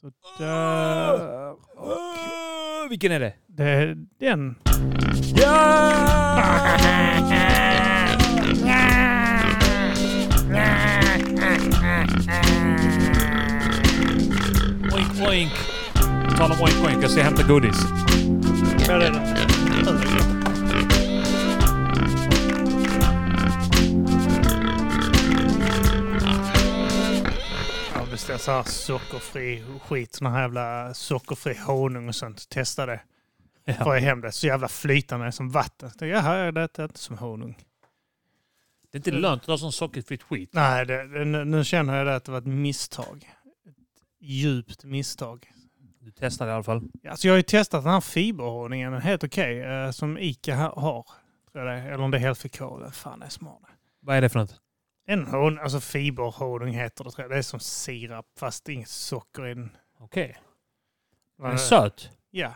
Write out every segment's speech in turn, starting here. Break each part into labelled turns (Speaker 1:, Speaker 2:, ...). Speaker 1: Så där.
Speaker 2: Åh, vilken är det?
Speaker 1: Det är den.
Speaker 2: Oink oink. På tal om oink oink, jag ska hämta godis.
Speaker 1: Där är den. Jag har beställt så här sockerfri skit, sån här jävla sockerfri honung och sånt. Testa det. Får jag hem det så jävla flytande som vatten. Så, Jaha, jag äter inte som honung.
Speaker 2: Det är inte lönt att ta sån sockerfritt skit.
Speaker 1: Nej, det, det, nu nu känner jag det att det var ett misstag. Ett djupt misstag.
Speaker 2: Du testar det i alla fall.
Speaker 1: Alltså jag har ju testat den här fiberhonungen, den är helt okej, eh, som Ica ha- har. Tror jag det är. Eller om det är helt fekal, fan det är smart.
Speaker 2: Vad är det för något?
Speaker 1: En hon, alltså fiberhonung heter det tror jag. Det är som sirap fast det är inget socker i den.
Speaker 2: Okej. Den är
Speaker 1: Eh,
Speaker 2: söt.
Speaker 1: Ja.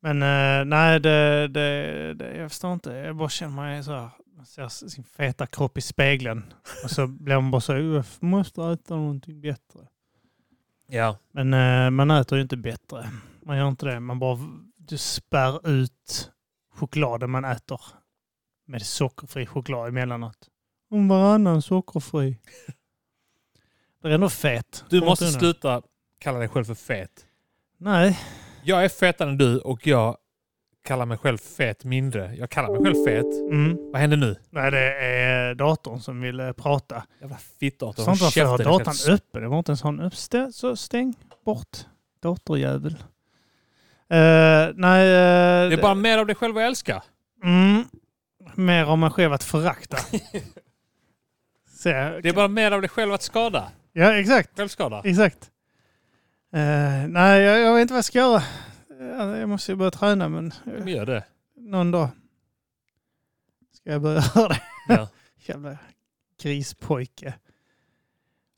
Speaker 1: Men eh, nej, det, det, det, jag förstår inte. Jag bara känner mig så här. Man ser sin feta kropp i spegeln. Och så blir man bara så här, jag måste äta någonting bättre.
Speaker 2: Ja.
Speaker 1: Men eh, man äter ju inte bättre. Man gör inte det. Man bara du spär ut chokladen man äter med sockerfri choklad emellanåt. Om varannan sockerfri. Det är ändå fet.
Speaker 2: Du
Speaker 1: Kommer
Speaker 2: måste
Speaker 1: inte undan.
Speaker 2: sluta kalla dig själv för fet.
Speaker 1: Nej,
Speaker 2: Jag är fetare än du och jag kallar mig själv fet mindre. Jag kallar mig själv fet.
Speaker 1: mm.
Speaker 2: Vad händer nu?
Speaker 1: Nej, det är datorn som vill eh, prata.
Speaker 2: Jävla fittarter.
Speaker 1: Sånt varför jag har
Speaker 2: Käften, jag
Speaker 1: datorn
Speaker 2: ska-
Speaker 1: öppen. Det var inte ens en uppställ. Så stäng bort datorjävel. Eh, nej, eh,
Speaker 2: Det är bara mer av dig själv att älska.
Speaker 1: Mm. Mer om mig själv att förakta. Så, jag-
Speaker 2: Det är bara mer av dig själv att skada.
Speaker 1: Ja, exakt.
Speaker 2: Självskada.
Speaker 1: Exakt. Eh, nej, jag, jag vet inte vad jag ska göra. Eh, Jag måste ju börja träna, men
Speaker 2: Men
Speaker 1: eh,
Speaker 2: Gör det.
Speaker 1: någon dag ska jag börja göra det.
Speaker 2: Ja.
Speaker 1: Jävla grispojke.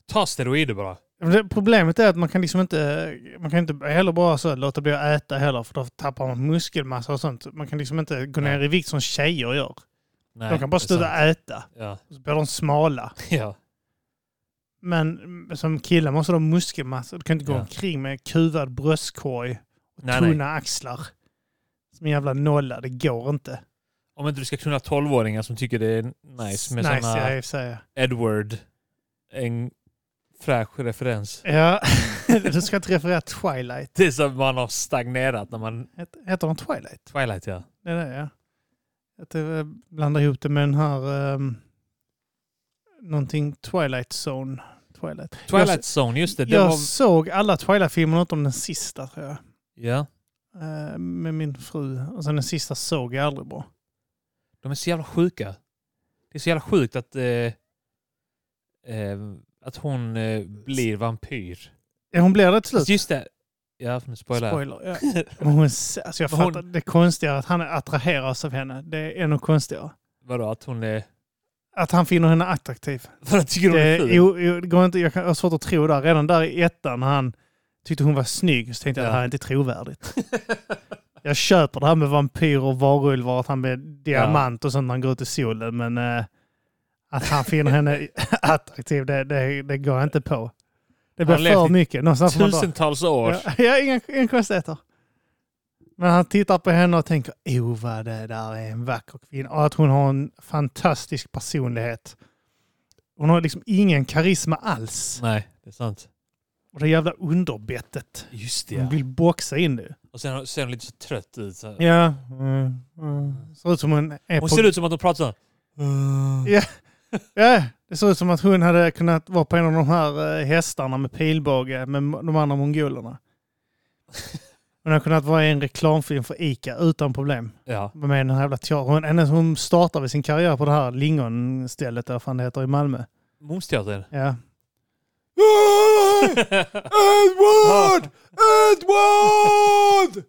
Speaker 2: Ta steroider bara.
Speaker 1: Men det- Problemet är att man kan liksom inte, man kan inte heller bara så låta bli att äta heller, för då tappar man muskelmassa och sånt. Man kan liksom inte gå ner i vikt som tjejer gör.
Speaker 2: Nej,
Speaker 1: de kan bara
Speaker 2: det är sant.
Speaker 1: sluta äta,
Speaker 2: Ja.
Speaker 1: så blir de smala.
Speaker 2: ja.
Speaker 1: Men mm, som kille måste du ha muskelmassa. Du kan inte gå
Speaker 2: Ja.
Speaker 1: omkring med kuvad bröstkorg och
Speaker 2: Nej,
Speaker 1: tunna axlar. Som en jävla nolla. Det går inte.
Speaker 2: Om inte du ska knulla tolvåringar som tycker det är nice med
Speaker 1: nice,
Speaker 2: såna
Speaker 1: ja, i och för sig.
Speaker 2: Edward. En fräsch referens.
Speaker 1: Ja, du ska inte referera Twilight.
Speaker 2: Det är som man har stagnerat när man...
Speaker 1: Het- Heter de Twilight?
Speaker 2: Twilight ja.
Speaker 1: Det är det, ja. Att jag blandar ihop det med den här... Um, någonting Twilight Zone. Twilight.
Speaker 2: Twilight Zone, just det.
Speaker 1: Jag,
Speaker 2: det
Speaker 1: jag
Speaker 2: var...
Speaker 1: såg alla Twilight-filmerna utom den sista tror jag.
Speaker 2: Ja.
Speaker 1: Eh, med min fru. Och sen den sista såg jag aldrig bra.
Speaker 2: De är så jävla sjuka. Det är så jävla sjukt att, eh, eh, att hon eh, blir vampyr.
Speaker 1: Ja, hon blir det till slut.
Speaker 2: Fast Just det. Ja, nu spoilar jag.
Speaker 1: Spoiler, ja. Men hon, är- alltså jag
Speaker 2: Men hon-
Speaker 1: fattar, det konstiga är att han attraheras av henne. Det är ännu konstigare.
Speaker 2: Vadå, att hon är...
Speaker 1: Att han finner henne attraktiv.
Speaker 2: För att tycker hon
Speaker 1: Det,
Speaker 2: är
Speaker 1: är-
Speaker 2: ful?
Speaker 1: jo, jo, det går inte, jag, kan, jag har svårt att tro där. Redan där i ettan när han tyckte hon var snygg så tänkte jag
Speaker 2: Ja.
Speaker 1: att det här är inte trovärdigt. jag köper det här med vampyrer och varulvar, att han blir diamant och sånt när han går ut i solen. Men eh, att han finner henne attraktiv, det, det, det går jag inte på. Det blir
Speaker 2: Han levde
Speaker 1: för
Speaker 2: i
Speaker 1: mycket. Någonstans får man dra.
Speaker 2: Tusentals år.
Speaker 1: Ja, ja inga, inga konstigheter. Men han tittar på henne och tänker, oh vad det där är en vacker kvinna. Och att hon har en fantastisk personlighet. Hon har liksom ingen karisma alls.
Speaker 2: Nej, det är sant.
Speaker 1: Och det jävla underbettet.
Speaker 2: Just det
Speaker 1: Hon
Speaker 2: ja.
Speaker 1: vill boxa in det.
Speaker 2: Och sen ser hon lite så trött ut. Så. här.
Speaker 1: Ja. Mm, mm. Ser ut som hon är Eh.
Speaker 2: Hon
Speaker 1: på...
Speaker 2: ser ut som att hon pratar så här.
Speaker 1: Ja, det ser ut som att hon hade kunnat vara på en av de här eh, hästarna med pilbåge med m- de andra mongolerna. Hon hade kunnat vara i en reklamfilm för Ica utan problem.
Speaker 2: Ja.
Speaker 1: Vad menar den här jävla teatern? Hon, hennes- hon startar väl sin karriär på det här lingonstället där vad fan det heter i Malmö.
Speaker 2: Momsteatern.
Speaker 1: Ja.
Speaker 2: Edward! Edward!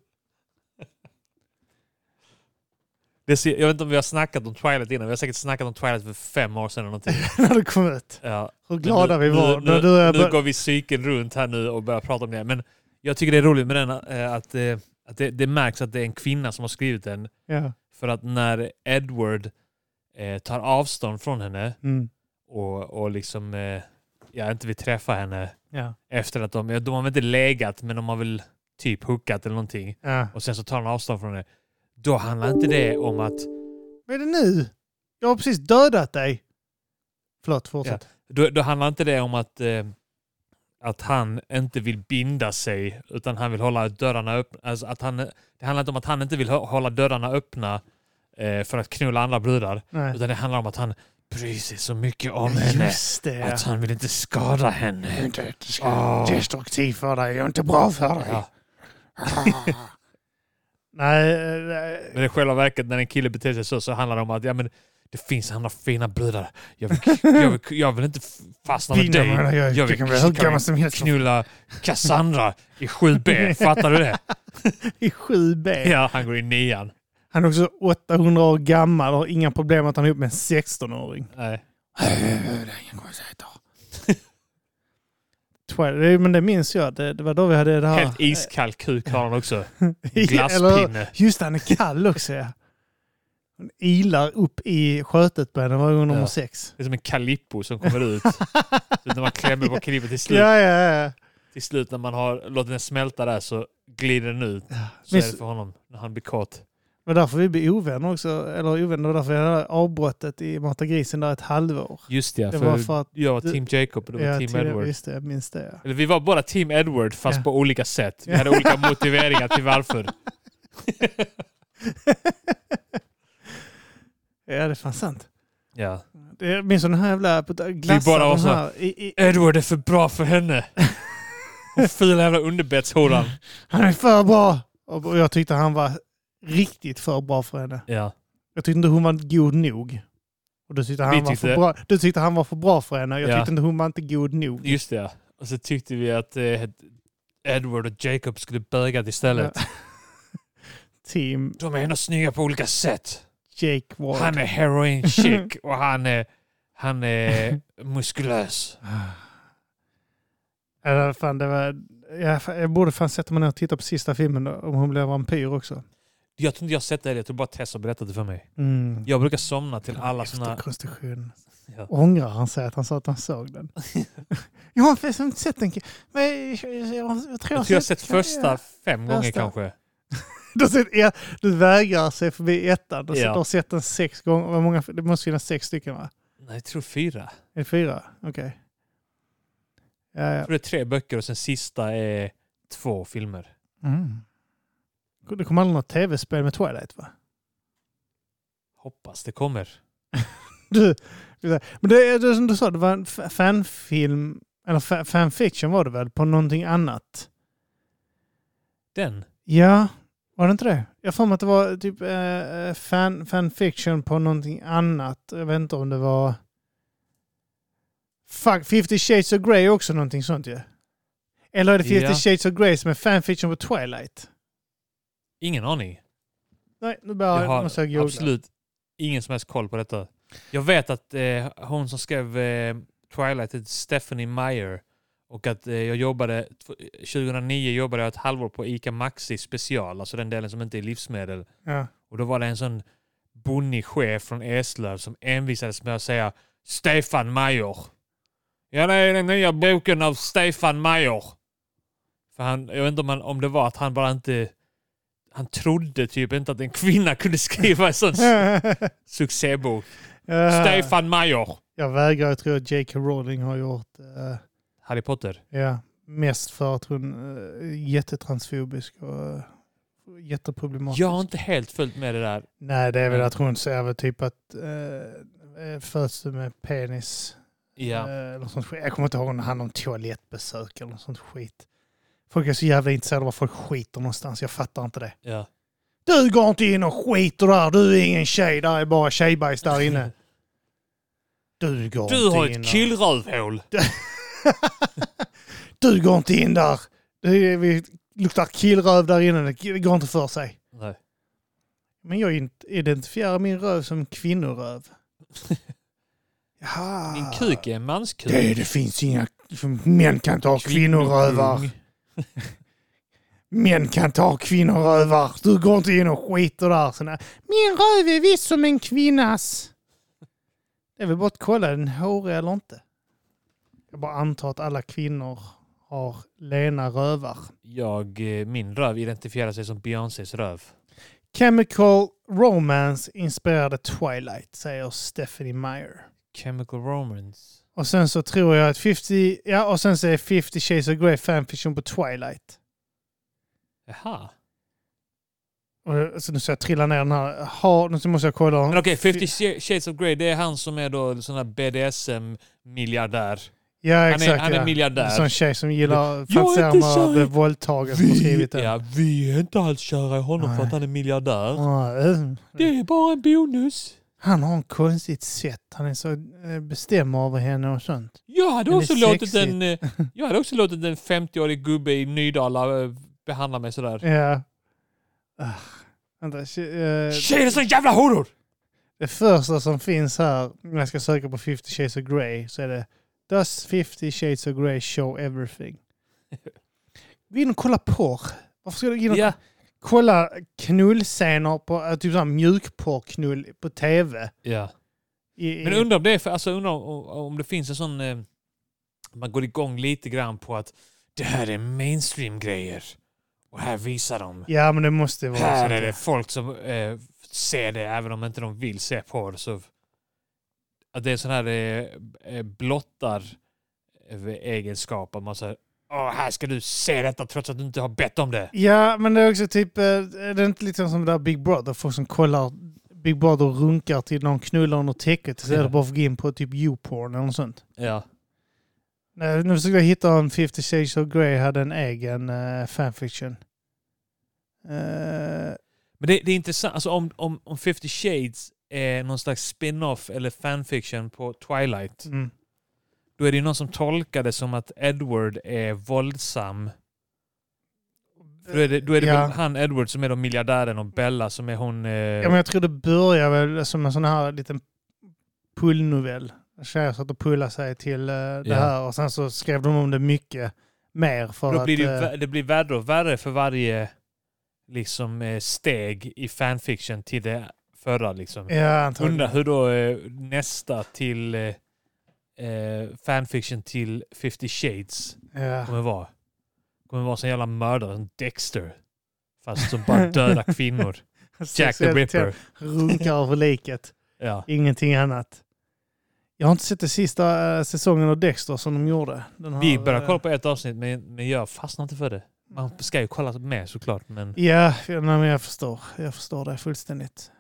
Speaker 2: Det ser, jag vet inte om vi har snackat om Twilight innan. Vi har säkert snackat om Twilight för fem år sedan eller någonting.
Speaker 1: När du kom ut.
Speaker 2: Ja.
Speaker 1: Hur glada vi var.
Speaker 2: Nu,
Speaker 1: När
Speaker 2: nu,
Speaker 1: du och jag
Speaker 2: nu
Speaker 1: bör-
Speaker 2: går vi cykeln runt här nu och börjar prata om det. Men jag tycker det är roligt med den eh, att, eh, att det, det märks att det är en kvinna som har skrivit den.
Speaker 1: ja.
Speaker 2: För att när Edward eh, tar avstånd från henne
Speaker 1: Mm.
Speaker 2: och, och liksom eh, jag inte vill träffa henne
Speaker 1: Ja.
Speaker 2: efter att de, ja, de har väl inte legat men de har väl typ hookat eller någonting
Speaker 1: ja.
Speaker 2: och sen så tar han avstånd från det. Då handlar inte det om att,
Speaker 1: Vad är det nu? Jag har precis dödat dig. Förlåt, fortsätt.
Speaker 2: då, då handlar inte det om att, eh, att han inte vill binda sig utan han vill hålla dörrarna öppna. Alltså att han, det handlar inte om att han inte vill hå- hålla dörrarna öppna eh, för att knulla andra brudar
Speaker 1: Nej.
Speaker 2: utan det handlar om att han bryr sig så mycket om henne.
Speaker 1: Just det.
Speaker 2: Att han vill inte skada henne.
Speaker 1: inte
Speaker 2: Åh.
Speaker 1: destruktiv för dig. Jag är inte bra för
Speaker 2: Ah. Ja.
Speaker 1: Nej, eh,
Speaker 2: Men i själva verket när en kille beter sig så, så handlar det om att ja, men det finns andra fina brudar. Jag vill, jag vill, jag vill inte f- fastna med
Speaker 1: vinner
Speaker 2: dig.
Speaker 1: man. Jag,
Speaker 2: Jag
Speaker 1: jag
Speaker 2: vill-
Speaker 1: kan bli hur
Speaker 2: kan
Speaker 1: gammal som helst.
Speaker 2: Knulla Cassandra i 7B. Fattar du det?
Speaker 1: I 7B.
Speaker 2: Ja, han går i nian.
Speaker 1: Han är också 800 år gammal och har inga problem att han är ihop med en 16-åring.
Speaker 2: Nej.
Speaker 1: Twi- det- Men det minns jag. Det, det var då vi hade det här...
Speaker 2: Helt iskall kuk har han också.
Speaker 1: Ah. Eller-
Speaker 2: Glasspinne.
Speaker 1: Just det, han är kall också ja. Hon ilar upp i skötet på henne varje gång de
Speaker 2: Ja.
Speaker 1: har sex.
Speaker 2: Det är som en kalippo som kommer ut. Så när man klämmer på kniven till slut,
Speaker 1: Ja, ja, ja.
Speaker 2: till slut när man har låtit den smälta där så glider den ut. Så är
Speaker 1: Men-
Speaker 2: det för honom när han blir kåt.
Speaker 1: Det var därför vi blev ovänner också. Eller ovänner, det var därför jag hade avbrottet i Mata Grisen där ett halvår.
Speaker 2: Just ja,
Speaker 1: Det
Speaker 2: för
Speaker 1: var för att...
Speaker 2: jag var
Speaker 1: du-
Speaker 2: Team Jacob och du var
Speaker 1: ja,
Speaker 2: Team
Speaker 1: till-
Speaker 2: Edward.
Speaker 1: Just det, jag minns det. Ja.
Speaker 2: Eller vi var bara Team Edward fast
Speaker 1: Ja.
Speaker 2: på olika sätt. Vi hade olika motiveringar till varför.
Speaker 1: ja, det är fan sant.
Speaker 2: Ja.
Speaker 1: Det- Jag minns den här jävla... på- Glassar
Speaker 2: bara var
Speaker 1: de
Speaker 2: så-
Speaker 1: här. I, i,
Speaker 2: Edward är för bra för henne. Hon fula jävla underbetshoran.
Speaker 1: han är för bra! Och och jag tyckte han var riktigt för bra för henne.
Speaker 2: Ja.
Speaker 1: Jag tyckte inte hon var god nog. Och du tyckte
Speaker 2: Vi
Speaker 1: han, var,
Speaker 2: tyckte-
Speaker 1: för bra. Du tyckte han var för bra för henne. Jag
Speaker 2: Ja.
Speaker 1: tyckte inte hon var inte god nog.
Speaker 2: Just det. ja. Och så tyckte vi att eh, Edward och Jacob skulle böga istället.
Speaker 1: Team
Speaker 2: De är ändå snygga på olika sätt.
Speaker 1: Jake Ward.
Speaker 2: Han är heroin chic och han är, han är muskulös.
Speaker 1: Ja, fan, det var... jag, jag borde fan sätta mig ner och titta på sista filmen då, om hon blev vampyr också.
Speaker 2: Jag tror inte jag har sett det här. Jag tror bara Tess har berättat det för mig.
Speaker 1: Mm.
Speaker 2: Jag brukar somna till alla
Speaker 1: Efter
Speaker 2: såna...
Speaker 1: konstitution.
Speaker 2: Ja.
Speaker 1: Ångrar han sig att han sa att han såg den? jag har faktiskt inte sett den. Men jag, jag, jag tror
Speaker 2: Jag tror jag har sett första fem gånger
Speaker 1: Första.
Speaker 2: kanske.
Speaker 1: Du, har sett, ja, du vägrar se förbi ettan. Du, har sett-
Speaker 2: Ja.
Speaker 1: du har sett den sex gånger. Hur många, det måste finnas sex stycken va?
Speaker 2: Nej, jag tror fyra.
Speaker 1: Är det fyra? Okej. Ja,
Speaker 2: Jag
Speaker 1: ja.
Speaker 2: tror det är tre böcker och sen sista är två filmer.
Speaker 1: Mm. Det kommer aldrig något tv-spel med Twilight va?
Speaker 2: Hoppas det kommer.
Speaker 1: Du, men det är det som du sa, det var en fa- fanfilm, eller fa- fanfiction var det väl, på någonting annat?
Speaker 2: Den?
Speaker 1: Ja, var det inte det? Jag har för mig att det var typ eh, fan, fanfiction på någonting annat. Jag vet inte om det var... Fuck, 50 Shades of Grey är också någonting sånt ju. Eller är det 50
Speaker 2: Ja.
Speaker 1: Shades of Grey som är fanfiction på Twilight?
Speaker 2: Ingen aning.
Speaker 1: Nej, nu
Speaker 2: Jag
Speaker 1: börjar jag, måste jag
Speaker 2: har
Speaker 1: googla.
Speaker 2: absolut ingen som helst koll på detta. Jag vet att eh, hon som skrev eh, Twilight hette Stephanie Meyer och att eh, jag jobbade, tw- 2009 jobbade jag ett halvår på ICA Maxi special, alltså den delen som inte är livsmedel.
Speaker 1: Ja.
Speaker 2: Och då var det en sån bonnig chef från Eslöv som envisades med att säga Stefan Major. Ja, det är den nya boken av Stefan Major. För han, jag vet inte om, han, om det var att han bara inte... Han trodde typ inte att en kvinna kunde skriva en sån succébok.
Speaker 1: Ja.
Speaker 2: Stefan Major.
Speaker 1: Jag vägrar jag tror att J.K. Rowling har gjort eh,
Speaker 2: Harry Potter.
Speaker 1: Ja, mest för att hon eh, är jättetransfobisk och eh, jätteproblematisk.
Speaker 2: Jag har inte Mm. helt följt med det där.
Speaker 1: Nej, det är väl att hon säger väl typ att eh, eh, föds du med penis.
Speaker 2: Ja.
Speaker 1: eh, eller sånt skit. Jag kommer inte ihåg om det handlar om toalettbesök eller något sånt skit. Folk är så jävla intresserade av var folk skiter någonstans. Jag fattar inte det.
Speaker 2: ja.
Speaker 1: Du går inte in och skiter där. Du är ingen tjej. Där är bara tjejbajs där inne. Du går
Speaker 2: Du har
Speaker 1: inte in
Speaker 2: ett
Speaker 1: och-
Speaker 2: killrövhål.
Speaker 1: du går inte in där. Det är, vi luktar killröv där inne. Det går inte för sig.
Speaker 2: Nej.
Speaker 1: Men jag int- identifierar min röv som kvinnoröv. Jaha.
Speaker 2: Min kuk är en manskuk.
Speaker 1: Det, det finns inga... Män kan ta kvinnorövar. Män kan ta kvinnorövar. Du går inte in och skiter där. Såna. Min röv är visst som en kvinnas. Det är väl bara att kolla, är den hårig eller inte? Jag bara antar att alla kvinnor har lena rövar.
Speaker 2: Jag, eh, min röv identifierar sig som Beyoncés röv.
Speaker 1: Chemical Romance inspirerade Twilight, säger Stephanie Meyer.
Speaker 2: Chemical Romance.
Speaker 1: Och sen så tror jag att 50, ja och sen så är 50 Shades of Grey fanfiction på Twilight.
Speaker 2: Jaha.
Speaker 1: Och, alltså, nu ska jag trilla ner den här. Ha, nu måste jag kolla.
Speaker 2: Men okej, 50 Sh- Shades of Grey, det är han som är då sån här BDSM-miljardär.
Speaker 1: ja,
Speaker 2: Han
Speaker 1: exakt.
Speaker 2: är, han
Speaker 1: ja.
Speaker 2: är miljardär.
Speaker 1: En sån tjej som gillar
Speaker 2: Jag är inte
Speaker 1: fantiserar om att
Speaker 2: tjej.
Speaker 1: bli våldtagen som har skrivit den.
Speaker 2: ja, vi är inte alls kära i honom för
Speaker 1: Nej.
Speaker 2: att han är miljardär.
Speaker 1: Ja, eh,
Speaker 2: Det är bara en bonus.
Speaker 1: Han har en konstigt sätt. Han är så eh, bestämd över henne och sånt.
Speaker 2: Jag hade,
Speaker 1: Men det är
Speaker 2: också låtit
Speaker 1: sexigt.
Speaker 2: en, eh, jag hade också låtit en 50-årig gubbe i Nydala eh, behandla mig sådär.
Speaker 1: Ja. Ah, Vänta, tje- eh,
Speaker 2: Tjejer är sån jävla horor!
Speaker 1: Det första som finns här när jag ska söka på 50 Shades of Grey så är det Does 50 Shades of Grey show everything? Gå in och kolla porr. Varför ska du gå in och
Speaker 2: Ja,
Speaker 1: kolla knullscener på eh, typ sån här mjukporrknull på tv?
Speaker 2: ja.
Speaker 1: I,
Speaker 2: Men
Speaker 1: i-
Speaker 2: undrar om det, är för, alltså, undrar om, om det finns en sån... Eh, man går igång lite grann på att det här är mainstream-grejer. Och här visar de.
Speaker 1: Ja men det måste vara
Speaker 2: här
Speaker 1: sånt,
Speaker 2: är det
Speaker 1: ja.
Speaker 2: folk som eh, ser det även om inte de vill se porr. Så att det är sån här eh, eh, blottar eh, egenskap. Att man säger Åh, här ska du se detta trots att du inte har bett om det.
Speaker 1: Ja men det är också typ, eh, är det inte lite som det där Big Brother? Folk som kollar Big Brother och runkar till någon knullar under täcket istället
Speaker 2: Ja.
Speaker 1: bara för att gå in på typ YouPorn eller något sånt.
Speaker 2: Ja.
Speaker 1: Nej, nu försökte jag hitta om 50 Shades of Grey hade en egen eh, fanfiction. Eh,
Speaker 2: Men det, det är intressant, alltså om, om, om 50 Shades är någon slags spin-off eller fanfiction på Twilight.
Speaker 1: mm.
Speaker 2: Då är det ju någon som tolkar det som att Edward är våldsam. Då är det, då är det
Speaker 1: Ja.
Speaker 2: väl han Edward som är då miljardären och Bella som är hon... Eh,
Speaker 1: ja, men jag tror det börjar väl som en sån här liten pullnovell. Tjejer satt och pullade sig till eh, det
Speaker 2: Ja.
Speaker 1: här och sen så skrev de om det mycket mer för
Speaker 2: Då
Speaker 1: att...
Speaker 2: blir det, ju,
Speaker 1: eh,
Speaker 2: vä- det blir värre och värre för varje liksom, eh, steg i fanfiction till det förra. Liksom.
Speaker 1: ja, antagligen.
Speaker 2: Undrar hur då eh, nästa till eh, eh, fanfiction till 50 shades
Speaker 1: Ja.
Speaker 2: kommer vara. Kommer vara som en jävla mördare, en Dexter. Fast som bara dödar kvinnor. Jack the
Speaker 1: Sexuellt
Speaker 2: Ripper.
Speaker 1: Runkar över liket.
Speaker 2: Ja.
Speaker 1: Ingenting annat. Jag har inte sett den sista eh, säsongen av Dexter som de gjorde. Den här,
Speaker 2: Vi började
Speaker 1: eh,
Speaker 2: kolla på ett avsnitt men, men jag fastnar inte för det. Man ska ju kolla med såklart men
Speaker 1: Ja, ja, nej, men jag förstår. Jag förstår det fullständigt.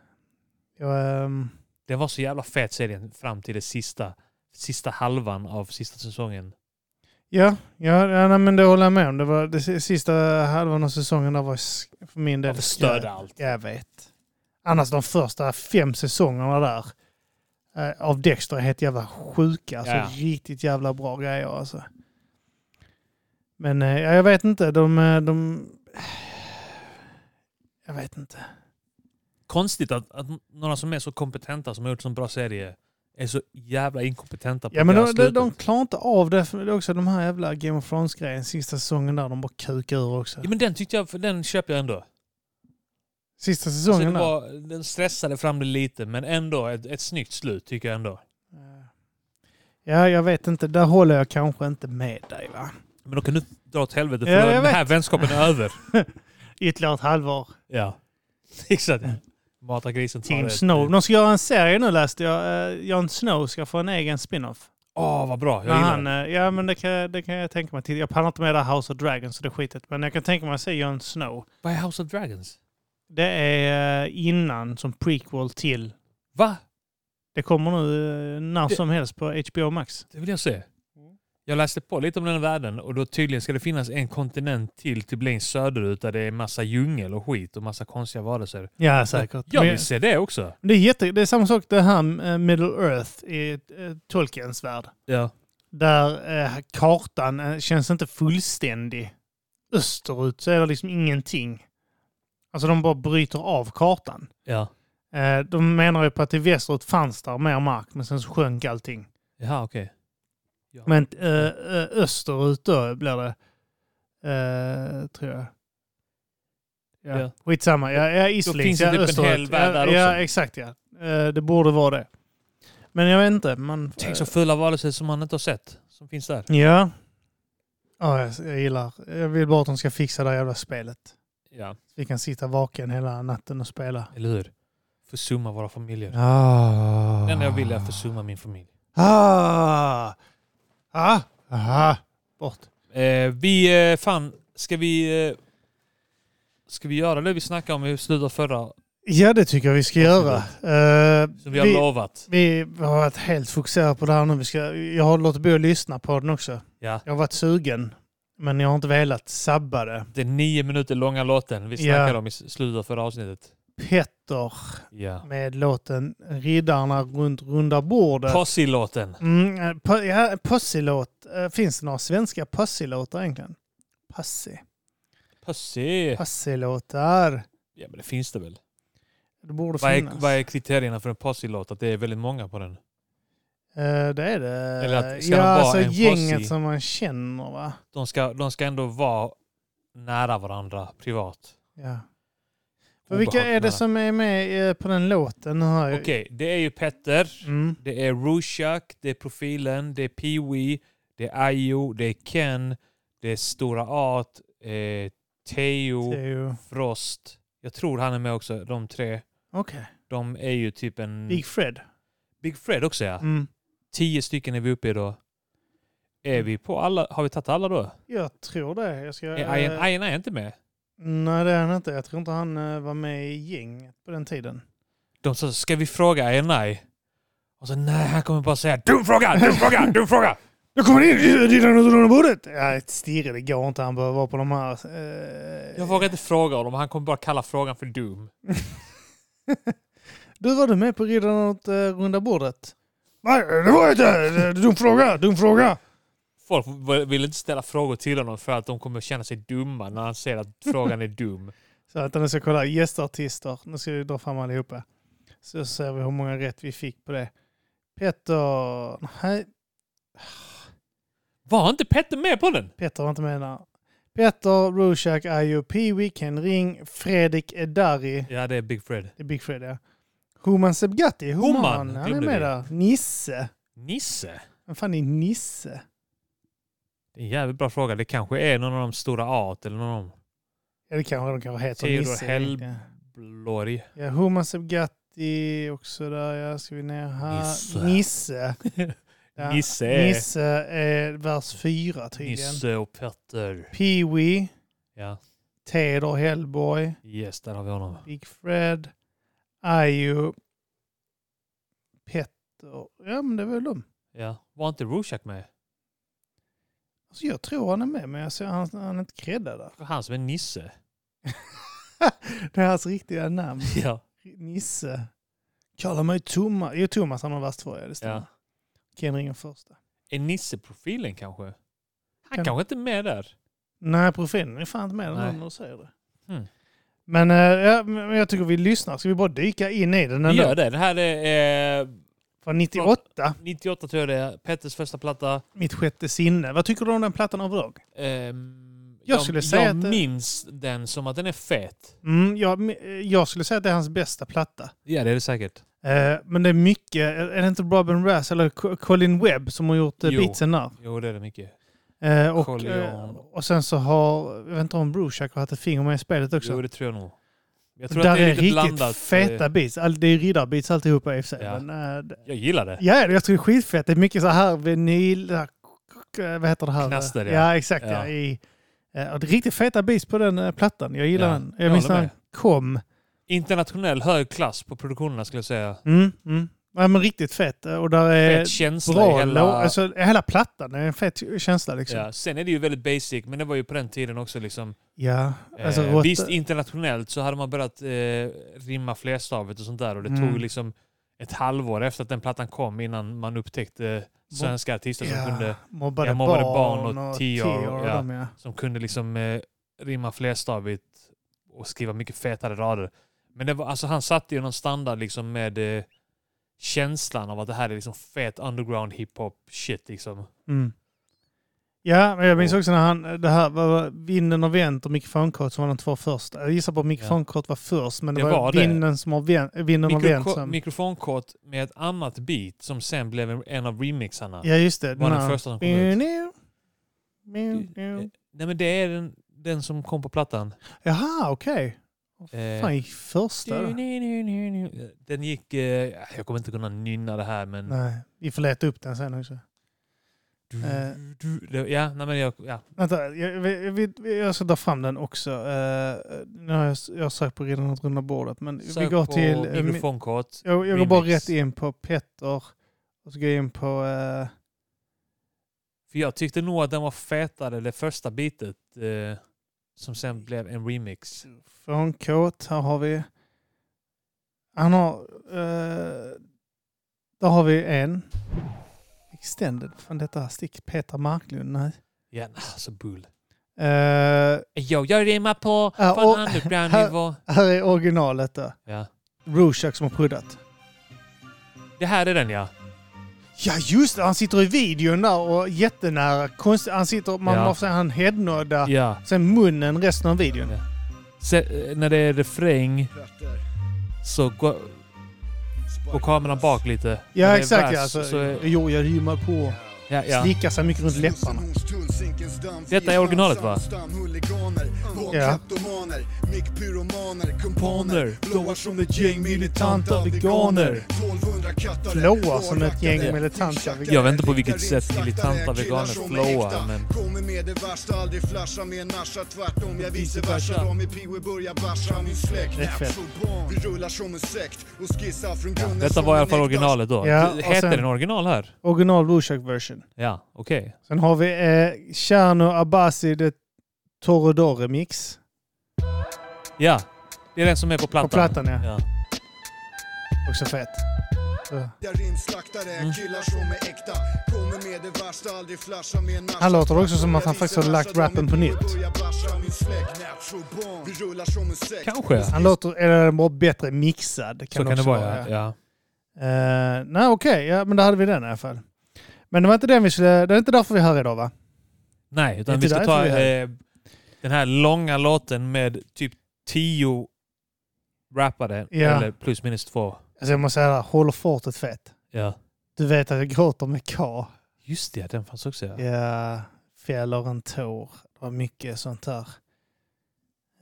Speaker 1: Jag, ehm,
Speaker 2: det var så jävla fet serien fram till det sista, sista halvan av sista säsongen.
Speaker 1: ja, ja, ja nej, men det håller jag med om. Det var det si- sista halvan av säsongen där var sk- för min del...
Speaker 2: förstörde
Speaker 1: skräp.
Speaker 2: allt.
Speaker 1: Jag vet. Annars de första fem säsongerna där eh, av Dexter är helt jävla sjuka. Alltså,
Speaker 2: Ja.
Speaker 1: Riktigt jävla bra grejer alltså. Men eh, ja, jag vet inte. De, eh, de... Jag vet inte.
Speaker 2: Konstigt att, att några som är så kompetenta, som har gjort så bra serie, är så jävla inkompetenta på
Speaker 1: Ja men
Speaker 2: det här
Speaker 1: de, de,
Speaker 2: slutet.
Speaker 1: de klarar inte av det. För det är också de här jävla Game of Thrones-grejen, sista säsongen där de bara kukar ur också.
Speaker 2: Ja, men den tyckte jag, för den köper jag ändå.
Speaker 1: Sista
Speaker 2: Så
Speaker 1: säsongen
Speaker 2: den,
Speaker 1: där.
Speaker 2: var, den stressade fram det lite, men ändå ett, ett snyggt slut tycker jag ändå.
Speaker 1: Ja, jag vet inte. Där håller jag kanske inte med dig va?
Speaker 2: Men då kan du dra åt helvete, för
Speaker 1: Ja,
Speaker 2: då är
Speaker 1: jag
Speaker 2: den här vänskapen är över.
Speaker 1: Ytterligare ett halvår.
Speaker 2: Ja, exakt. Mata grisen tar
Speaker 1: Team
Speaker 2: det. typ-
Speaker 1: Snow. De ska göra en serie nu läste jag. Eh, Jon Snow ska få en egen spin-off.
Speaker 2: Åh, vad bra.
Speaker 1: När
Speaker 2: Jag gillar
Speaker 1: han,
Speaker 2: den.
Speaker 1: eh, ja men det kan, det kan jag tänka mig. till. Jag pallar inte med det här House of Dragons så det är skitet. Men jag kan tänka mig att se Jon Snow.
Speaker 2: Vad är House of Dragons?
Speaker 1: Det är eh, innan som prequel till.
Speaker 2: Va?
Speaker 1: Det kommer nu eh, när
Speaker 2: Det-
Speaker 1: som helst på HBO Max.
Speaker 2: Det vill jag se. Jag läste på lite om den här världen och då tydligen ska det finnas en kontinent till typ längst söderut där det är massa djungel och skit och massa konstiga varelser.
Speaker 1: Ja säkert.
Speaker 2: Jag
Speaker 1: Men-
Speaker 2: vill se det också.
Speaker 1: Det är, jätte, det är samma sak det här eh, Middle Earth i eh, Tolkiens värld.
Speaker 2: Ja.
Speaker 1: Där eh, kartan eh, känns inte fullständig. Österut så är det liksom ingenting. Alltså de bara bryter av kartan.
Speaker 2: Ja.
Speaker 1: Eh, de menar ju på att i västerut fanns där mer mark men sen så sjönk allting.
Speaker 2: Jaha, okej.
Speaker 1: Men eh, eh, österut då blir det, eh, tror jag. Ja,
Speaker 2: Ja.
Speaker 1: skitsamma. Ja, ja, Islings,
Speaker 2: finns det
Speaker 1: ja,
Speaker 2: typ en
Speaker 1: österut.
Speaker 2: hel värld
Speaker 1: ja,
Speaker 2: där
Speaker 1: Ja,
Speaker 2: också.
Speaker 1: exakt ja. Eh, det borde vara det. Men jag vet inte. Man, eh,
Speaker 2: Tänk så fula varelser som man inte har sett. som finns där.
Speaker 1: Ja. Ja, jag, jag gillar. Jag vill bara att de ska fixa det här jävla spelet.
Speaker 2: Ja,
Speaker 1: Vi kan sitta vaken hela natten och spela.
Speaker 2: eller hur? Försumma våra familjer.
Speaker 1: Ah.
Speaker 2: Det enda jag vill är att försumma min familj.
Speaker 1: Ah. Ah. Ah. Bort.
Speaker 2: Eh, vi, eh, fan, ska vi... Eh, ska vi göra det vi snackade om i slutet av förra,
Speaker 1: Ja, det tycker jag vi ska göra. Eh,
Speaker 2: som vi har
Speaker 1: vi,
Speaker 2: lovat?
Speaker 1: vi har varit helt fokuserade på det här nu. Vi ska, jag har låtit bli att lyssna på den också.
Speaker 2: Ja.
Speaker 1: Jag har varit sugen, men jag har inte velat sabba det.
Speaker 2: Den nio minuter långa låten vi
Speaker 1: Ja.
Speaker 2: snackade om i s- slutet av förra avsnittet.
Speaker 1: Petter
Speaker 2: Ja.
Speaker 1: med låten Riddarna runt runda bordet.
Speaker 2: Posse-låten.
Speaker 1: Mm, eh, po- ja, Possilåt. Eh, Finns det några svenska possilåtar egentligen? Passi.
Speaker 2: Posse.
Speaker 1: Possilåtar.
Speaker 2: Ja, men det finns det väl?
Speaker 1: Det borde
Speaker 2: Vad är,
Speaker 1: finnas.
Speaker 2: vad är kriterierna för en posse-låt? Att det är väldigt många på den?
Speaker 1: Eh, Det är det.
Speaker 2: Eller att- ska
Speaker 1: ja,
Speaker 2: de vara
Speaker 1: alltså
Speaker 2: en
Speaker 1: gänget
Speaker 2: possi?
Speaker 1: som man känner va?
Speaker 2: De ska, de ska ändå vara nära varandra privat.
Speaker 1: Ja. För vilka är
Speaker 2: Obehagligt
Speaker 1: det
Speaker 2: nära.
Speaker 1: som är med eh, på den låten? Nu har jag...
Speaker 2: Okej, det är ju Petter,
Speaker 1: Mm.
Speaker 2: det är Rushak, det är Profilen, det är Pee-Wee, det är Ayo, det är Ken, det är Stora Art, eh,
Speaker 1: Det
Speaker 2: Teo,
Speaker 1: är ju...
Speaker 2: Frost. Jag tror han är med också, de tre.
Speaker 1: Okej.
Speaker 2: De är ju typ en...
Speaker 1: Big Fred.
Speaker 2: Big Fred också ja.
Speaker 1: Mm.
Speaker 2: Tio stycken är vi uppe i då. Är vi på alla? Har vi tagit alla då?
Speaker 1: Jag tror det. Jag ska...
Speaker 2: Är Ian,
Speaker 1: eh,
Speaker 2: Ian är inte med.
Speaker 1: Nej, det är han inte. Jag tror inte han eh, var med i gänget på den tiden.
Speaker 2: De sa, ska vi fråga Ian nej? Och så nej, han kommer bara säga dum fråga, dum fråga, dum fråga.
Speaker 1: Nu kommer det in! Riddarna under bordet! Ja, ett stirre, det går inte. Han behöver vara på de här... Eh...
Speaker 2: Jag vågar inte fråga honom, han kommer bara kalla frågan för dum.
Speaker 1: Du, var du med på Riddarna runt eh, runda bordet? Nej, det var jag inte! Dum fråga, dum fråga!
Speaker 2: Folk vill inte ställa frågor till honom för att de kommer känna sig dumma när han ser att frågan är dum.
Speaker 1: Så att nu ska jag kolla gästartister. Nu ska vi dra fram allihopa. Så ser vi hur många rätt vi fick på det. Petter... Nej,
Speaker 2: Var inte Petter med på den?
Speaker 1: Petter var inte med där. Petter, Rushak, Ayo, Peewee, Ken Ring, Fredrik Edari.
Speaker 2: Ja, det är Big Fred.
Speaker 1: Det är Big Fred, ja. Homan Sebgatti.
Speaker 2: Homan,
Speaker 1: Homan, han är
Speaker 2: glömde
Speaker 1: med
Speaker 2: vi.
Speaker 1: där. Nisse.
Speaker 2: Nisse?
Speaker 1: Vem fan är Nisse?
Speaker 2: Det är en jävligt bra fråga. Det kanske är någon av de stora Aat eller någon av dem.
Speaker 1: Ja, det kanske de kanske heter.
Speaker 2: Theodor
Speaker 1: Nisse.
Speaker 2: Hell- Blorg.
Speaker 1: Ja, Homan Sebgatti också där. Ja, ska vi ner här.
Speaker 2: Nisse.
Speaker 1: Nisse. Ja.
Speaker 2: Nisse är...
Speaker 1: Nisse är vers fyra tydligen.
Speaker 2: Nisse och Petter.
Speaker 1: Pee-Wee,
Speaker 2: Ja,
Speaker 1: Teder Hellboy,
Speaker 2: yes, där har vi honom.
Speaker 1: Big Fred, Ayo, Petter. Ja, men det var väl dem.
Speaker 2: Ja. Var inte Rorschach med?
Speaker 1: Alltså, jag tror han är med, men jag ser han, han är inte creddad där.
Speaker 2: Det var Han som är Nisse.
Speaker 1: Det är hans riktiga namn.
Speaker 2: Ja.
Speaker 1: Nisse. Kallar mig Thomas. Jo, Thomas han har värst för, ja det stämmer.
Speaker 2: Ja.
Speaker 1: Ken ringer första.
Speaker 2: Är Nisse-profilen kanske? Han
Speaker 1: Kan-
Speaker 2: kanske inte är med där.
Speaker 1: Nej, profilen är fan inte med
Speaker 2: Nej.
Speaker 1: den när du säger det.
Speaker 2: Hmm.
Speaker 1: Men, eh, ja, men jag tycker vi lyssnar. Ska vi bara dyka in i den
Speaker 2: Vi
Speaker 1: ändå?
Speaker 2: gör det. Det här är eh,
Speaker 1: Från 98,
Speaker 2: 98 tror jag det är. Petters första platta.
Speaker 1: Mitt sjätte sinne. Vad tycker du om den plattan överlag?
Speaker 2: Ehm,
Speaker 1: Jag skulle säga
Speaker 2: jag
Speaker 1: att det-
Speaker 2: minns den som att den är fet.
Speaker 1: Mm, jag, jag skulle säga att det är hans bästa platta.
Speaker 2: Ja, det är det säkert.
Speaker 1: Eh, men det är mycket, är det inte Robin Rass eller Co- Colin Webb som har gjort eh,
Speaker 2: Jo.
Speaker 1: beatsen där?
Speaker 2: Jo, det är det mycket.
Speaker 1: Eh, och,
Speaker 2: Colin.
Speaker 1: eh, och sen så har, jag vet inte om Bruchak har haft ett finger med i spelet också.
Speaker 2: Jo, det tror jag nog. Jag
Speaker 1: Så
Speaker 2: tror
Speaker 1: där
Speaker 2: att det är, lite
Speaker 1: riktigt
Speaker 2: blandat.
Speaker 1: feta
Speaker 2: Eh,
Speaker 1: beats. All, det är riddarbeats alltihopa i och för sig.
Speaker 2: Ja.
Speaker 1: Men, eh, det,
Speaker 2: Jag gillar det.
Speaker 1: ja, jag tycker det är skitfett. Det är mycket så här vinyl, eh, vad heter det här?
Speaker 2: Knaster, ja.
Speaker 1: ja. exakt. Ja.
Speaker 2: Ja.
Speaker 1: I, eh, och det är riktigt feta beats på den eh, plattan. Jag gillar
Speaker 2: Ja,
Speaker 1: den.
Speaker 2: jag
Speaker 1: Jag minns när
Speaker 2: håller
Speaker 1: den kom.
Speaker 2: Internationell hög klass på produktionerna skulle jag säga.
Speaker 1: Mm, mm. Ja, men riktigt fett. Och där är
Speaker 2: Fet känsla i
Speaker 1: bra
Speaker 2: hela...
Speaker 1: hela... Alltså, hela plattan är en fet känsla. Liksom. Ja.
Speaker 2: ja. Sen är det ju väldigt basic, men det var ju på den tiden också liksom.
Speaker 1: Alltså,
Speaker 2: eh,
Speaker 1: rått-
Speaker 2: visst, internationellt så hade man börjat eh, rimma flerstavet och sånt där och det
Speaker 1: Mm.
Speaker 2: tog ju liksom ett halvår efter att den plattan kom innan man upptäckte svenska artister som
Speaker 1: ja,
Speaker 2: kunde
Speaker 1: mobbade,
Speaker 2: ja, mobbade
Speaker 1: barn
Speaker 2: barn
Speaker 1: och,
Speaker 2: och
Speaker 1: tio
Speaker 2: tioor,
Speaker 1: år.
Speaker 2: ja.
Speaker 1: dem, Ja.
Speaker 2: som kunde liksom eh, rimma flerstavigt och skriva mycket fetare rader. Men det var, alltså, han satte ju någon standard liksom med eh, känslan av att det här är liksom fet underground hiphop shit liksom.
Speaker 1: Mm. Ja, men jag minns också när han, det här var vinden har vänt och mikrofonkort som var de två första. Jag gissar på att mikrofonkort var först, men det,
Speaker 2: Det
Speaker 1: var,
Speaker 2: var det.
Speaker 1: vinden som har vänt, vinden har vänt
Speaker 2: Mikro-
Speaker 1: som...
Speaker 2: mikrofonkort med ett annat beat som sen blev en- en av remixarna.
Speaker 1: Ja, just det.
Speaker 2: var den
Speaker 1: här. Mm,
Speaker 2: första som kom ut. Eh,
Speaker 1: Miu, miu.
Speaker 2: Nej men det är den, den som kom på plattan.
Speaker 1: Jaha, okej.
Speaker 2: Eh,
Speaker 1: Fan, gick första då?
Speaker 2: Den gick... eh, Jag kommer inte kunna nynna det här men...
Speaker 1: Nej, vi får leta upp den sen också.
Speaker 2: Du,
Speaker 1: Eh.
Speaker 2: du, det- ja, nej men jag... Ja.
Speaker 1: Vänta, jag, jag, jag, jag ska ta fram den också. Eh, nu har jag, jag har sökt på redan runt runda bordet, men vi
Speaker 2: Sök
Speaker 1: går
Speaker 2: på
Speaker 1: till... eh, mi-
Speaker 2: mikrofonkort.
Speaker 1: Jag, jag går bara
Speaker 2: Remix.
Speaker 1: rätt in på Petter och så går jag in på... eh,
Speaker 2: För jag tyckte nog att den var fetare, det första bitet. Eh, som sen blev en remix.
Speaker 1: Mm. Från Kåt, här har vi... Han har... Eh, där har vi en. Extended från detta här stick. Peter Marklund, nej.
Speaker 2: Ja, alltså bull.
Speaker 1: Eh,
Speaker 2: Jo, jag rimmar på
Speaker 1: Ja,
Speaker 2: från
Speaker 1: och-
Speaker 2: underground-nivå.
Speaker 1: här är originalet då.
Speaker 2: Ja.
Speaker 1: Rorschach som har proddat.
Speaker 2: Det här är den ja.
Speaker 1: Ja just det, han sitter i videon där och jättenära. Konstigt, han sitter, man
Speaker 2: Ja.
Speaker 1: måste säga han headnoddar.
Speaker 2: Ja.
Speaker 1: Sen munnen resten av videon.
Speaker 2: Ja. Se, eh, när det är refräng så går, går kameran bak lite. När det
Speaker 1: Ja
Speaker 2: är
Speaker 1: exakt
Speaker 2: vers
Speaker 1: ja. Alltså,
Speaker 2: så är-
Speaker 1: Jo, jag rimmar på.
Speaker 2: ja, ja.
Speaker 1: Slickar sig mycket runt läpparna.
Speaker 2: Detta är originalet, va?
Speaker 1: Ja.
Speaker 2: Kumpaner, blåar som ett gäng militanta veganer.
Speaker 1: Flåar som ett gäng militanta veganer.
Speaker 2: Jag vet inte på vilket sätt militanta veganer flowar, men...
Speaker 3: Kommer med det värsta, aldrig flasha med en nascha Tvärtom, jag vice versa Dra mig pio och börja basha min släkt
Speaker 1: Det är fett.
Speaker 3: Vi rullar som en sekt och skissar från grunden
Speaker 2: Detta
Speaker 3: som
Speaker 2: var i alla
Speaker 3: en
Speaker 2: fall
Speaker 3: äkta
Speaker 2: originalet då.
Speaker 1: Ja,
Speaker 2: Det-
Speaker 1: och
Speaker 2: Heter
Speaker 1: sen-
Speaker 2: den original här?
Speaker 1: Original Rorschach version.
Speaker 2: Ja, okej.
Speaker 1: Sen har vi eh, Cherno Abbasi de Torredore mix.
Speaker 2: Ja, det är den som är på plattan.
Speaker 1: På plattan ja.
Speaker 2: Ja.
Speaker 1: Också fett. Så.
Speaker 3: Där inslaktare är killar som är äkta Kommer med det värsta, aldrig flasha med en nascha
Speaker 1: Han låter också som att han
Speaker 3: Jag
Speaker 1: faktiskt har
Speaker 3: vice
Speaker 1: lagt
Speaker 3: versa,
Speaker 1: rappen
Speaker 3: dra mig
Speaker 1: på
Speaker 3: pio och
Speaker 1: nytt.
Speaker 3: börja basha min släkt. Natural born. Vi rullar som en sekt
Speaker 2: Kanske. Så
Speaker 1: Han låter, eller är den bara bättre mixad. Kan
Speaker 2: kan det
Speaker 1: också
Speaker 2: vara ja. ja.
Speaker 1: Eh, nej okej, ja, men då hade vi den i alla fall. Men det var inte den vi skulle, det är inte därför vi är här idag va?
Speaker 2: Nej, utan
Speaker 1: Det
Speaker 2: vi
Speaker 1: är
Speaker 2: ska
Speaker 1: därför
Speaker 2: ta
Speaker 1: vi är här.
Speaker 2: eh, den här långa låten med typ tio rappade.
Speaker 1: Ja.
Speaker 2: Eller plus minus två.
Speaker 1: Alltså jag måste säga det här, håller fortet fett.
Speaker 2: Ja.
Speaker 1: Du vet att jag gråter med K.
Speaker 2: Just det, den fanns också ja.
Speaker 1: Ja, fäller en tår. Det var mycket sånt där.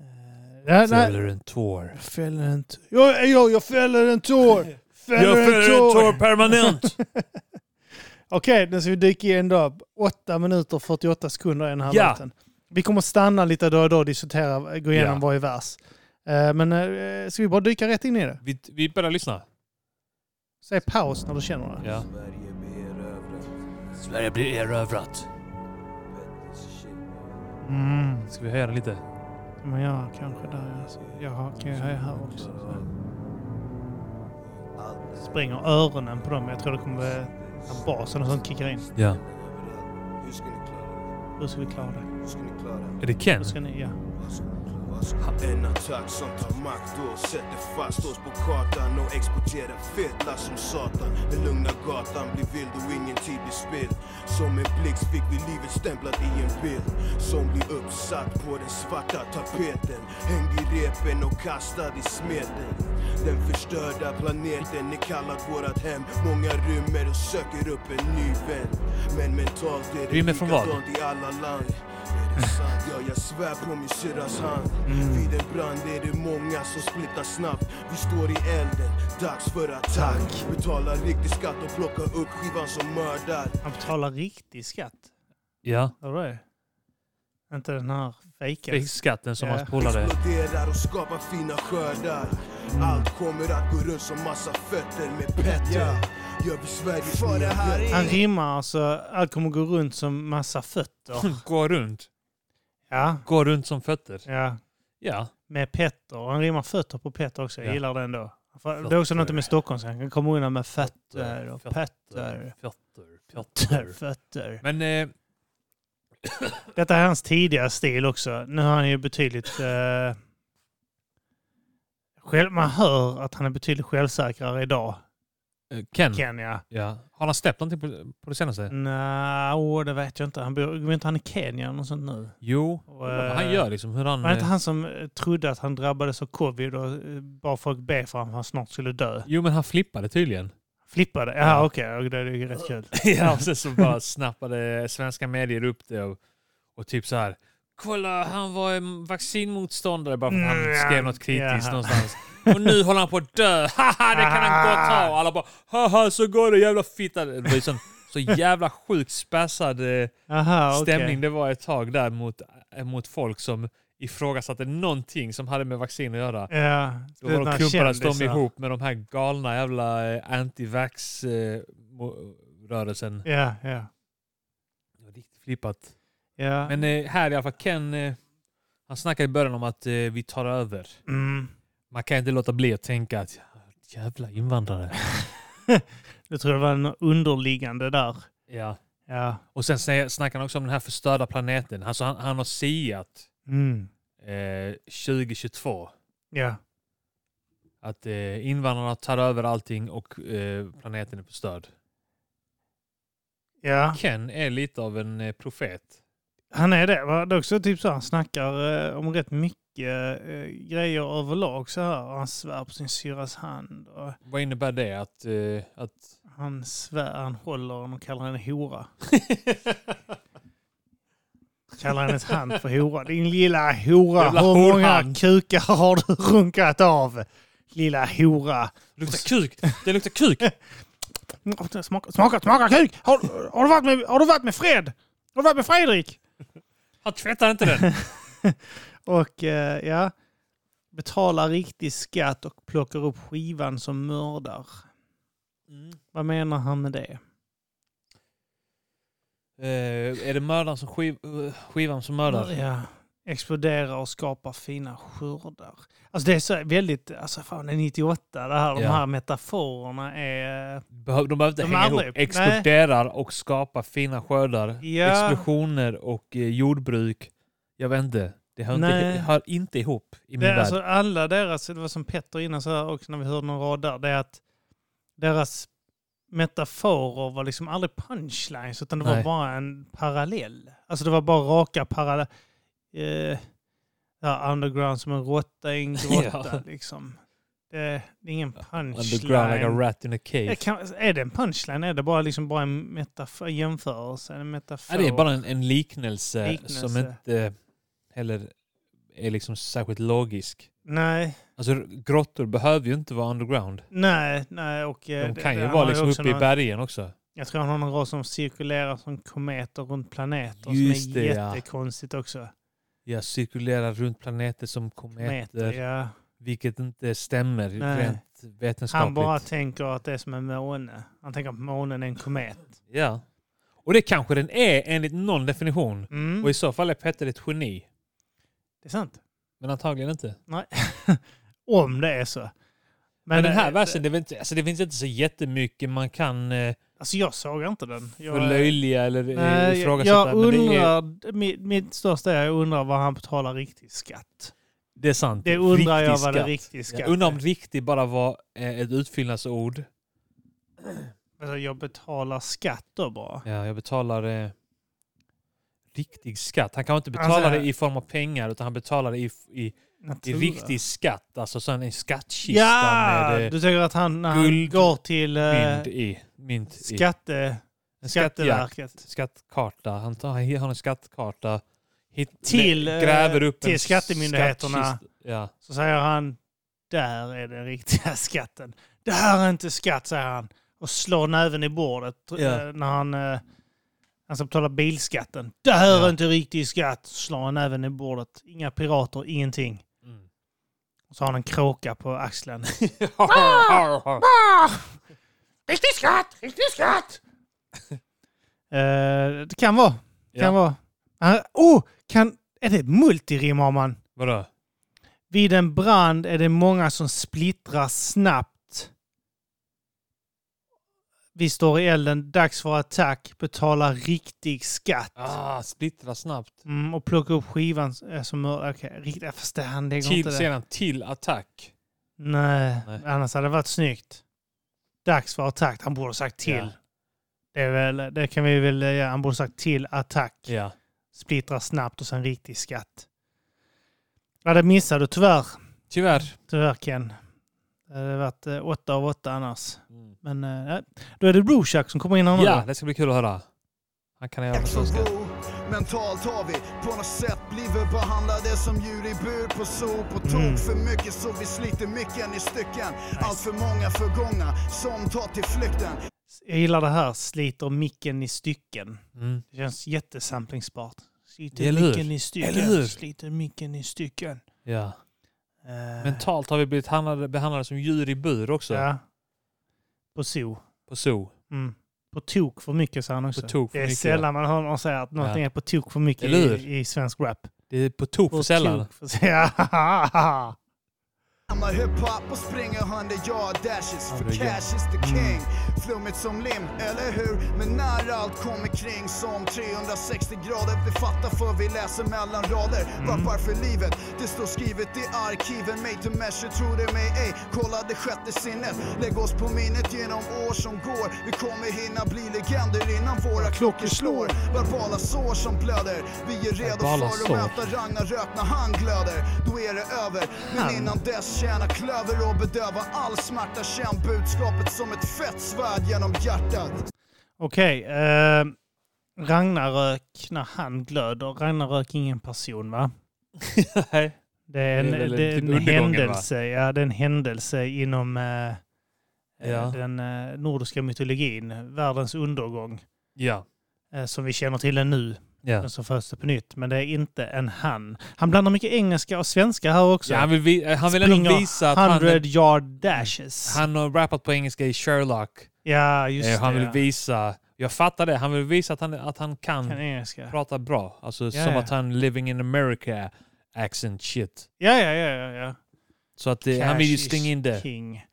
Speaker 1: Eh, ja, nej.
Speaker 2: Eller en tår.
Speaker 1: Fäller en tår. Jag, jag, jag fäller en tår! Fäller
Speaker 2: Jag fäller en tår
Speaker 1: Okej,
Speaker 2: permanent!
Speaker 1: nu ska vi dyka in då. 8 minuter och 48 sekunder i den här
Speaker 2: Ja.
Speaker 1: låten. Vi kommer stanna lite då och då och diskutera, gå igenom
Speaker 2: Ja.
Speaker 1: varje vers. Eh, Men eh, ska vi bara dyka rätt in i det?
Speaker 2: vi, vi börjar lyssna.
Speaker 1: Säg paus när du känner det.
Speaker 2: Ja.
Speaker 4: Sverige blir erövrat.
Speaker 2: Sverige blir erövrat.
Speaker 1: Mm.
Speaker 2: Ska vi höja den lite?
Speaker 1: Men jag kanske där. alltså. Jag har- kan ju höja här också. Så. Spränger öronen på dem. Jag tror det kommer vara att basen och sånt kickar in.
Speaker 2: Ja.
Speaker 4: Hur ska ni klara det?
Speaker 1: Hur ska vi klara det?
Speaker 4: Hur ska ni klara det?
Speaker 2: Är det Ken?
Speaker 1: Hur ska ni, ja.
Speaker 4: En attack som tar makt och sätter fast oss på kartan och exporterar feta som satan. Den lugna gatan blir vild och ingen tid blir spill. Som en blixt fick vi livet stämplat i en bild som blir uppsatt på den svarta tapeten. Hängd i repen och kastad i smeten. Den förstörda planeten är kallad vårat hem. Många rymmer och söker upp en ny vän. Men mentalt är det
Speaker 2: Rymmer från vad?
Speaker 4: likadant i alla land. Ja, jag svär på min syrras hand. Vid en brand är det många som splittar snabbt. Vi står i elden, dags för attack. Betala riktig skatt och plocka upp skivan som mördar.
Speaker 1: Han betalar riktig skatt.
Speaker 2: Ja.
Speaker 1: Hörde du det? Inte den här
Speaker 2: Det är
Speaker 1: fejken.
Speaker 2: skatten som
Speaker 1: Ja.
Speaker 2: hans polare...
Speaker 4: Exploderar och skapar fina skördar. Allt kommer att gå runt som massa fötter med petter. Gör vi Sveriges nya hjältar.
Speaker 1: Han rimmar alltså. Allt kommer gå runt som massa fötter.
Speaker 2: Gå runt.
Speaker 1: Ja.
Speaker 2: Gå runt som fötter.
Speaker 1: ja.
Speaker 2: Ja.
Speaker 1: Med Petter. Och Han rimmar fötter på Petter också. Jag
Speaker 2: Ja.
Speaker 1: gillar det ändå. För det är
Speaker 2: Fötter.
Speaker 1: också något med Stockholm. Han kommer undan med fötter och petter.
Speaker 2: Fötter.
Speaker 1: Fötter,
Speaker 2: Fötter.
Speaker 1: fötter.
Speaker 2: Men... Eh,
Speaker 1: Detta är hans tidiga stil också. Nu har han ju betydligt... Eh, själv, man hör att han är betydligt självsäkrare idag
Speaker 2: Eh, Ken.
Speaker 1: Ken, Mm. ja.
Speaker 2: Ja. Har han släppt någonting på, på det senaste?
Speaker 1: Nej, åh, det vet jag inte. Han bor, går inte han i Kenya eller något sånt nu?
Speaker 2: Jo.
Speaker 1: Och,
Speaker 2: Vad han
Speaker 1: eh,
Speaker 2: gör liksom hur han...
Speaker 1: Var det inte
Speaker 2: eh,
Speaker 1: han som eh, trodde att han drabbades av covid och eh, bad folk be för att han snart skulle dö?
Speaker 2: Jo men han flippade tydligen.
Speaker 1: Flippade? Ja,
Speaker 2: Ja.
Speaker 1: okej. Det är ju rätt kul.
Speaker 2: ja, och sen så bara snappade svenska medier upp det och, och typ så här. Kolla, han var en vaccinmotståndare bara för att han
Speaker 1: Mm,
Speaker 2: skrev något kritiskt
Speaker 1: ja.
Speaker 2: någonstans. Och nu håller han på att dö. Haha, det kan han gott ha. Och
Speaker 1: Ah.
Speaker 2: alla bara, haha, så går det jävla fitta. Det var ju sån, så jävla sjukt spassad eh,
Speaker 1: Aha, Ah, okej.
Speaker 2: stämning det var ett tag där mot, eh, mot folk som ifrågasatte någonting som hade med vaccin att göra.
Speaker 1: Ja,
Speaker 2: Då
Speaker 1: det är
Speaker 2: var de
Speaker 1: några
Speaker 2: klumpades de
Speaker 1: kändisar.
Speaker 2: ihop med de här galna jävla eh, anti-vax-rörelsen.
Speaker 1: Ja, ja.
Speaker 2: Det var riktigt flippat.
Speaker 1: ja.
Speaker 2: Men eh, här i alla fall, Ken, eh, han snackade i början om att eh, vi tar över.
Speaker 1: Mm.
Speaker 2: Man kan inte låta bli att tänka att jävla invandrare.
Speaker 1: Jag tror det var en underliggande där.
Speaker 2: ja.
Speaker 1: Ja.
Speaker 2: Och sen sä- snackar han också om den här förstörda planeten. Alltså han, han har siat
Speaker 1: Mm.
Speaker 2: eh, 2022
Speaker 1: Ja.
Speaker 2: att eh, invandrarna tar över allting och eh, planeten är förstörd.
Speaker 1: Ja,
Speaker 2: Ken är lite av en eh, profet.
Speaker 1: han är det. va? Det är också typ så här, han snackar eh, om rätt mycket eh, grejer överlag så här. Och han svär på sin syrras hand. Och
Speaker 2: Vad innebär det? Att... eh, att...
Speaker 1: han svär, han håller honom och kallar henne hora. Kallar henne ett hand för hora. Din lilla hora,
Speaker 2: Jävla
Speaker 1: hur många
Speaker 2: horhand.
Speaker 1: kukar har du runkat av? Lilla hora.
Speaker 2: Det luktar kuk! Det luktar kuk!
Speaker 1: Mm, Smaka, smaka, smaka kuk! Har, har, du varit med, har du varit med Fred? Har du varit med Fredrik?
Speaker 2: Han tvättar inte den!
Speaker 1: Och eh, ja, betalar riktig skatt och plockar upp skivan som mördar.
Speaker 2: Mm.
Speaker 1: Vad menar han med det?
Speaker 2: Eh, är det mördaren som skiv, eh, skivan som mördar?
Speaker 1: Ja. Exploderar och skapar fina skördar. Alltså det är så väldigt, alltså fan det är 98 det här, de
Speaker 2: Ja.
Speaker 1: här metaforerna är...
Speaker 2: Behöv, de behöver inte
Speaker 1: De
Speaker 2: hänga
Speaker 1: aldrig-
Speaker 2: ihop.
Speaker 1: nej.
Speaker 2: Exploderar och skapar fina skördar.
Speaker 1: Ja.
Speaker 2: Explosioner och eh, jordbruk. Jag vet inte. Det hör,
Speaker 1: Nej.
Speaker 2: inte, hör inte ihop i min
Speaker 1: Det är
Speaker 2: värld.
Speaker 1: alltså alla deras, det var som Petter innan så här också när vi hörde någon rad där, det är att deras metaforer var liksom aldrig punchlines utan det var
Speaker 2: Nej.
Speaker 1: bara en parallell. Alltså det var bara raka parallell. Eh, ja, underground som en råtta i en grotta
Speaker 2: Ja.
Speaker 1: liksom. Det, det är ingen
Speaker 2: Underground like a
Speaker 1: punchline.
Speaker 2: rat in a cave.
Speaker 1: Det kan, är det en punchline? Är det bara liksom bara en metafor, jämförelse? En metafor?
Speaker 2: Nej, det är bara en, en liknelse,
Speaker 1: Liknelse.
Speaker 2: som inte heller är liksom särskilt logisk.
Speaker 1: Nej,
Speaker 2: Alltså grottor behöver ju inte vara underground.
Speaker 1: nej, nej. Och, eh,
Speaker 2: De
Speaker 1: det-
Speaker 2: kan
Speaker 1: det
Speaker 2: ju
Speaker 1: har
Speaker 2: vara
Speaker 1: ju
Speaker 2: liksom
Speaker 1: också
Speaker 2: uppe i
Speaker 1: någon-
Speaker 2: bergen också.
Speaker 1: Jag tror han har någon ras som cirkulerar som kometer runt planeter som
Speaker 2: Just
Speaker 1: är
Speaker 2: det, ja.
Speaker 1: jättekonstigt också.
Speaker 2: Ja, cirkulerar runt planeter som kometer,
Speaker 1: Kometer, ja.
Speaker 2: vilket inte stämmer
Speaker 1: Nej.
Speaker 2: rent vetenskapligt.
Speaker 1: Han bara tänker att det är som en måne. Han tänker att månen är en komet.
Speaker 2: Ja. Och det kanske den är enligt någon definition.
Speaker 1: Mm.
Speaker 2: Och i så fall är Petter ett geni.
Speaker 1: Det är sant.
Speaker 2: Men antagligen inte.
Speaker 1: Om det är så. Men,
Speaker 2: Men, den här
Speaker 1: eh,
Speaker 2: versen, det, är väl inte- alltså, det finns inte så jättemycket man kan eh,
Speaker 1: Alltså jag såg inte den. Jag,
Speaker 2: förlöjliga eller eh,
Speaker 1: nej, jag,
Speaker 2: ifrågasätta.
Speaker 1: jag
Speaker 2: men det, är,
Speaker 1: undrar, mitt, mitt största är jag undrar vad han betalar riktig skatt.
Speaker 2: det är sant.
Speaker 1: Det undrar
Speaker 2: Riktig
Speaker 1: jag vad det
Speaker 2: skatt.
Speaker 1: riktig skatt
Speaker 2: Jag undrar om riktig bara var eh, ett utfyllnadsord.
Speaker 1: alltså, Jag betalar skatt då bara.
Speaker 2: Ja, jag betalar eh, riktig skatt. Han kan inte betala
Speaker 1: Alltså-
Speaker 2: det i form av pengar utan han betalar det i, i, i
Speaker 1: Natura.
Speaker 2: riktig skatt. Alltså sån en skattkista
Speaker 1: Ja!
Speaker 2: med eh,
Speaker 1: du tänker att han, när han
Speaker 2: guld-
Speaker 1: går till eh,
Speaker 2: mynt i. Mynt i.
Speaker 1: skatte,
Speaker 2: En skattjakt.
Speaker 1: Skatteverket
Speaker 2: Skattkarta. Han, tar, han har en skattkarta. Hit,
Speaker 1: Till, eh,
Speaker 2: gräver upp
Speaker 1: till
Speaker 2: en
Speaker 1: skattemyndigheterna.
Speaker 2: skattkista. Ja.
Speaker 1: så säger han där är den riktiga skatten. Det här är inte skatt, säger han. Och slår näven i bordet tr-
Speaker 2: Ja.
Speaker 1: eh, när han, eh, han ska betala bilskatten. Det här är
Speaker 2: Ja.
Speaker 1: inte riktig skatt, slår han näven i bordet. Inga pirater, ingenting.
Speaker 2: Mm.
Speaker 1: Och så har han en kråka på axeln. riktig skatt! Riktig skatt! Eh, det kan vara. Kan
Speaker 2: Ja.
Speaker 1: vara. Ah, oh, kan, är det multirim har man?
Speaker 2: Vadå?
Speaker 1: Vid en brand är det många som splittras snabbt. Vi står i elden, dags för attack, betala riktig skatt.
Speaker 2: Ah, splittra snabbt.
Speaker 1: Mm, och plocka upp skivan eh, som mördare. Okej, riktigt, jag förstår, han lägger
Speaker 2: Till,
Speaker 1: inte det.
Speaker 2: sedan till attack.
Speaker 1: Nej,
Speaker 2: Typ Nej.
Speaker 1: annars hade det varit snyggt. dags för attack. Han borde ha sagt till.
Speaker 2: Ja.
Speaker 1: Det, är väl, det kan vi väl göra. Han borde ha sagt till attack.
Speaker 2: Ja.
Speaker 1: Splittra snabbt och sen riktig skatt. Ja, det missade du tyvärr.
Speaker 2: Tyvärr.
Speaker 1: Tyvärr Ken. Det hade varit eh, åtta av åtta annars. Men eh, nej. då är det Bruchak som kommer in här nu.
Speaker 2: Ja, det ska bli kul att höra. Han kan göra
Speaker 5: Som
Speaker 2: franska.
Speaker 5: bor. Mentalt har vi på något sätt blivit behandlade som djur i bur på zoo på tok
Speaker 1: Mm.
Speaker 5: för mycket så vi sliter mycken i stycken. Allt för många förgångna som tar till flykten.
Speaker 1: Jag gillar det här, sliter micken i stycken.
Speaker 2: Mm.
Speaker 1: Det känns jättesamplingsbart. Sliter
Speaker 2: Eller hur?
Speaker 1: micken i stycken.
Speaker 2: Eller hur?
Speaker 1: Sliter micken i stycken.
Speaker 2: Ja.
Speaker 1: Eh,
Speaker 2: Mentalt har vi blivit handlade, behandlade som djur i bur också.
Speaker 1: Ja. På zoo.
Speaker 2: På zoo.
Speaker 1: Mm. På tok för mycket säger han också.
Speaker 2: På tok för
Speaker 1: det är
Speaker 2: mycket,
Speaker 1: sällan man hör någon säga att någonting
Speaker 2: Ja.
Speaker 1: är på tok för mycket
Speaker 2: Eller hur?
Speaker 1: i, i svensk rap.
Speaker 2: Det är på tok för
Speaker 1: På
Speaker 2: sällan.
Speaker 1: tok för- Ja.
Speaker 5: I'm a hiphop och springer under yard dashes
Speaker 2: det
Speaker 5: för
Speaker 2: är Mm.
Speaker 5: cash is the king. Flummigt som lim, eller hur? Men när allt kommer kring som 360 grader vi fattar för vi läser mellan rader.
Speaker 2: Mm.
Speaker 5: Rappar för livet, det står skrivet i arkiven. Mig till measure, tror det mig ej. Kolla det sjätte sinnet. Lägg oss på minnet genom år som går. Vi kommer hinna bli legender innan våra klockor slår. Verbala sår som blöder. Vi är redo
Speaker 2: Verbala
Speaker 5: för att
Speaker 2: sår.
Speaker 5: möta Ragnarök när han glöder. Då är det över. Men
Speaker 1: Han.
Speaker 5: innan dess tjäna klöver och bedöva all smärta. Känn budskapet som ett fett svärd genom hjärtat.
Speaker 1: Okej. eh, Ragnarök, när han glöder. Ragnarök är ingen person va?
Speaker 2: Nej.
Speaker 1: Det är en,
Speaker 2: Det är väl
Speaker 1: det är
Speaker 2: typ
Speaker 1: en
Speaker 2: undergången, va?
Speaker 1: händelse, ja, det är en händelse inom eh, eh,
Speaker 2: Ja.
Speaker 1: den eh, nordiska mytologin, världens undergång,
Speaker 2: Ja.
Speaker 1: eh, som vi känner till den nu,
Speaker 2: Ja.
Speaker 1: men som föds det på nytt. Men det är inte en han. Han blandar mycket engelska och svenska här också.
Speaker 2: ja han vill, vi- eh, han vill ändå
Speaker 1: Springer
Speaker 2: visa att han,
Speaker 1: 100 yard dashes.
Speaker 2: han har rappat på engelska i Sherlock.
Speaker 1: ja, just
Speaker 2: Eh, han
Speaker 1: det.
Speaker 2: vill
Speaker 1: ja.
Speaker 2: visa, jag fattar det, han vill visa att han, att han kan,
Speaker 1: Kan engelska.
Speaker 2: prata bra. Alltså
Speaker 1: Ja,
Speaker 2: som
Speaker 1: ja.
Speaker 2: att han living in America accent shit.
Speaker 1: Ja, ja, ja. ja, ja.
Speaker 2: Så att det, han
Speaker 1: Cash
Speaker 2: vill ju
Speaker 1: is
Speaker 2: slänga in det.
Speaker 1: King.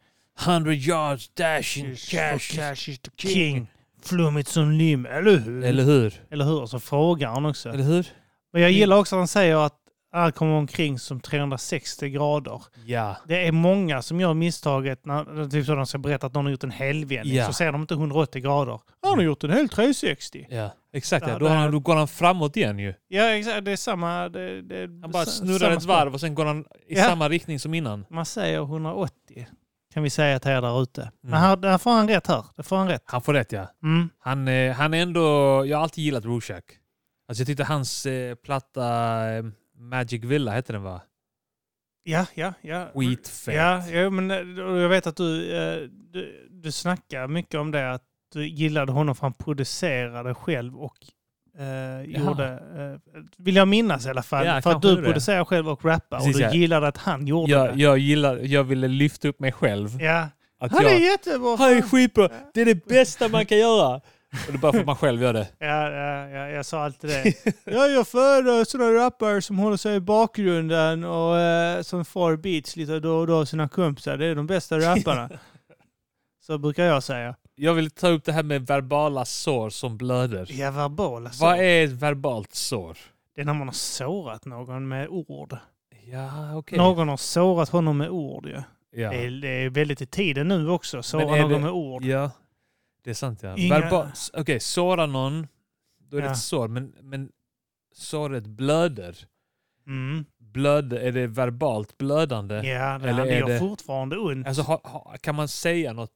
Speaker 2: 100 yards dashing
Speaker 1: Cash,
Speaker 2: cash.
Speaker 1: cash is the king. Flummigt som lim, eller hur?
Speaker 2: Eller hur?
Speaker 1: Eller hur? Och så frågar han också.
Speaker 2: Eller hur?
Speaker 1: Men jag gillar också att han säger att allt kommer omkring som 360 grader.
Speaker 2: Ja.
Speaker 1: Det är många som gör misstaget när typ så de ska berätta att någon har gjort en helvändning.
Speaker 2: Ja.
Speaker 1: Så säger de inte 180 grader. Han har gjort en hel 360.
Speaker 2: ja. Exakt
Speaker 1: Ja,
Speaker 2: ja. Då,
Speaker 1: det
Speaker 2: har
Speaker 1: här-
Speaker 2: han, då går han framåt igen ju.
Speaker 1: Ja, exakt. Det är samma... Det, det,
Speaker 2: Han bara
Speaker 1: sa-
Speaker 2: snurrar
Speaker 1: samma
Speaker 2: ett
Speaker 1: spår.
Speaker 2: varv och sen går han i
Speaker 1: Ja.
Speaker 2: samma riktning som innan.
Speaker 1: Man säger 180. Kan vi säga till er där ute.
Speaker 2: Mm.
Speaker 1: Men här, där får han rätt här. Det får han rätt.
Speaker 2: Han får rätt ja.
Speaker 1: Mm.
Speaker 2: Han, eh, han är ändå, jag har alltid gillat Rorschach. Alltså jag tyckte hans eh, platta eh, Magic Villa hette den va?
Speaker 1: Ja, ja, ja.
Speaker 2: Skitfett.
Speaker 1: Ja, ja men eh, och jag vet att du, eh, du, du snackar mycket om det, att du gillade honom för han producerade själv och eh, gjorde, eh, vill jag minnas i alla fall,
Speaker 2: Ja,
Speaker 1: för att
Speaker 2: kanske
Speaker 1: du
Speaker 2: det.
Speaker 1: producerar själv och rappar
Speaker 2: Precis,
Speaker 1: och du
Speaker 2: ja.
Speaker 1: gillade att han gjorde
Speaker 2: Jag,
Speaker 1: det.
Speaker 2: jag, gillar, jag ville lyfta upp mig själv.
Speaker 1: Ja.
Speaker 2: Att
Speaker 1: Han
Speaker 2: jag,
Speaker 1: är jättebra!
Speaker 2: Han är skitbra. Det är det bästa man kan göra. Och det är bara för att man själv gör det.
Speaker 1: Ja, ja, ja, jag sa alltid det. ja, jag föredrar sådana rappare som håller sig i bakgrunden och eh, som får beats lite då och då av sina kompisar. Det är de bästa rapparna. Så brukar jag säga.
Speaker 2: Jag vill ta upp det här med verbala sår som blöder.
Speaker 1: Ja, alltså. verbala saker.
Speaker 2: Vad är ett verbalt sår?
Speaker 1: Det är när man har sårat någon med ord.
Speaker 2: Ja, okej.
Speaker 1: Någon har sårat honom med ord ju.
Speaker 2: Ja.
Speaker 1: Det, är, det är väldigt i tiden nu också, såra
Speaker 2: är
Speaker 1: någon
Speaker 2: det-
Speaker 1: med ord.
Speaker 2: ja, det är sant ja.
Speaker 1: Inga-
Speaker 2: Verbal... s- Okej, såra någon, då är det
Speaker 1: Ja.
Speaker 2: ett sår. Men, men såret blöder.
Speaker 1: Mm.
Speaker 2: Blöder, är det verbalt blödande?
Speaker 1: Ja, det,
Speaker 2: Eh, Eller
Speaker 1: det
Speaker 2: är
Speaker 1: gör
Speaker 2: det-
Speaker 1: fortfarande ont.
Speaker 2: Alltså, ha, ha, kan man säga något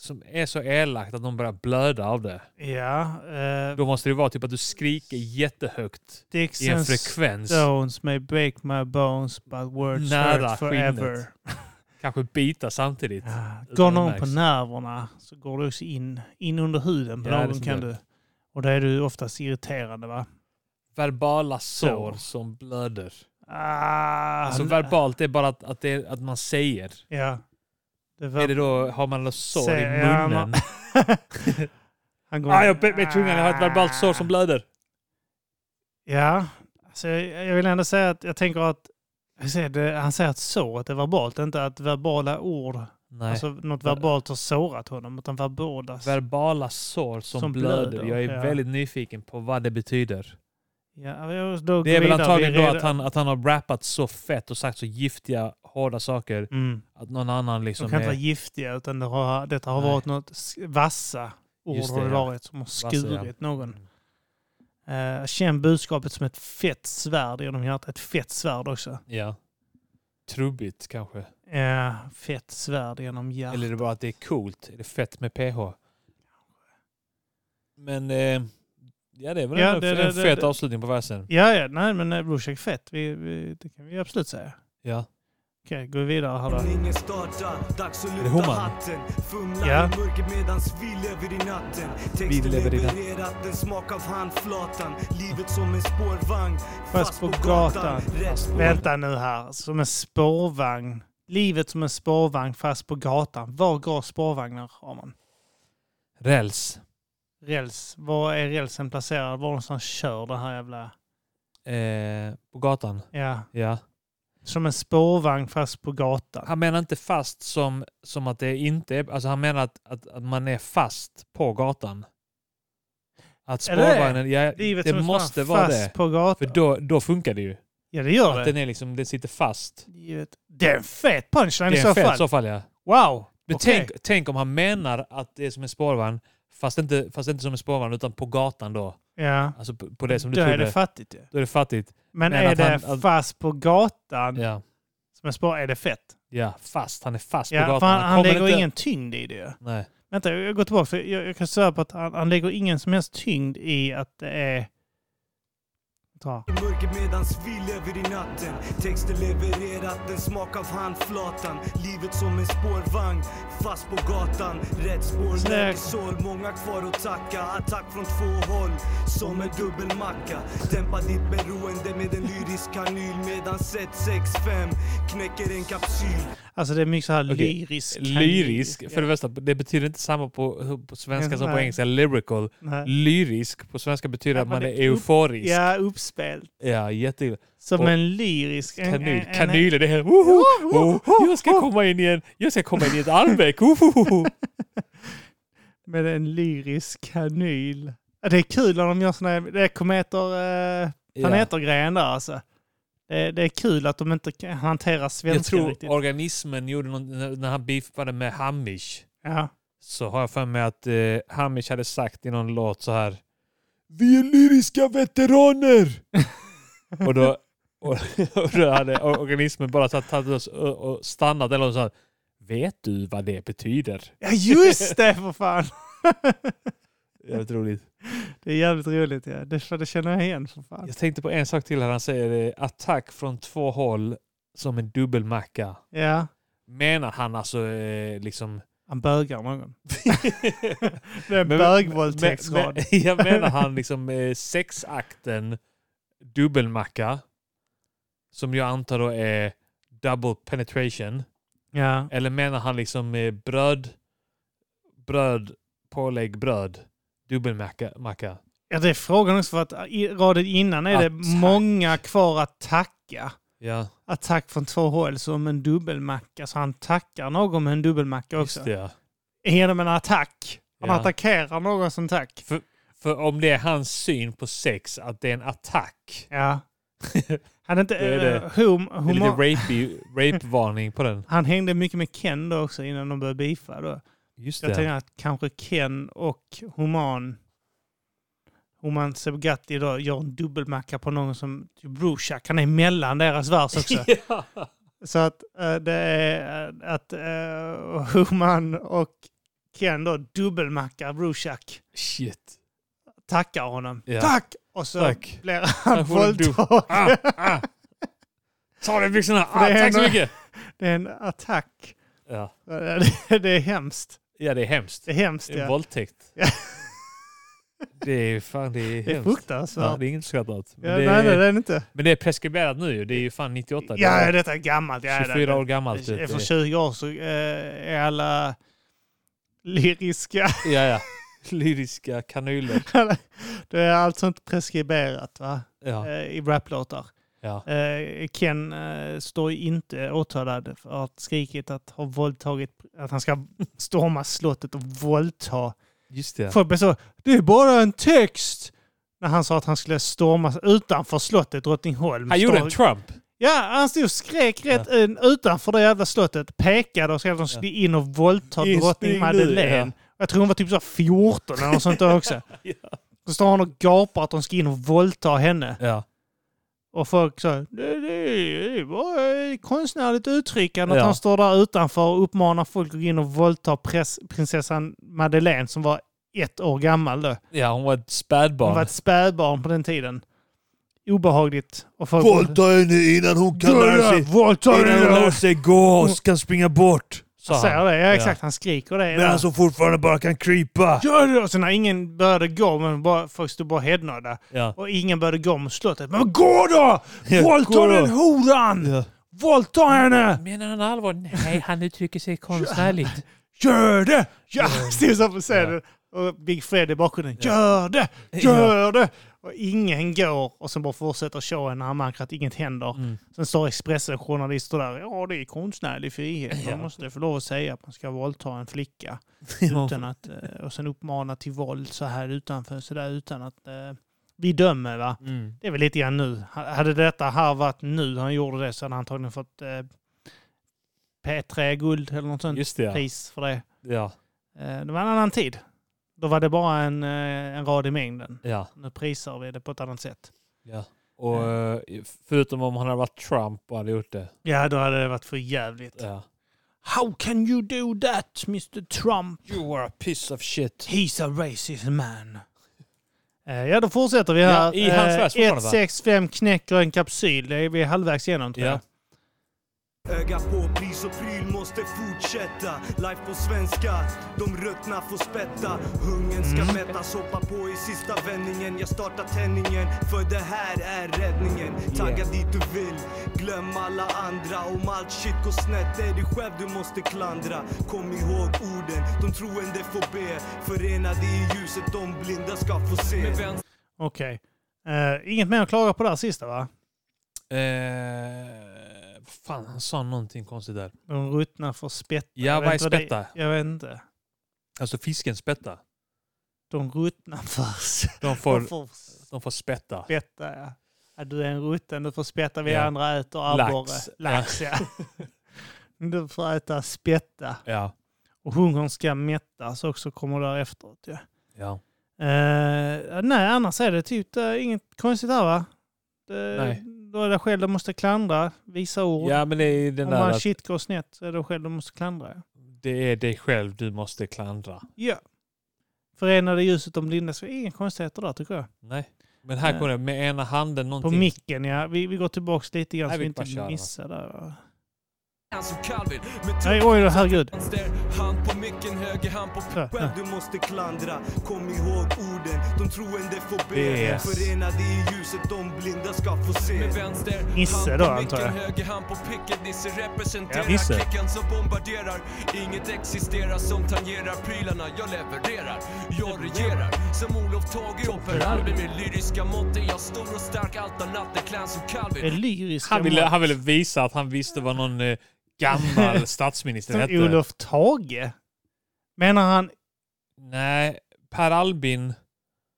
Speaker 2: som är så elakt att de börjar blöda av det?
Speaker 1: Ja, eh,
Speaker 2: Då måste det vara typ att du skriker jättehögt.
Speaker 1: dicks
Speaker 2: i en
Speaker 1: and
Speaker 2: frekvens.
Speaker 1: stones may break my bones but words
Speaker 2: Nära
Speaker 1: hurt forever.
Speaker 2: skinnet. Kanske bita samtidigt.
Speaker 1: Ja,
Speaker 2: Utan
Speaker 1: Går
Speaker 2: Ah, det
Speaker 1: någon
Speaker 2: märks.
Speaker 1: på nerverna så går du också in, in under huden på
Speaker 2: Ja, det är
Speaker 1: någon
Speaker 2: som
Speaker 1: kan
Speaker 2: det.
Speaker 1: du. Och då är du oftast irriterande va?
Speaker 2: Verbala sår
Speaker 1: Så.
Speaker 2: som blöder.
Speaker 1: Ah,
Speaker 2: Alltså verbalt är bara att, att, det är, att man säger.
Speaker 1: Ja. Det
Speaker 2: Är det då, har man något sår i
Speaker 1: Säger jag,
Speaker 2: munnen?
Speaker 1: Han går-
Speaker 2: Ah, jag bet mig i tungan, jag har ett verbalt sår som blöder.
Speaker 1: Ja, alltså, jag jag vill ändå säga att jag tänker att jag säger det, han säger att såret är verbalt, inte att verbala ord,
Speaker 2: Nej.
Speaker 1: alltså något verbalt har sårat honom, utan verbala.
Speaker 2: verbala sår som,
Speaker 1: som
Speaker 2: blöder.
Speaker 1: blöder,
Speaker 2: Jag är
Speaker 1: ja.
Speaker 2: väldigt nyfiken på vad det betyder.
Speaker 1: ja, jag- då går
Speaker 2: Det är väl
Speaker 1: vidare. Vi
Speaker 2: antagligen då
Speaker 1: reda-
Speaker 2: att han, att han har rappat så fett och sagt så giftiga, hårda saker.
Speaker 1: Mm.
Speaker 2: Att någon annan
Speaker 1: De
Speaker 2: liksom
Speaker 1: kan inte vara
Speaker 2: är...
Speaker 1: giftiga utan det har, detta har
Speaker 2: Nej.
Speaker 1: varit något s- vassa ord
Speaker 2: Just
Speaker 1: har
Speaker 2: det,
Speaker 1: det
Speaker 2: ja.
Speaker 1: varit som har
Speaker 2: Vassa,
Speaker 1: skurit någon. Eh, känn budskapet som ett fett svärd genom hjärtat. Ett fett svärd också.
Speaker 2: Ja. Trubbigt kanske.
Speaker 1: Eh, fett svärd genom hjärtat.
Speaker 2: Eller är det bara att det är coolt? Är det fett med PH? Men eh, ja, det är väl
Speaker 1: Ja,
Speaker 2: ändå
Speaker 1: det- det-
Speaker 2: en
Speaker 1: det-
Speaker 2: fet
Speaker 1: det-
Speaker 2: avslutning på versen.
Speaker 1: Ja, ja, nej men eh, Brorsek fett. Vi, vi, det kan vi absolut säga.
Speaker 2: Ja.
Speaker 1: Okej, går vi vidare här då.
Speaker 6: Ringen startar, dags att
Speaker 2: det
Speaker 6: lyfta
Speaker 2: Homan?
Speaker 6: hatten. Fumlar
Speaker 1: Ja.
Speaker 6: i mörkret medans vi lever i natten.
Speaker 2: Vi
Speaker 6: Texten
Speaker 2: lever i natten.
Speaker 6: levererat en smak av handflatan. Livet som en spårvagn,
Speaker 1: Fast på gatan.
Speaker 6: Rätt spår.
Speaker 1: Vänta nu här. Som en spårvagn. Livet som en spårvagn fast på gatan. Var går spårvagnar, Arman?
Speaker 2: Räls.
Speaker 1: Räls. Var är rälsen placerad? Var någonstans kör det här jävla...
Speaker 2: Eh, på gatan.
Speaker 1: Ja.
Speaker 2: Ja.
Speaker 1: Som en spårvagn fast på gatan.
Speaker 2: Han menar inte fast som, som att det inte är... Alltså han menar att, att, att man är fast på gatan. Att
Speaker 1: Eller är det?
Speaker 2: spårvagnen... Ja,
Speaker 1: Livet som
Speaker 2: det
Speaker 1: en
Speaker 2: måste
Speaker 1: spårvagn
Speaker 2: vara
Speaker 1: fast
Speaker 2: det.
Speaker 1: på gatan.
Speaker 2: För då, då funkar det ju.
Speaker 1: ja, det gör
Speaker 2: Att
Speaker 1: det.
Speaker 2: den är liksom, den sitter fast.
Speaker 1: Givet. Det är en fet punchline
Speaker 2: Det
Speaker 1: i
Speaker 2: är
Speaker 1: så
Speaker 2: en fet
Speaker 1: fall.
Speaker 2: i så fall ja.
Speaker 1: Wow!
Speaker 2: Men
Speaker 1: Okej.
Speaker 2: tänk, tänk om han menar att det är som en spårvagn, fast inte, fast inte som en spårvagn utan på gatan då.
Speaker 1: Ja.
Speaker 2: Alltså på, på det som du
Speaker 1: Då är
Speaker 2: trodde.
Speaker 1: det fattigt ju.
Speaker 2: då är det fattigt.
Speaker 1: Men,
Speaker 2: Men
Speaker 1: är
Speaker 2: att
Speaker 1: det
Speaker 2: han- att-
Speaker 1: fast på gatan
Speaker 2: Ja.
Speaker 1: som en spår, är det fett?
Speaker 2: ja, fast. Han är fast på
Speaker 1: Ja, för
Speaker 2: gatan.
Speaker 1: han, han
Speaker 2: kommer
Speaker 1: lägger
Speaker 2: inte-
Speaker 1: ingen tyngd i det ju.
Speaker 2: Nej.
Speaker 1: Vänta, jag går tillbaka. För jag, jag kan svära på att han, han lägger ingen som helst tyngd i att det är... Ta.
Speaker 6: I mörkret medans vi lever i natten. Texten levererat en smak av handflatan. Livet som en spårvagn, fast på gatan. Rätt spår,
Speaker 1: Snyggt.
Speaker 6: lägre sol. Många kvar att tacka. Attack från två håll, som en dubbelmacka. Dämpa ditt beroende med en lyrisk kanyl. Medan 165 knäcker en kapsyl.
Speaker 1: Alltså det är mycket så här
Speaker 2: Okej.
Speaker 1: lyrisk.
Speaker 2: Lyrisk, för
Speaker 1: Ja.
Speaker 2: det värsta, det betyder inte samma på, på svenska som på
Speaker 1: Nej.
Speaker 2: engelska. Lyrical.
Speaker 1: Nej.
Speaker 2: Lyrisk på svenska betyder
Speaker 1: Ja,
Speaker 2: att
Speaker 1: men
Speaker 2: man
Speaker 1: det-
Speaker 2: är euforisk. Ja,
Speaker 1: Ja, uppspel.
Speaker 2: jätteilla.
Speaker 1: Som
Speaker 2: Och-
Speaker 1: en lyrisk... en- en-
Speaker 2: Kanyl.
Speaker 1: en-
Speaker 2: Kanyl är det här. Woho! Oh, jag ska komma in i en, jag ska komma in i ett armveck. Woho!
Speaker 1: Med en lyrisk kanyl. Ja, Det är kul när de gör såna här... Det är kometer... Eh,
Speaker 2: Ja.
Speaker 1: planeter-grejen där alltså. Det, det är kul att de inte kan hantera svenska
Speaker 2: Jag tror
Speaker 1: riktigt.
Speaker 2: organismen gjorde någon, när- när han beefade med Hamish
Speaker 1: Ja.
Speaker 2: så har jag för mig att eh, Hamish hade sagt i någon låt så här Vi är lyriska veteraner! och då, och, och då hade organismen bara tagit tagit oss och, och stannat eller så här Vet du vad det betyder?
Speaker 1: ja, just det för fan!
Speaker 2: Jävligt roligt.
Speaker 1: Det är jävligt roligt. Ja. Det, för det känner jag igen för fan.
Speaker 2: Jag tänkte på en sak till här. Han säger eh, attack från två håll som en dubbelmacka.
Speaker 1: Ja,
Speaker 2: Menar han alltså eh, liksom
Speaker 1: han bögar någon. det är en
Speaker 2: Men-
Speaker 1: bögvåldtäktsrad.
Speaker 2: Men- men- Jag menar han liksom eh, sexakten dubbelmacka. Som jag antar då är double penetration.
Speaker 1: Ja,
Speaker 2: Eller menar han liksom eh, bröd, bröd, pålägg, bröd, dubbelmacka? Macka.
Speaker 1: ja, det är frågan också för att i raden innan är det
Speaker 2: Attack.
Speaker 1: många kvar att tacka.
Speaker 2: Ja,
Speaker 1: Attack från två håll som en dubbelmacka. Så han tackar någon med en dubbelmacka också.
Speaker 2: just det. ja.
Speaker 1: Genom en attack. Han
Speaker 2: Ja.
Speaker 1: attackerar någon som tack.
Speaker 2: För, för om det är hans syn på sex, att det är en attack.
Speaker 1: Ja. Han, är inte,
Speaker 2: Då är det-
Speaker 1: eh, hum,
Speaker 2: Det är lite
Speaker 1: humor,
Speaker 2: rapey- rape-varning på den.
Speaker 1: han hängde mycket med Ken då också innan de började beefa. Då.
Speaker 2: Just
Speaker 1: Jag
Speaker 2: det.
Speaker 1: tänker att kanske Ken och Homan Homan Sebgatti då gör en dubbelmacka på någon som typ Bruchak. Han är mellan deras vers också.
Speaker 2: Ja.
Speaker 1: Så att eh, det är eh, att uh, Homan och Ken då dubbelmackar Bruchak.
Speaker 2: Shit.
Speaker 1: Tackar honom.
Speaker 2: Ja.
Speaker 1: Tack! Och så
Speaker 2: Tack.
Speaker 1: blir han
Speaker 2: Här får du en dubb-
Speaker 1: våldtagen.
Speaker 2: Ah, ah. Ta den byxorna! Ah,
Speaker 1: Det är
Speaker 2: tack så
Speaker 1: nog-
Speaker 2: mycket!
Speaker 1: Det är en attack.
Speaker 2: Ja.
Speaker 1: Det det är hemskt.
Speaker 2: ja, det är hemskt.
Speaker 1: Det är hemskt.
Speaker 2: En
Speaker 1: Ja.
Speaker 2: våldtäkt.
Speaker 1: Ja.
Speaker 2: Det är fan det är
Speaker 1: Det är
Speaker 2: hemskt. Ja,
Speaker 1: fruktansvärt.
Speaker 2: det är inget skrattat åt. Men,
Speaker 1: Ja,
Speaker 2: det
Speaker 1: nej, nej, det
Speaker 2: är-
Speaker 1: är det inte.
Speaker 2: men det är preskriberat nu ju. Det är ju fan 98. det
Speaker 1: Ja,
Speaker 2: är
Speaker 1: detta är gammalt. Ja, det-
Speaker 2: 24 år gammalt. Typ.
Speaker 1: Efter 20 år så eh, är alla lyriska...
Speaker 2: Ja, ja. Lyriska kanyler.
Speaker 1: Det är allt sånt preskriberat va?
Speaker 2: Ja,
Speaker 1: Eh, i raplåtar.
Speaker 2: ja.
Speaker 1: Eh, Ken eh, står ju inte åtalad för att skrikit att ha våldtagit, att han ska storma slottet och våldta.
Speaker 2: Just det.
Speaker 1: Folk blev så, det är bara en text! När han sa att han skulle storma utanför slottet Drottningholm.
Speaker 2: Han gjorde
Speaker 1: Står-
Speaker 2: en Trump.
Speaker 1: Ja, han stod och skrek rätt in utanför det jävla slottet. Pekade och skrev att de skulle in och våldta
Speaker 2: Instig nu,
Speaker 1: drottning Madeleine. Jag tror hon var typ så här 14 eller något sånt där också. Så står han och gapar att de ska in och våldta henne.
Speaker 2: Ja.
Speaker 1: Och folk så här, det, det, det var ett konstnärligt uttryckande
Speaker 2: Ja.
Speaker 1: att han står där utanför och uppmanar folk att gå in och våldta press, prinsessan Madeleine som var ett år gammal då.
Speaker 2: ja, hon var ett spädbarn.
Speaker 1: Hon var ett spädbarn på den tiden. Obehagligt. Och folk
Speaker 2: henne innan hon
Speaker 1: Våldta
Speaker 2: sig gå och ska springa bort. Sa
Speaker 1: Han säger
Speaker 2: han.
Speaker 1: det, Alltså, ja exakt. Han skriker det.
Speaker 2: Medan hon fortfarande bara kan krypa.
Speaker 1: alltså, Gör det! Och sen när ingen började gå, men bara, folk stod bara hednödda.
Speaker 2: Ja.
Speaker 1: Och ingen började gå mot slottet. Men gå då! Våldta
Speaker 2: gå då!
Speaker 1: den horan! Våldta henne!
Speaker 2: Menar han allvar? Nej, han uttrycker sig konstnärligt.
Speaker 1: Gör det! Ja, stod så på scenen. Och Big Fred i bakgrunden. Gör det! Gör det! Och ingen går. Och sen bara fortsätter showen när han märker att inget händer. Sen står Expressen-journalister där. Ja, det är konstnärlig frihet. Man måste få lov att säga att man ska våldta en flicka. Utan att, eh, och sen uppmana till våld så här utanför. Så där, utan att eh, vi dömer va.
Speaker 2: Mm.
Speaker 1: Det är väl lite grann nu. Ha- Hade detta här varit nu han gjorde det så hade han antagligen fått eh, P3-guld eller något sånt
Speaker 2: Just det, ja.
Speaker 1: pris för det.
Speaker 2: ja.
Speaker 1: Eh, Det var en annan tid. Då var det bara en, eh, en rad i mängden.
Speaker 2: ja.
Speaker 1: Nu prisar vi det på ett annat sätt.
Speaker 2: ja. Och, eh, förutom om han hade varit Trump och hade gjort det.
Speaker 1: Ja, då hade det varit för jävligt.
Speaker 2: Ja.
Speaker 1: How can you do that, Mr Trump?
Speaker 2: You are a piece of shit.
Speaker 1: He's a racist man. Eh, Ja, då fortsätter vi
Speaker 2: Ja,
Speaker 1: här.
Speaker 2: i hans
Speaker 1: Eh,
Speaker 2: värld fortfarande, va?
Speaker 1: 165 knäcker en kapsyl. Det är vi halvvägs igenom tror
Speaker 2: Ja.
Speaker 1: jag.
Speaker 6: Öga på pris och pryl måste fortsätta Life på svenska, de ruttna får spätta Hungern ska mättas, hoppa på i sista vändningen Jag startar tändningen, för det här är räddningen Tagga dit du vill, glöm alla andra Om allt shit går snett är det själv du måste klandra Kom ihåg orden, de troende får be Förenade i ljuset, de blinda ska få se
Speaker 1: Okej. Eh, Inget mer att klaga på där sista va?
Speaker 2: Eh, fan, han sa någonting konstigt där.
Speaker 1: De ruttna för spätta.
Speaker 2: Ja,
Speaker 1: Jag vet
Speaker 2: vad är
Speaker 1: inte det-
Speaker 2: spätta?
Speaker 1: Jag vet inte.
Speaker 2: Alltså fisken spetta.
Speaker 1: De ruttna för...
Speaker 2: De
Speaker 1: De
Speaker 2: får,
Speaker 1: får
Speaker 2: de får spetta.
Speaker 1: spätta, ja. ja. Du är en rutten, du får spätta. Vi
Speaker 2: Ja.
Speaker 1: andra äter abborre.
Speaker 2: Lax.
Speaker 1: Lax, ja. Du får äta spätta.
Speaker 2: Ja.
Speaker 1: Och hungern ska mättas också, kommer där efteråt. Ja.
Speaker 2: ja.
Speaker 1: Eh, nej, annars är det typ eh, inget konstigt här va? Det,
Speaker 2: Nej.
Speaker 1: Då är det själv du måste klandra, visa ord.
Speaker 2: Ja, men det är den
Speaker 1: Om
Speaker 2: där
Speaker 1: man
Speaker 2: att
Speaker 1: shit går snett så är det själv du måste klandra.
Speaker 2: det är dig själv du måste klandra.
Speaker 1: Ja. Förenade ljuset om Linda, så inga konstigheter där tycker jag.
Speaker 2: Nej. Men här
Speaker 1: Nej.
Speaker 2: kommer det med ena handen
Speaker 1: På
Speaker 2: någonting.
Speaker 1: micken ja, vi, vi går tillbaks lite grann
Speaker 2: Nej,
Speaker 1: så vi
Speaker 2: vi bara kör,
Speaker 1: inte
Speaker 2: va?
Speaker 1: missar där. va?
Speaker 7: som Calvin Med
Speaker 1: Nej, oj då, herregud.
Speaker 7: vänster hand på micken, höger hand på
Speaker 1: Ja, ja.
Speaker 6: Själv du måste klandra, kom ihåg orden De troende får be,
Speaker 2: Yes.
Speaker 6: förenade i ljuset De blinda ska få se
Speaker 7: med vänster
Speaker 1: Nisse
Speaker 7: hand
Speaker 1: då,
Speaker 7: på
Speaker 1: antar
Speaker 7: micken,
Speaker 1: jag.
Speaker 7: höger hand på picket Nisse representerar
Speaker 2: Ja, Nisse.
Speaker 7: klicken som bombarderar Inget existerar som tangerar prylarna Jag levererar, jag regerar Som Olof Tage opererar med min lyriska mått är jag stor och stark Allt och natten klän som
Speaker 1: Det är
Speaker 7: Calvin
Speaker 1: lyriska
Speaker 2: Han ville,
Speaker 1: mål.
Speaker 2: han ville visa att han visste vad någon eh, gammal statsminister
Speaker 1: Som
Speaker 2: hette.
Speaker 1: Olof Tage? Menar han,
Speaker 2: Nej, Per Albin.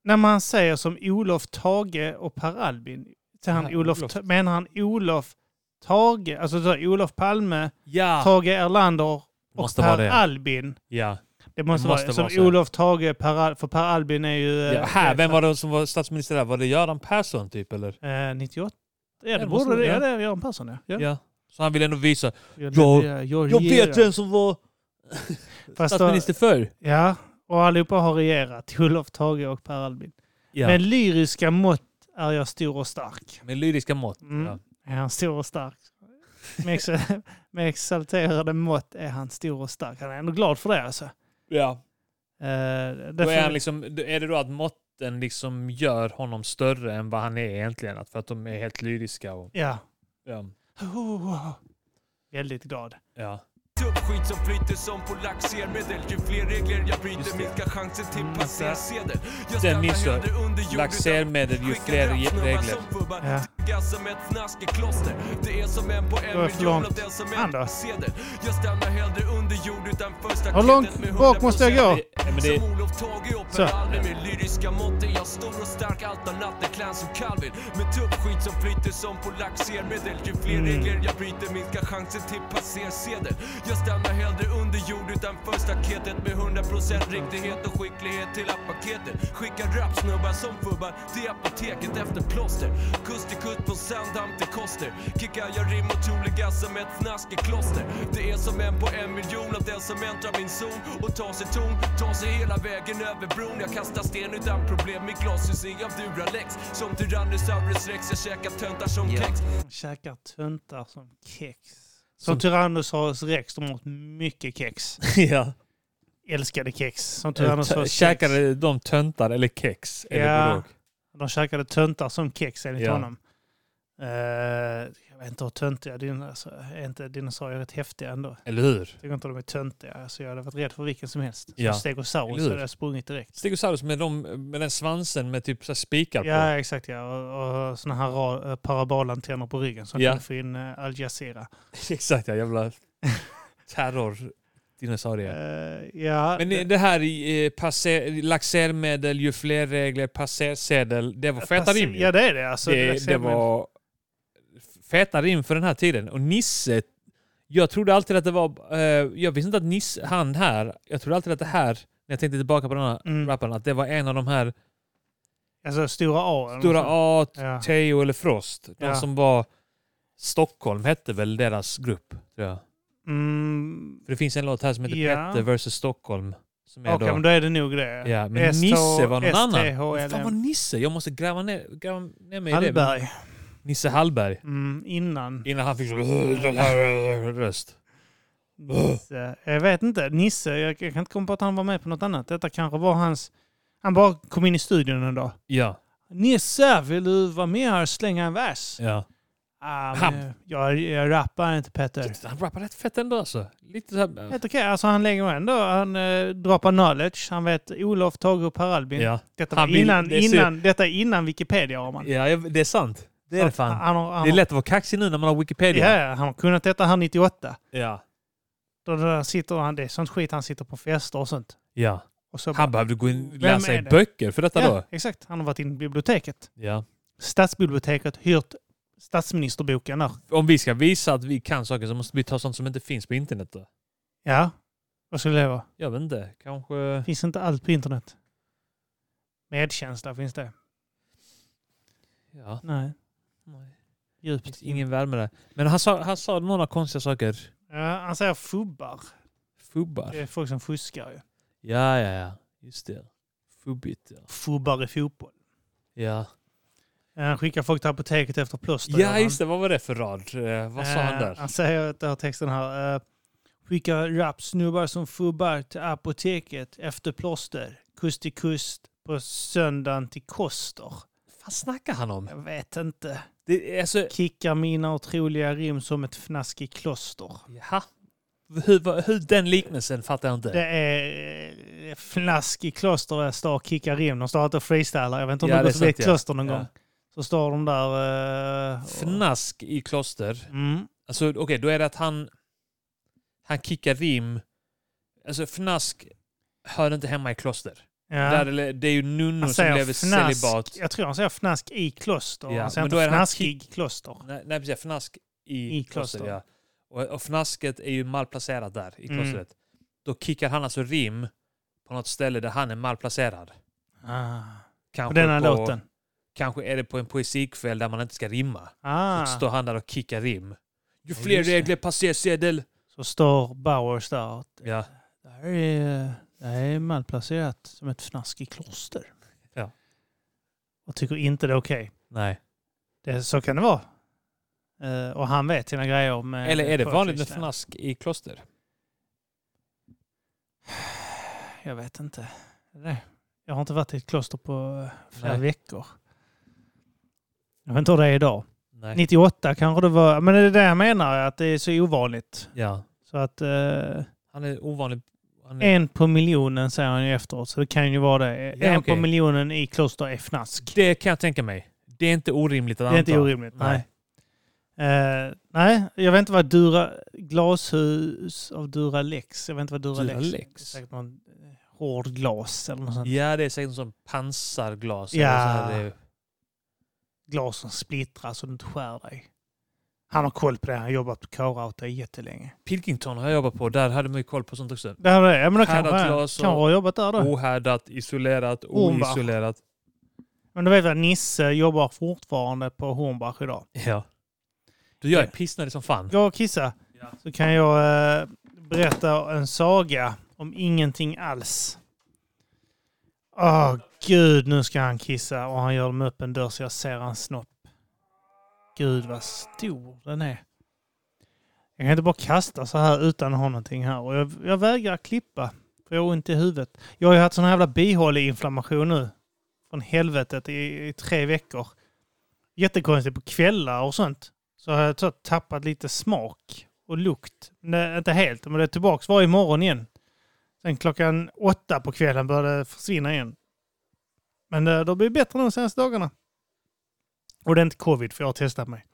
Speaker 1: när man säger som Olof Tage och Per Albin, säger han
Speaker 2: Nej,
Speaker 1: Olof,
Speaker 2: Olof.
Speaker 1: Ta- menar han Olof Tage, alltså så, här, Olof Palme,
Speaker 2: Ja.
Speaker 1: Tage Erlander och
Speaker 2: Måste
Speaker 1: Per
Speaker 2: vara Ah. det.
Speaker 1: Albin?
Speaker 2: ja.
Speaker 1: Det måste,
Speaker 2: Det måste
Speaker 1: vara, som
Speaker 2: vara så.
Speaker 1: Olof Tage, per Al- för Per Albin är ju... eh,
Speaker 2: ja. Här, vem var det som var statsminister där? Var det Göran Persson typ eller?
Speaker 1: Eh, 98? Ja, det
Speaker 2: Ja,
Speaker 1: borde
Speaker 2: måste-
Speaker 1: det. Ja,
Speaker 2: ja.
Speaker 1: det är Göran Persson, ja. ja.
Speaker 2: Så han ville ändå visa.
Speaker 1: Jag, eh,
Speaker 2: Jag-
Speaker 1: jag
Speaker 2: Jag
Speaker 1: regerar.
Speaker 2: vet eh, vem som var
Speaker 1: Fast då,
Speaker 2: statsminister förr.
Speaker 1: Ja, och allihopa har regerat. Olof Tage och Per Albin.
Speaker 2: Ja.
Speaker 1: Med lyriska mått är jag stor och stark.
Speaker 2: Med lyriska mått.
Speaker 1: Mm.
Speaker 2: Ja.
Speaker 1: Är han stor och stark? Med, ex med exalterade mått är han stor och stark. Han är ändå glad för det alltså. Eh,
Speaker 2: ja.
Speaker 1: det
Speaker 2: Då är,
Speaker 1: får-
Speaker 2: han liksom, är det då att måtten liksom gör honom större än vad han är egentligen? Att för att de är helt lyriska? Och,
Speaker 1: Ja.
Speaker 2: ja.
Speaker 1: Väldigt glad.
Speaker 2: ja.
Speaker 7: Tupp skit som flyter som på laxermedel Ju fler regler jag
Speaker 2: Just
Speaker 7: bryter
Speaker 2: det.
Speaker 7: minskar chansen till
Speaker 1: Mm,
Speaker 7: passersedel Jag
Speaker 2: Den missar.
Speaker 7: under jord utan
Speaker 2: Laxermedel, ju fler re- regler.
Speaker 1: Ja.
Speaker 7: skugga som ett fnaskekloster. Det är som en på en
Speaker 1: Går jag för
Speaker 7: miljon
Speaker 1: långt?
Speaker 7: av den som
Speaker 1: Han då?
Speaker 7: är sedel. Jag stannar hellre under jord utanför staketet
Speaker 1: Hur
Speaker 7: med
Speaker 1: långt bak måste jag
Speaker 7: 100%.
Speaker 1: gå?
Speaker 2: Ja, men det,
Speaker 7: Som Olof Tage i
Speaker 1: Så.
Speaker 7: operalben med lyriska mått är jag stor och stark allt annat än clown som Calvin Med tuppskit som flyter som på laxermedel Ju fler
Speaker 2: Mm.
Speaker 7: regler jag bryter minskar chansen till passersedel Jag stannar hellre under jord utanför staketet med 100% riktighet och skicklighet till appaketet Skickar rapsnubbar som fubbar till apoteket efter plåster Kust till kust från Sandhamn till Koster Kickar jag rim och troliga som ett fnaskekloster Det är som en på en miljon av den som äntrar min zon och tar sig ton, tar sig hela vägen över bron Jag kastar sten utan problem, mitt glashus är av Duralex Som Tyrannosaurus rex, jag käkar töntar som kex
Speaker 1: De käkar töntar som kex. Som Tyrannosaurus rex, de åt mycket kex.
Speaker 2: ja.
Speaker 1: Älskade kex. Eh, Som
Speaker 2: typ Tö-
Speaker 1: Tyrannosaurus rex.
Speaker 2: Käkade de töntar eller kex? Eller
Speaker 1: Ja.
Speaker 2: ja.
Speaker 1: De käkade töntar som kex enligt
Speaker 2: Ja.
Speaker 1: honom. Eh, jag vet inte hur töntiga din, alltså, är inte dinosaurier rätt häftiga ändå?
Speaker 2: Eller hur?
Speaker 1: Tycker inte de är töntiga. Alltså, jag hade varit rädd för vilken som helst.
Speaker 2: Ja.
Speaker 1: Som Stegosaurus
Speaker 2: Eller hur?
Speaker 1: hade jag sprungit direkt.
Speaker 2: Stegosaurus med, de, med den svansen med typ så här spikar på.
Speaker 1: Ja, exakt ja. Och, och såna här ra- eh, parabolantenner på ryggen som
Speaker 2: Ja.
Speaker 1: kan få in eh, Al Jazeera.
Speaker 2: Exakt ja, jävla terror-dinosaurier.
Speaker 1: Eh, ja,
Speaker 2: Men
Speaker 1: det-
Speaker 2: det- det här i eh, passer, laxermedel, ju fler regler, passersedel. Det var feta
Speaker 1: Precis.
Speaker 2: rim ju.
Speaker 1: Ja, det är det. Alltså,
Speaker 2: det,
Speaker 1: laxermedel.
Speaker 2: det var feta rim för den här tiden. Och Nisse, jag trodde alltid att det var... eh, jag visste inte att Nisse, han här, jag trodde alltid att det här, när jag tänkte tillbaka på den här
Speaker 1: Mm.
Speaker 2: rappen, att det var en av de här
Speaker 1: Alltså Stora A. eller
Speaker 2: Stora
Speaker 1: något sånt.
Speaker 2: A,
Speaker 1: Ja.
Speaker 2: Teo eller Frost. De
Speaker 1: Ja.
Speaker 2: som var... Stockholm hette väl deras grupp, tror jag.
Speaker 1: Mm,
Speaker 2: För det finns en låt här som heter
Speaker 1: Ja.
Speaker 2: Petter vs Stockholm. Som är
Speaker 1: Okej,
Speaker 2: då,
Speaker 1: men då är det nog det.
Speaker 2: ja, men
Speaker 1: SH
Speaker 2: Nisse var någon annan. Vad fan var
Speaker 1: STHLM.
Speaker 2: Nisse? Jag måste gräva ner, gräva ner mig i det. men-
Speaker 1: Hallberg.
Speaker 2: Nisse Hallberg.
Speaker 1: Mm, innan.
Speaker 2: Innan han fick så den här röst.
Speaker 1: Nisse. Jag vet inte. Nisse, jag, jag kan inte komma på att han var med på något annat. Detta kanske var hans... Han bara kom in i studion en dag.
Speaker 2: Ja,
Speaker 1: Nisse, vill du vara med här och slänga en vers?
Speaker 2: ja.
Speaker 1: Ah,
Speaker 2: Han-
Speaker 1: men, jag, jag rappar inte Petter.
Speaker 2: Han rappar rätt fett ändå alltså. Lite så här,
Speaker 1: Helt okej, alltså han lägger ändå, han eh, droppar knowledge, han vet Olof, Tage och Per Albin.
Speaker 2: ja.
Speaker 1: Detta,
Speaker 2: Han
Speaker 1: var
Speaker 2: vill-
Speaker 1: innan,
Speaker 2: det är så-
Speaker 1: innan, detta är innan Wikipedia har man.
Speaker 2: ja, jag- det är sant. Det är det fan.
Speaker 1: Han, har- han,
Speaker 2: Det är
Speaker 1: har-
Speaker 2: lätt att vara kaxig nu när man har Wikipedia.
Speaker 1: Ja, ja, han har kunnat detta här 98.
Speaker 2: Ja.
Speaker 1: Då, då sitter han, det är sånt skit han sitter på fester och sånt.
Speaker 2: ja.
Speaker 1: Och så
Speaker 2: Han behövde gå in och
Speaker 1: Vem
Speaker 2: läsa
Speaker 1: är
Speaker 2: i
Speaker 1: det?
Speaker 2: böcker för detta
Speaker 1: ja,
Speaker 2: då.
Speaker 1: exakt. Han har varit in i biblioteket.
Speaker 2: Ja.
Speaker 1: Stadsbiblioteket hyrt statsministerboken där.
Speaker 2: Om vi ska visa att vi kan saker så måste vi ta sånt som inte finns på internet då.
Speaker 1: Ja, vad skulle det vara?
Speaker 2: Jag vet inte, kanske...
Speaker 1: Finns inte allt på internet? Medkänsla, finns det?
Speaker 2: Ja.
Speaker 1: Nej.
Speaker 2: Det
Speaker 1: Djupt.
Speaker 2: finns ingen värme där. Men han sa, han sa några konstiga saker.
Speaker 1: Ja, han säger fubbar.
Speaker 2: Fubbar.
Speaker 1: Det är folk som fuskar ju.
Speaker 2: Ja, ja, ja. Just det. Fubbigt, ja.
Speaker 1: Fubbar i fotboll.
Speaker 2: Ja,
Speaker 1: Ja, Han skickar folk till apoteket efter plåster. gör
Speaker 2: ja
Speaker 1: han.
Speaker 2: just det. Vad var det för rad? Eh, vad sa
Speaker 1: Eh,
Speaker 2: han där?
Speaker 1: Han säger att den här texten här. eh, skicka rapsnubbar som fubbar till apoteket efter plåster. Kust till kust på söndagen till Koster.
Speaker 2: Vad snackar han om?
Speaker 1: Jag vet inte.
Speaker 2: Det, är alltså,
Speaker 1: Kickar mina otroliga rim som ett fnask i kloster.
Speaker 2: jaha. Hur, vad- hur den liknelsen fattar jag inte.
Speaker 1: Det är eh, fnask i kloster där jag står och kickar rim. De står alltid och freestylar. Jag vet inte om
Speaker 2: Ja,
Speaker 1: de
Speaker 2: det
Speaker 1: går
Speaker 2: är
Speaker 1: förbi ett
Speaker 2: sant, ja.
Speaker 1: kloster någon
Speaker 2: Ja.
Speaker 1: gång. Så står de där... eh, och-
Speaker 2: Fnask i kloster.
Speaker 1: Mm.
Speaker 2: Alltså okej, då är det att han, han kickar rim. Alltså fnask hör inte hemma i kloster.
Speaker 1: Ja.
Speaker 2: Där, det- det är ju nunnor som lever celibat.
Speaker 1: Jag tror han säger fnask i kloster.
Speaker 2: Ja,
Speaker 1: han säger
Speaker 2: men
Speaker 1: inte
Speaker 2: då är han
Speaker 1: fnaskig kloster.
Speaker 2: Nej, nej precis. Fnask i,
Speaker 1: I
Speaker 2: kloster.
Speaker 1: kloster.
Speaker 2: Ja. Och, och fnasket är ju malplacerat där i
Speaker 1: Mm.
Speaker 2: klostret. Då kickar han alltså rim på något ställe där han är malplacerad.
Speaker 1: Ah. På
Speaker 2: Kanske,
Speaker 1: den här
Speaker 2: på,
Speaker 1: låten.
Speaker 2: kanske är det på en poesikväll där man inte ska rimma.
Speaker 1: Ah.
Speaker 2: Så står han där och kickar rim. Ju
Speaker 1: Ja,
Speaker 2: fler
Speaker 1: just det.
Speaker 2: regler, passersedel.
Speaker 1: Så står Bowers där.
Speaker 2: Ja.
Speaker 1: Det här är, det här är malplacerat som ett fnask i kloster.
Speaker 2: Ja.
Speaker 1: Och tycker inte det är okej.
Speaker 2: Nej.
Speaker 1: Det- Så kan det vara. Eh, och han vet sina grejer om... eh,
Speaker 2: Eller är det vanligt med
Speaker 1: folklyssnare.
Speaker 2: fnask i kloster?
Speaker 1: Jag vet inte. Är det? Jag har inte varit i ett kloster på eh, flera
Speaker 2: Nej.
Speaker 1: veckor. Jag vet inte hur det är idag.
Speaker 2: Nej.
Speaker 1: 98 kanske det var. Men det är det jag menar, att det är så ovanligt.
Speaker 2: Ja.
Speaker 1: Så att eh,
Speaker 2: Han är ovanlig. Han är...
Speaker 1: en på miljonen säger han ju efteråt, så det kan ju vara det.
Speaker 2: Ja,
Speaker 1: en
Speaker 2: okej.
Speaker 1: på miljonen i kloster är fnask.
Speaker 2: Det kan jag tänka mig. Det är inte orimligt att
Speaker 1: Det är
Speaker 2: anta.
Speaker 1: inte orimligt. Nej. Nej. nej, jag vet inte vad Dura... Glashus av Duralex. Jag vet inte vad Duralex,
Speaker 2: Duralex?
Speaker 1: Det är säkert någon eh, hård glas eller något sånt.
Speaker 2: Ja, det är säkert som pansarglas.
Speaker 1: Ja.
Speaker 2: Eller så här, det är-
Speaker 1: Glas som splittras och du inte skär dig. Han har koll på det. Han har jobbat på K-Rauta jättelänge.
Speaker 2: Pilkington har jag jobbat på. Där hade man ju koll på sånt också.
Speaker 1: Det här är, ja, men då
Speaker 2: Härdat
Speaker 1: kanske han
Speaker 2: glas och-
Speaker 1: kanske har jobbat där då.
Speaker 2: Ohärdat, isolerat,
Speaker 1: Ormvar.
Speaker 2: oisolerat.
Speaker 1: Men du vet vad, Nisse jobbar fortfarande på Hornbach idag.
Speaker 2: Ja. Du, jag är pissnödig som fan.
Speaker 1: Gå och kissa. Så kan jag eh, berätta en saga om ingenting alls. Åh gud, nu ska han kissa och han gör med öppen dörr så jag ser hans snopp. Gud vad stor den är. Jag kan inte bara kasta så här utan att ha någonting här. Och jag, jag vägrar klippa. För jag har ont i huvudet. Jag har ju haft sån här jävla bihåleinflammation nu. Från helvetet i, i tre veckor. Jättekonstigt på kvällar och sånt. Så har jag så tappat lite smak och lukt. Men det, är inte helt, men det är tillbaka varje morgon igen. Sen klockan åtta på kvällen började det försvinna igen. Men det, det har blivit bättre de senaste dagarna. Och det är inte covid, för jag har testat mig.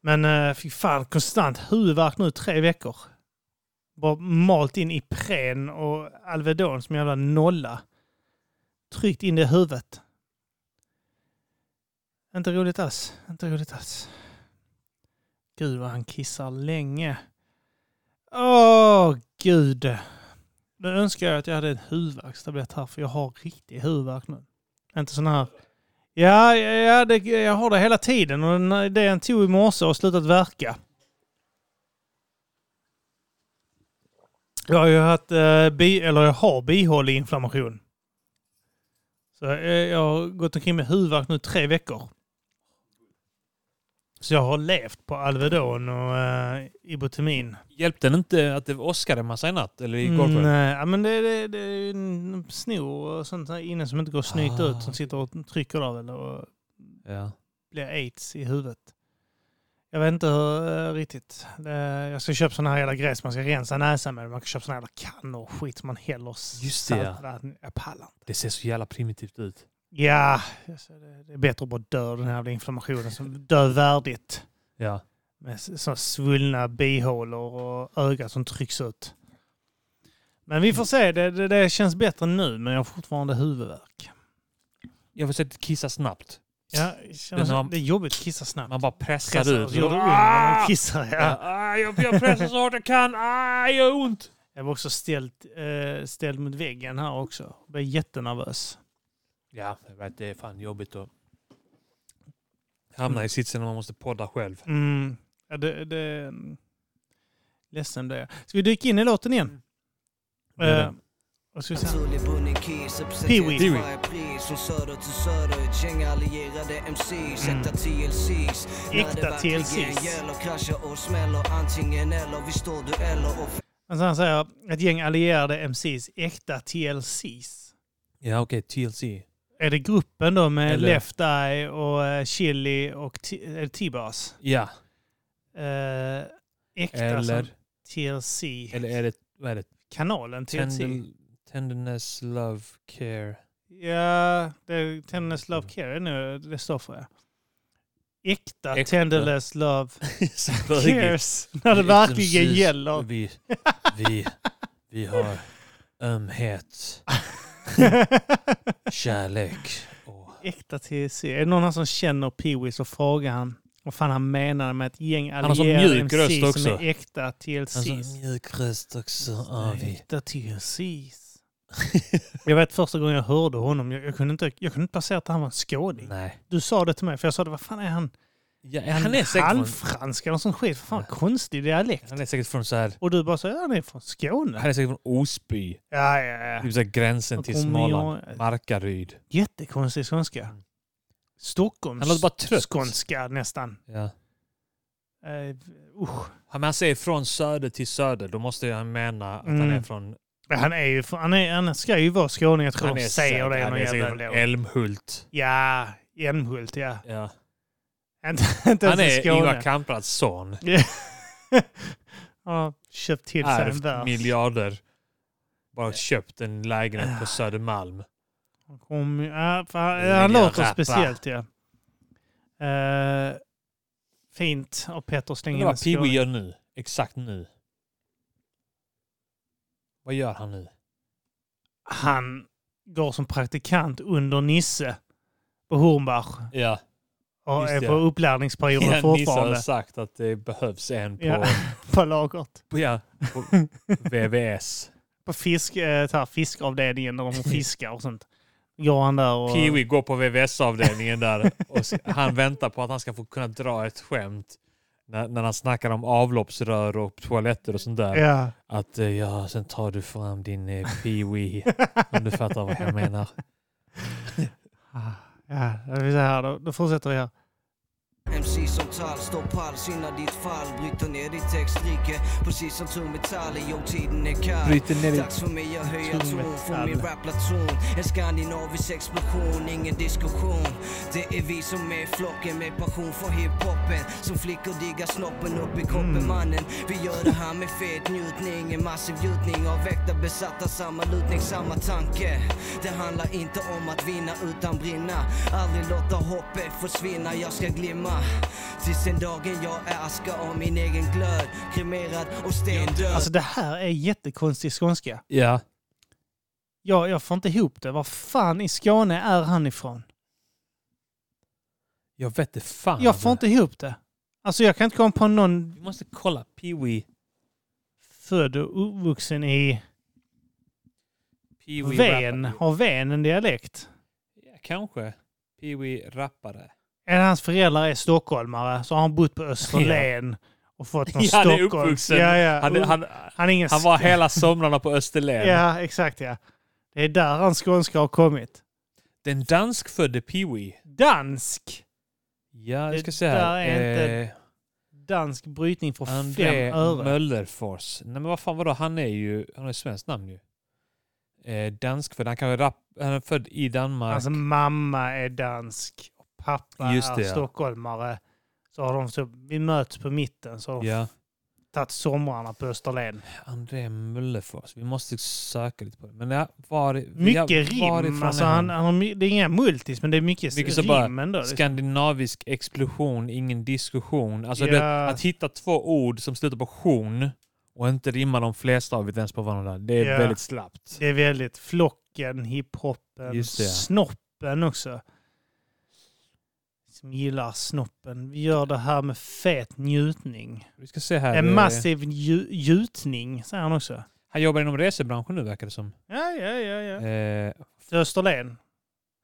Speaker 1: Men eh, fy fan, konstant huvudvärk nu i tre veckor. Bara malt in Ipren och Alvedon som en jävla nolla. Tryckt in det i huvudet. Inte roligt alls. Inte roligt alls. Gud vad han kissar länge. Åh, gud. Nu önskar jag att jag hade en huvudvärkstablett här för jag har riktig huvudvärk nu. Inte sån här... Ja, ja, ja det, jag har det hela tiden och den- det jag tog i morse har slutat verka. Jag har ju haft, eh, bi, eller jag har bihåleinflammation. Så jag, jag har gått omkring med huvudvärk nu i tre veckor. Så jag har levt på Alvedon och eh, Ibotemin.
Speaker 2: Hjälpte det inte att det åskade en massa i natt? Eller igår
Speaker 1: Mm,
Speaker 2: kväll?
Speaker 1: nej, ja, men det, det, det är ju en snor och sånt här inne som inte går snyggt
Speaker 2: Ah.
Speaker 1: ut som sitter och trycker av eller och
Speaker 2: Ja.
Speaker 1: blir aids i huvudet. Jag vet inte hur eh, riktigt. Det, jag ska köpa såna här jävla grejer som man ska rensa näsan med. Man kan köpa såna här jävla kannor och skit som man häller
Speaker 2: Just det, ja.
Speaker 1: saltvatten- Jag pallar inte.
Speaker 2: Det ser så jävla primitivt ut.
Speaker 1: Ja, alltså, det, det är bättre att bara dö av den här jävla inflammationen. Som dö värdigt.
Speaker 2: Ja.
Speaker 1: Med s- såna svullna bihålor och öga som trycks ut. Men
Speaker 2: Mm.
Speaker 1: vi får se. Det, det, det känns bättre nu, men jag har fortfarande huvudvärk.
Speaker 2: Jag försökte kissa snabbt.
Speaker 1: Ja, det, känns,
Speaker 2: Den har-
Speaker 1: det är jobbigt att kissa snabbt.
Speaker 2: Man bara pressar
Speaker 1: Pressar
Speaker 2: ut.
Speaker 1: och så gör det ont när man
Speaker 2: Ah!
Speaker 1: kissar.
Speaker 2: Ja.
Speaker 1: Ja.
Speaker 2: Ah, jag, jag pressar så hårt jag kan. Ah, jag gör ont.
Speaker 1: Jag var också ställd, eh, ställd mot väggen här också. Jag blev jättenervös.
Speaker 2: Ja, jag vet, det är fan jobbigt att hamna i sitsen när man måste podda själv.
Speaker 1: Mm. Ja, det, det... Ledsen det är. Ska vi dyka in i låten igen?
Speaker 2: Gör Mm. det.
Speaker 1: Eh, och så ska vi se.
Speaker 8: Tullibunny Keys
Speaker 1: Pee-wee.
Speaker 8: representerar till
Speaker 2: Pee-wee.
Speaker 8: varje pris Från söder till söder, ett gäng allierade MCs Äkta TLCs
Speaker 1: Mm. Äkta TLCs.
Speaker 8: gäller kraschar och smäller Antingen eller, vi står dueller och
Speaker 1: Alltså han säger ett gäng allierade MCs, äkta TLCs.
Speaker 2: Ja, okej. TLC.
Speaker 1: Är det gruppen då med
Speaker 2: Eller-
Speaker 1: Left Eye och eh, Chili och T- eh, T-Bars?
Speaker 2: Ja.
Speaker 1: Eh, äkta som
Speaker 2: Eller,
Speaker 1: TLC.
Speaker 2: eller är det, vad är det?
Speaker 1: Kanalen TLC.
Speaker 2: Tender, tenderness, love, care.
Speaker 1: Ja, det är Tenderness
Speaker 2: Mm.
Speaker 1: Love Care nu det står för. ja. Äkta,
Speaker 2: Äkta.
Speaker 1: Tenderless Love
Speaker 2: Så
Speaker 1: Cares. När det verkligen
Speaker 2: Precis.
Speaker 1: gäller.
Speaker 2: Vi, vi, vi har ömhet, kärlek och...
Speaker 1: äkta TLC. Är det någon här som känner Pee-Wee så frågar han vad fan han menar med ett gäng
Speaker 2: har sån
Speaker 1: allierade
Speaker 2: mjuk röst
Speaker 1: MCs som
Speaker 2: också.
Speaker 1: är äkta TLCs.
Speaker 2: Alltså, mjuk röst också har vi.
Speaker 1: Äkta TLCs. jag vet första gången jag hörde honom, jag, jag, kunde, inte, jag kunde inte placera att han var en skåning.
Speaker 2: Nej.
Speaker 1: Du sa det till mig, för jag sa det, vad fan är han?
Speaker 2: Ja,
Speaker 1: Är
Speaker 2: han, är säkert från,
Speaker 1: halvfransk eller någon sån skit? Vad fan, konstig dialekt.
Speaker 2: han är säkert från så här...
Speaker 1: Och du bara sa, ja, han är från Skåne.
Speaker 2: Han är säkert från Osby.
Speaker 1: Ja, ja, ja.
Speaker 2: Typ så här gränsen till
Speaker 1: Och om
Speaker 2: Småland.
Speaker 1: jag-
Speaker 2: Markaryd.
Speaker 1: Jättekonstig skånska.
Speaker 2: Han låter
Speaker 1: Stockholms
Speaker 2: bara trött.
Speaker 1: skånska nästan.
Speaker 2: Ja.
Speaker 1: Eh, usch.
Speaker 2: Han, men han säger från söder till söder. Då måste ju han mena att han
Speaker 1: Mm.
Speaker 2: är från...
Speaker 1: Ja, Han är ju, han, är, han ska ju vara skåning, jag tror
Speaker 2: Han
Speaker 1: de
Speaker 2: är,
Speaker 1: säger
Speaker 2: säkert-
Speaker 1: det
Speaker 2: han
Speaker 1: någon
Speaker 2: är säkert
Speaker 1: jävla
Speaker 2: från
Speaker 1: låt.
Speaker 2: Älmhult.
Speaker 1: Ja, Älmhult ja.
Speaker 2: Ja.
Speaker 1: Inte, inte
Speaker 2: Han
Speaker 1: ens i
Speaker 2: är
Speaker 1: Skåne.
Speaker 2: Ingvar Kamprads son.
Speaker 1: har köpt till sig en
Speaker 2: Ärvt
Speaker 1: vers.
Speaker 2: miljarder. Bara köpt en lägenhet på Södermalm.
Speaker 1: Kom, ja, för han
Speaker 2: Vill jag
Speaker 1: han låter
Speaker 2: rappa?
Speaker 1: speciellt ja. Eh, fint av Petter att slänga
Speaker 2: Undrar
Speaker 1: in en
Speaker 2: vad
Speaker 1: skåning.
Speaker 2: Pee-Wee gör nu. Exakt nu. Vad gör han nu?
Speaker 1: Han går som praktikant under Nisse på Hornbach
Speaker 2: Ja,
Speaker 1: och
Speaker 2: Just
Speaker 1: är
Speaker 2: det.
Speaker 1: på upplärningsperioden
Speaker 2: ja Nisse har
Speaker 1: fortfarande
Speaker 2: sagt att det behövs en på,
Speaker 1: Ja. på lagret.
Speaker 2: på, ja, på VVS.
Speaker 1: På fisk, eh, så här, fiskavdelningen där de fiskar och sånt. Går han där och...
Speaker 2: Pee-Wee går på VVS-avdelningen där och s- han väntar på att han ska få kunna dra ett skämt när, när han snackar om avloppsrör och toaletter och sånt där.
Speaker 1: Ja.
Speaker 2: Att eh, ja, sen tar du fram din eh, Pee-Wee om du fattar vad jag menar.
Speaker 1: Ja, det vill säga här då. Då fortsätter jag.
Speaker 8: MC som tall, står pall, synar ditt fall Bryter ner ditt textrike, precis som tung metall Jo, tiden är kall
Speaker 2: Bryter ner ditt
Speaker 8: Dags för mig att höja
Speaker 1: tung
Speaker 8: ton
Speaker 1: metall.
Speaker 8: från min rapplaton En skandinavisk explosion, ingen diskussion Det är vi som är flocken med passion för hiphopen Som flickor diggar snoppen upp i kroppen
Speaker 2: Mm.
Speaker 8: mannen Vi gör det här med fet njutning, en massiv gjutning av väkta besatta Samma lutning, samma tanke Det handlar inte om att vinna utan brinna Aldrig låta hoppet försvinna, jag ska glimma Tills den dagen jag är aska av min egen glöd Kremerad och stendöd
Speaker 1: Alltså det här är jättekonstig skånska.
Speaker 2: Ja,
Speaker 1: Jag, jag får inte ihop det. Var fan i Skåne är han ifrån?
Speaker 2: jag vet det fan.
Speaker 1: Jag får inte ihop det. Alltså jag kan inte komma på någon
Speaker 2: Vi måste kolla Pee-Wee.
Speaker 1: född och uppvuxen i
Speaker 2: Pee-Wee
Speaker 1: Ven.
Speaker 2: rappare.
Speaker 1: Har Ven en dialekt?
Speaker 2: Ja, kanske. Pee-Wee rappare.
Speaker 1: Eller hans föräldrar är stockholmare så har han bott på Österlen och fått någon
Speaker 2: Ja, han är
Speaker 1: Stockholm.
Speaker 2: uppvuxen.
Speaker 1: Ja, ja.
Speaker 2: Han, han,
Speaker 1: Han är ingen...
Speaker 2: han var hela somrarna på Österlen.
Speaker 1: Ja, exakt ja. Det är där hans skånska har kommit.
Speaker 2: Den danskfödde Pee-Wee.
Speaker 1: Dansk!
Speaker 2: Ja,
Speaker 1: Det
Speaker 2: jag ska se här.
Speaker 1: där är
Speaker 2: eh,
Speaker 1: Dansk brytning från
Speaker 2: André
Speaker 1: fem öre.
Speaker 2: Möllerfors. Nej men vad fan vadå, han är ju, han har ju svenskt namn ju. Eh, danskfödd, han kanske rapp, han är född i Danmark.
Speaker 1: Hans mamma är dansk och pappa
Speaker 2: Just det,
Speaker 1: är
Speaker 2: ja.
Speaker 1: stockholmare. Så har de så, vi möts på mitten så har de
Speaker 2: ja,
Speaker 1: tagit somrarna på Österlen.
Speaker 2: André Möllerfors. Vi måste söka lite på det. Men ja, var,
Speaker 1: Mycket
Speaker 2: ja,
Speaker 1: rim. Alltså han, han har, my- det är inga multis men det är mycket
Speaker 2: Mycket
Speaker 1: mycket
Speaker 2: så
Speaker 1: rim
Speaker 2: bara
Speaker 1: ändå. liksom.
Speaker 2: Skandinavisk explosion, ingen diskussion. Alltså
Speaker 1: Ja.
Speaker 2: det, att hitta två ord som slutar på tion och inte rimma de flesta av ens på varandra, det är
Speaker 1: Ja.
Speaker 2: väldigt slappt.
Speaker 1: Det är väldigt flocken, hiphopen,
Speaker 2: Just det, ja.
Speaker 1: snoppen också. Som gillar snoppen. Vi gör det här med fet njutning.
Speaker 2: Vi ska se här. eh,
Speaker 1: En massiv nju- gjutning, säger han också.
Speaker 2: Han jobbar inom resebranschen nu verkar det som.
Speaker 1: Ja, ja, ja. ja.
Speaker 2: Eh,
Speaker 1: Till Österlen.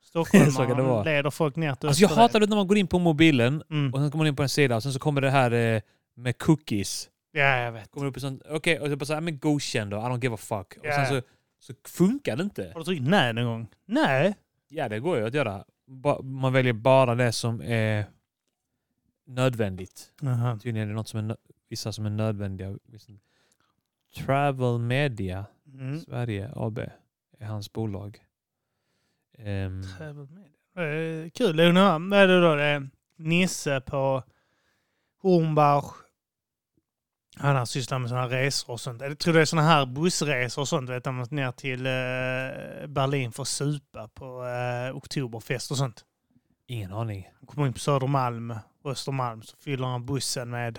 Speaker 2: Så kan det vara.
Speaker 1: Stockholmaren leder folk ner till
Speaker 2: Alltså jag
Speaker 1: Österlen.
Speaker 2: hatar det när man går in på mobilen
Speaker 1: Mm.
Speaker 2: och sen kommer man in på en sida och sen så kommer det här eh, med cookies.
Speaker 1: Ja, jag vet.
Speaker 2: Kommer upp en sån, okej, och så bara såhär, men godkänd då, I don't give a fuck. Och
Speaker 1: Ja.
Speaker 2: sen så, så funkar det inte.
Speaker 1: Har du tryckt nej någon gång? Nej.
Speaker 2: Ja, det går ju att göra. Ba, man väljer bara det som är nödvändigt.
Speaker 1: Jaha.
Speaker 2: Tydligen är det något som är, nö- vissa som är nödvändiga. Vissa- Travel Media
Speaker 1: Mm.
Speaker 2: Sverige AB är hans bolag. Ehm,
Speaker 1: Trevligt med det. Eh, Kul att höra. Vad är det då? Det är Nisse på Hornbach. Han har sysslat med sådana resor och sånt. Jag tror det är sådana här bussresor och sånt. Vet du, man måste ner till eh, Berlin för att supa på eh, oktoberfest och sånt.
Speaker 2: ingen aning.
Speaker 1: Han kommer in på Södermalm, Östermalm, så fyller han bussen med...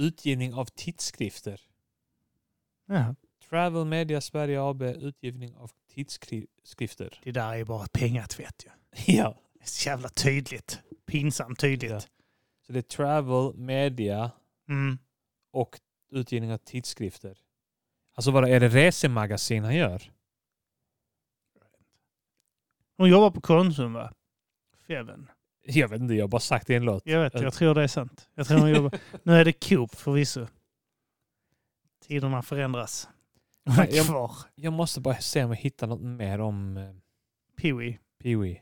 Speaker 2: Utgivning av tidskrifter.
Speaker 1: Ja,
Speaker 2: Travel Media Sverige AB, utgivning av tidskrifter.
Speaker 1: det där är ju bara pengatvätt ju.
Speaker 2: Ja.
Speaker 1: Det är så jävla tydligt. Pinsamt tydligt.
Speaker 2: Ja. Så det är Travel Media
Speaker 1: Mm.
Speaker 2: och utgivning av tidskrifter. Alltså vad är det resemagasin han gör?
Speaker 1: Hon jobbar på Konsum va? Feven.
Speaker 2: Jag vet inte, jag har bara sagt det i en låt.
Speaker 1: Jag vet, jag tror det är sant. Jag tror hon jobbar. Nu är det Coop förvisso. Tiderna förändras. Hon
Speaker 2: Nej,
Speaker 1: är
Speaker 2: jag-
Speaker 1: kvar.
Speaker 2: Jag måste bara se om jag hittar något mer om eh,
Speaker 1: Peewee.
Speaker 2: Pee-Wee.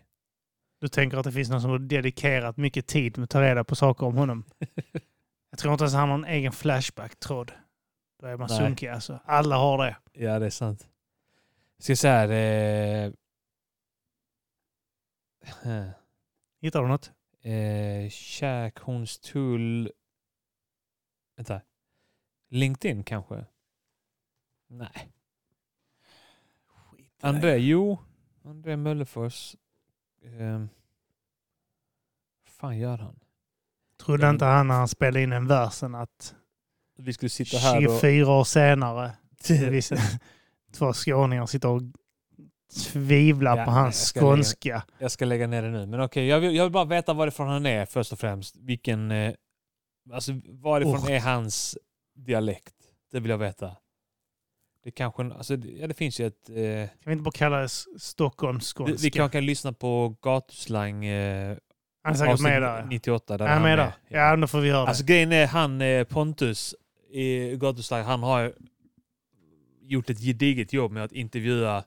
Speaker 1: Du tänker att det finns någon som har dedikerat mycket tid med att ta reda på saker om honom. Jag tror inte ens han har en egen Flashback-tråd. Då är man
Speaker 2: Nej.
Speaker 1: sunkig alltså. Alla har det.
Speaker 2: Ja, det är sant. Jag ska säga här... Eh, eh,
Speaker 1: Hittar du något?
Speaker 2: eh, käk, hons, tull... Vänta. LinkedIn kanske? Nej. André, jo. André Möllerfors. Eh, fan gör han?
Speaker 1: Trodde inte han när han spelade in den versen att
Speaker 2: Vi skulle sitta här och...
Speaker 1: 24 år senare, vissa- två skåningar sitter och tvivlar
Speaker 2: Ja,
Speaker 1: på
Speaker 2: jag
Speaker 1: hans
Speaker 2: ska lägga-
Speaker 1: skånska.
Speaker 2: Jag ska lägga ner det nu. Men okej, jag, vill, jag vill bara veta varifrån han är först och främst. Vilken... Eh, alltså varifrån
Speaker 1: Ort.
Speaker 2: är hans dialekt? Det vill jag veta. Det kanske... en- Alltså, det- ja, det finns ju ett... Eh,
Speaker 1: Kan vi inte bara kalla det s-
Speaker 2: vi,
Speaker 1: Stockholmsskånska?
Speaker 2: vi kanske kan lyssna på gatuslang eh,
Speaker 1: han är säkert med
Speaker 2: avsnitt
Speaker 1: där.
Speaker 2: 98. Där
Speaker 1: Är han med där?
Speaker 2: Ja.
Speaker 1: Ja, då får vi höra
Speaker 2: Alltså
Speaker 1: det.
Speaker 2: grejen är han eh, Pontus i Gatuslang, han har gjort ett gediget jobb med att intervjua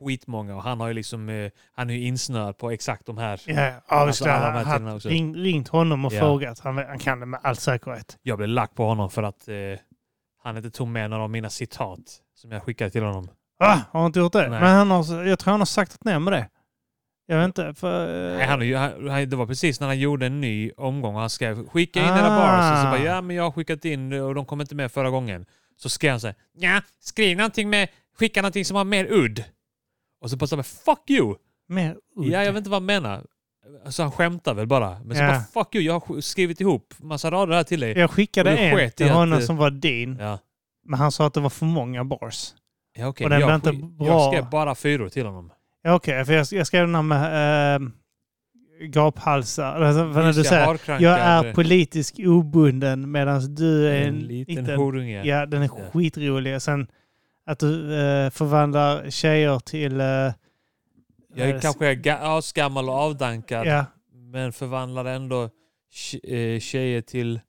Speaker 2: skitmånga och han har ju liksom, eh, han är ju insnöad på exakt de här.
Speaker 1: Ja, ja vi
Speaker 2: alltså
Speaker 1: skulle
Speaker 2: alla de här
Speaker 1: ha haft-
Speaker 2: tiderna också.
Speaker 1: ring, ringt honom och
Speaker 2: Ja.
Speaker 1: frågat. Han, han kan det med all säkerhet.
Speaker 2: Jag blev lack på honom för att eh, han inte tog med några av mina citat som jag skickade till honom.
Speaker 1: Ah, har han inte gjort det?
Speaker 2: Nej.
Speaker 1: Men han har, jag tror han har sagt nej med det. Jag vet inte. För,
Speaker 2: Nej, han, har ju- han, han, det var precis när han gjorde en ny omgång och han skrev skicka in era
Speaker 1: Ah.
Speaker 2: bars och så bara ja men jag har skickat in och de kom inte med förra gången. Så skrev han så här ja skriv någonting med, skicka någonting som har mer udd. Och så bara så här, fuck you!
Speaker 1: eh, Mer udd.
Speaker 2: Ja, jag vet inte vad han menar. Alltså han skämtar väl bara. Men så
Speaker 1: Ja.
Speaker 2: bara fuck you, jag har sk- skrivit ihop massa rader här till dig. Ja,
Speaker 1: Jag skickade
Speaker 2: Och det
Speaker 1: en
Speaker 2: sket
Speaker 1: till
Speaker 2: i att,
Speaker 1: honom
Speaker 2: eh,
Speaker 1: som var din,
Speaker 2: ja.
Speaker 1: men han sa att det var för många bars.
Speaker 2: okej.
Speaker 1: Och den
Speaker 2: jag,
Speaker 1: var inte
Speaker 2: sk-
Speaker 1: bra.
Speaker 2: jag skrev bara fyror till honom.
Speaker 1: Ja, Okej, för jag, jag skrev den här med äh, gaphalsar. Alltså, för när
Speaker 2: Just
Speaker 1: du
Speaker 2: det,
Speaker 1: säger
Speaker 2: harkrankar.
Speaker 1: jag är politisk obunden medan du är
Speaker 2: en
Speaker 1: en
Speaker 2: liten horunge.
Speaker 1: Ja, den är
Speaker 2: Ja.
Speaker 1: skitrolig. Och Sen att du eh, förvandlar tjejer till... eh,
Speaker 2: Jag
Speaker 1: eh,
Speaker 2: är kanske är ga- asgammal och avdankad.
Speaker 1: Ja,
Speaker 2: Men förvandlar ändå tje- eh, tjejer till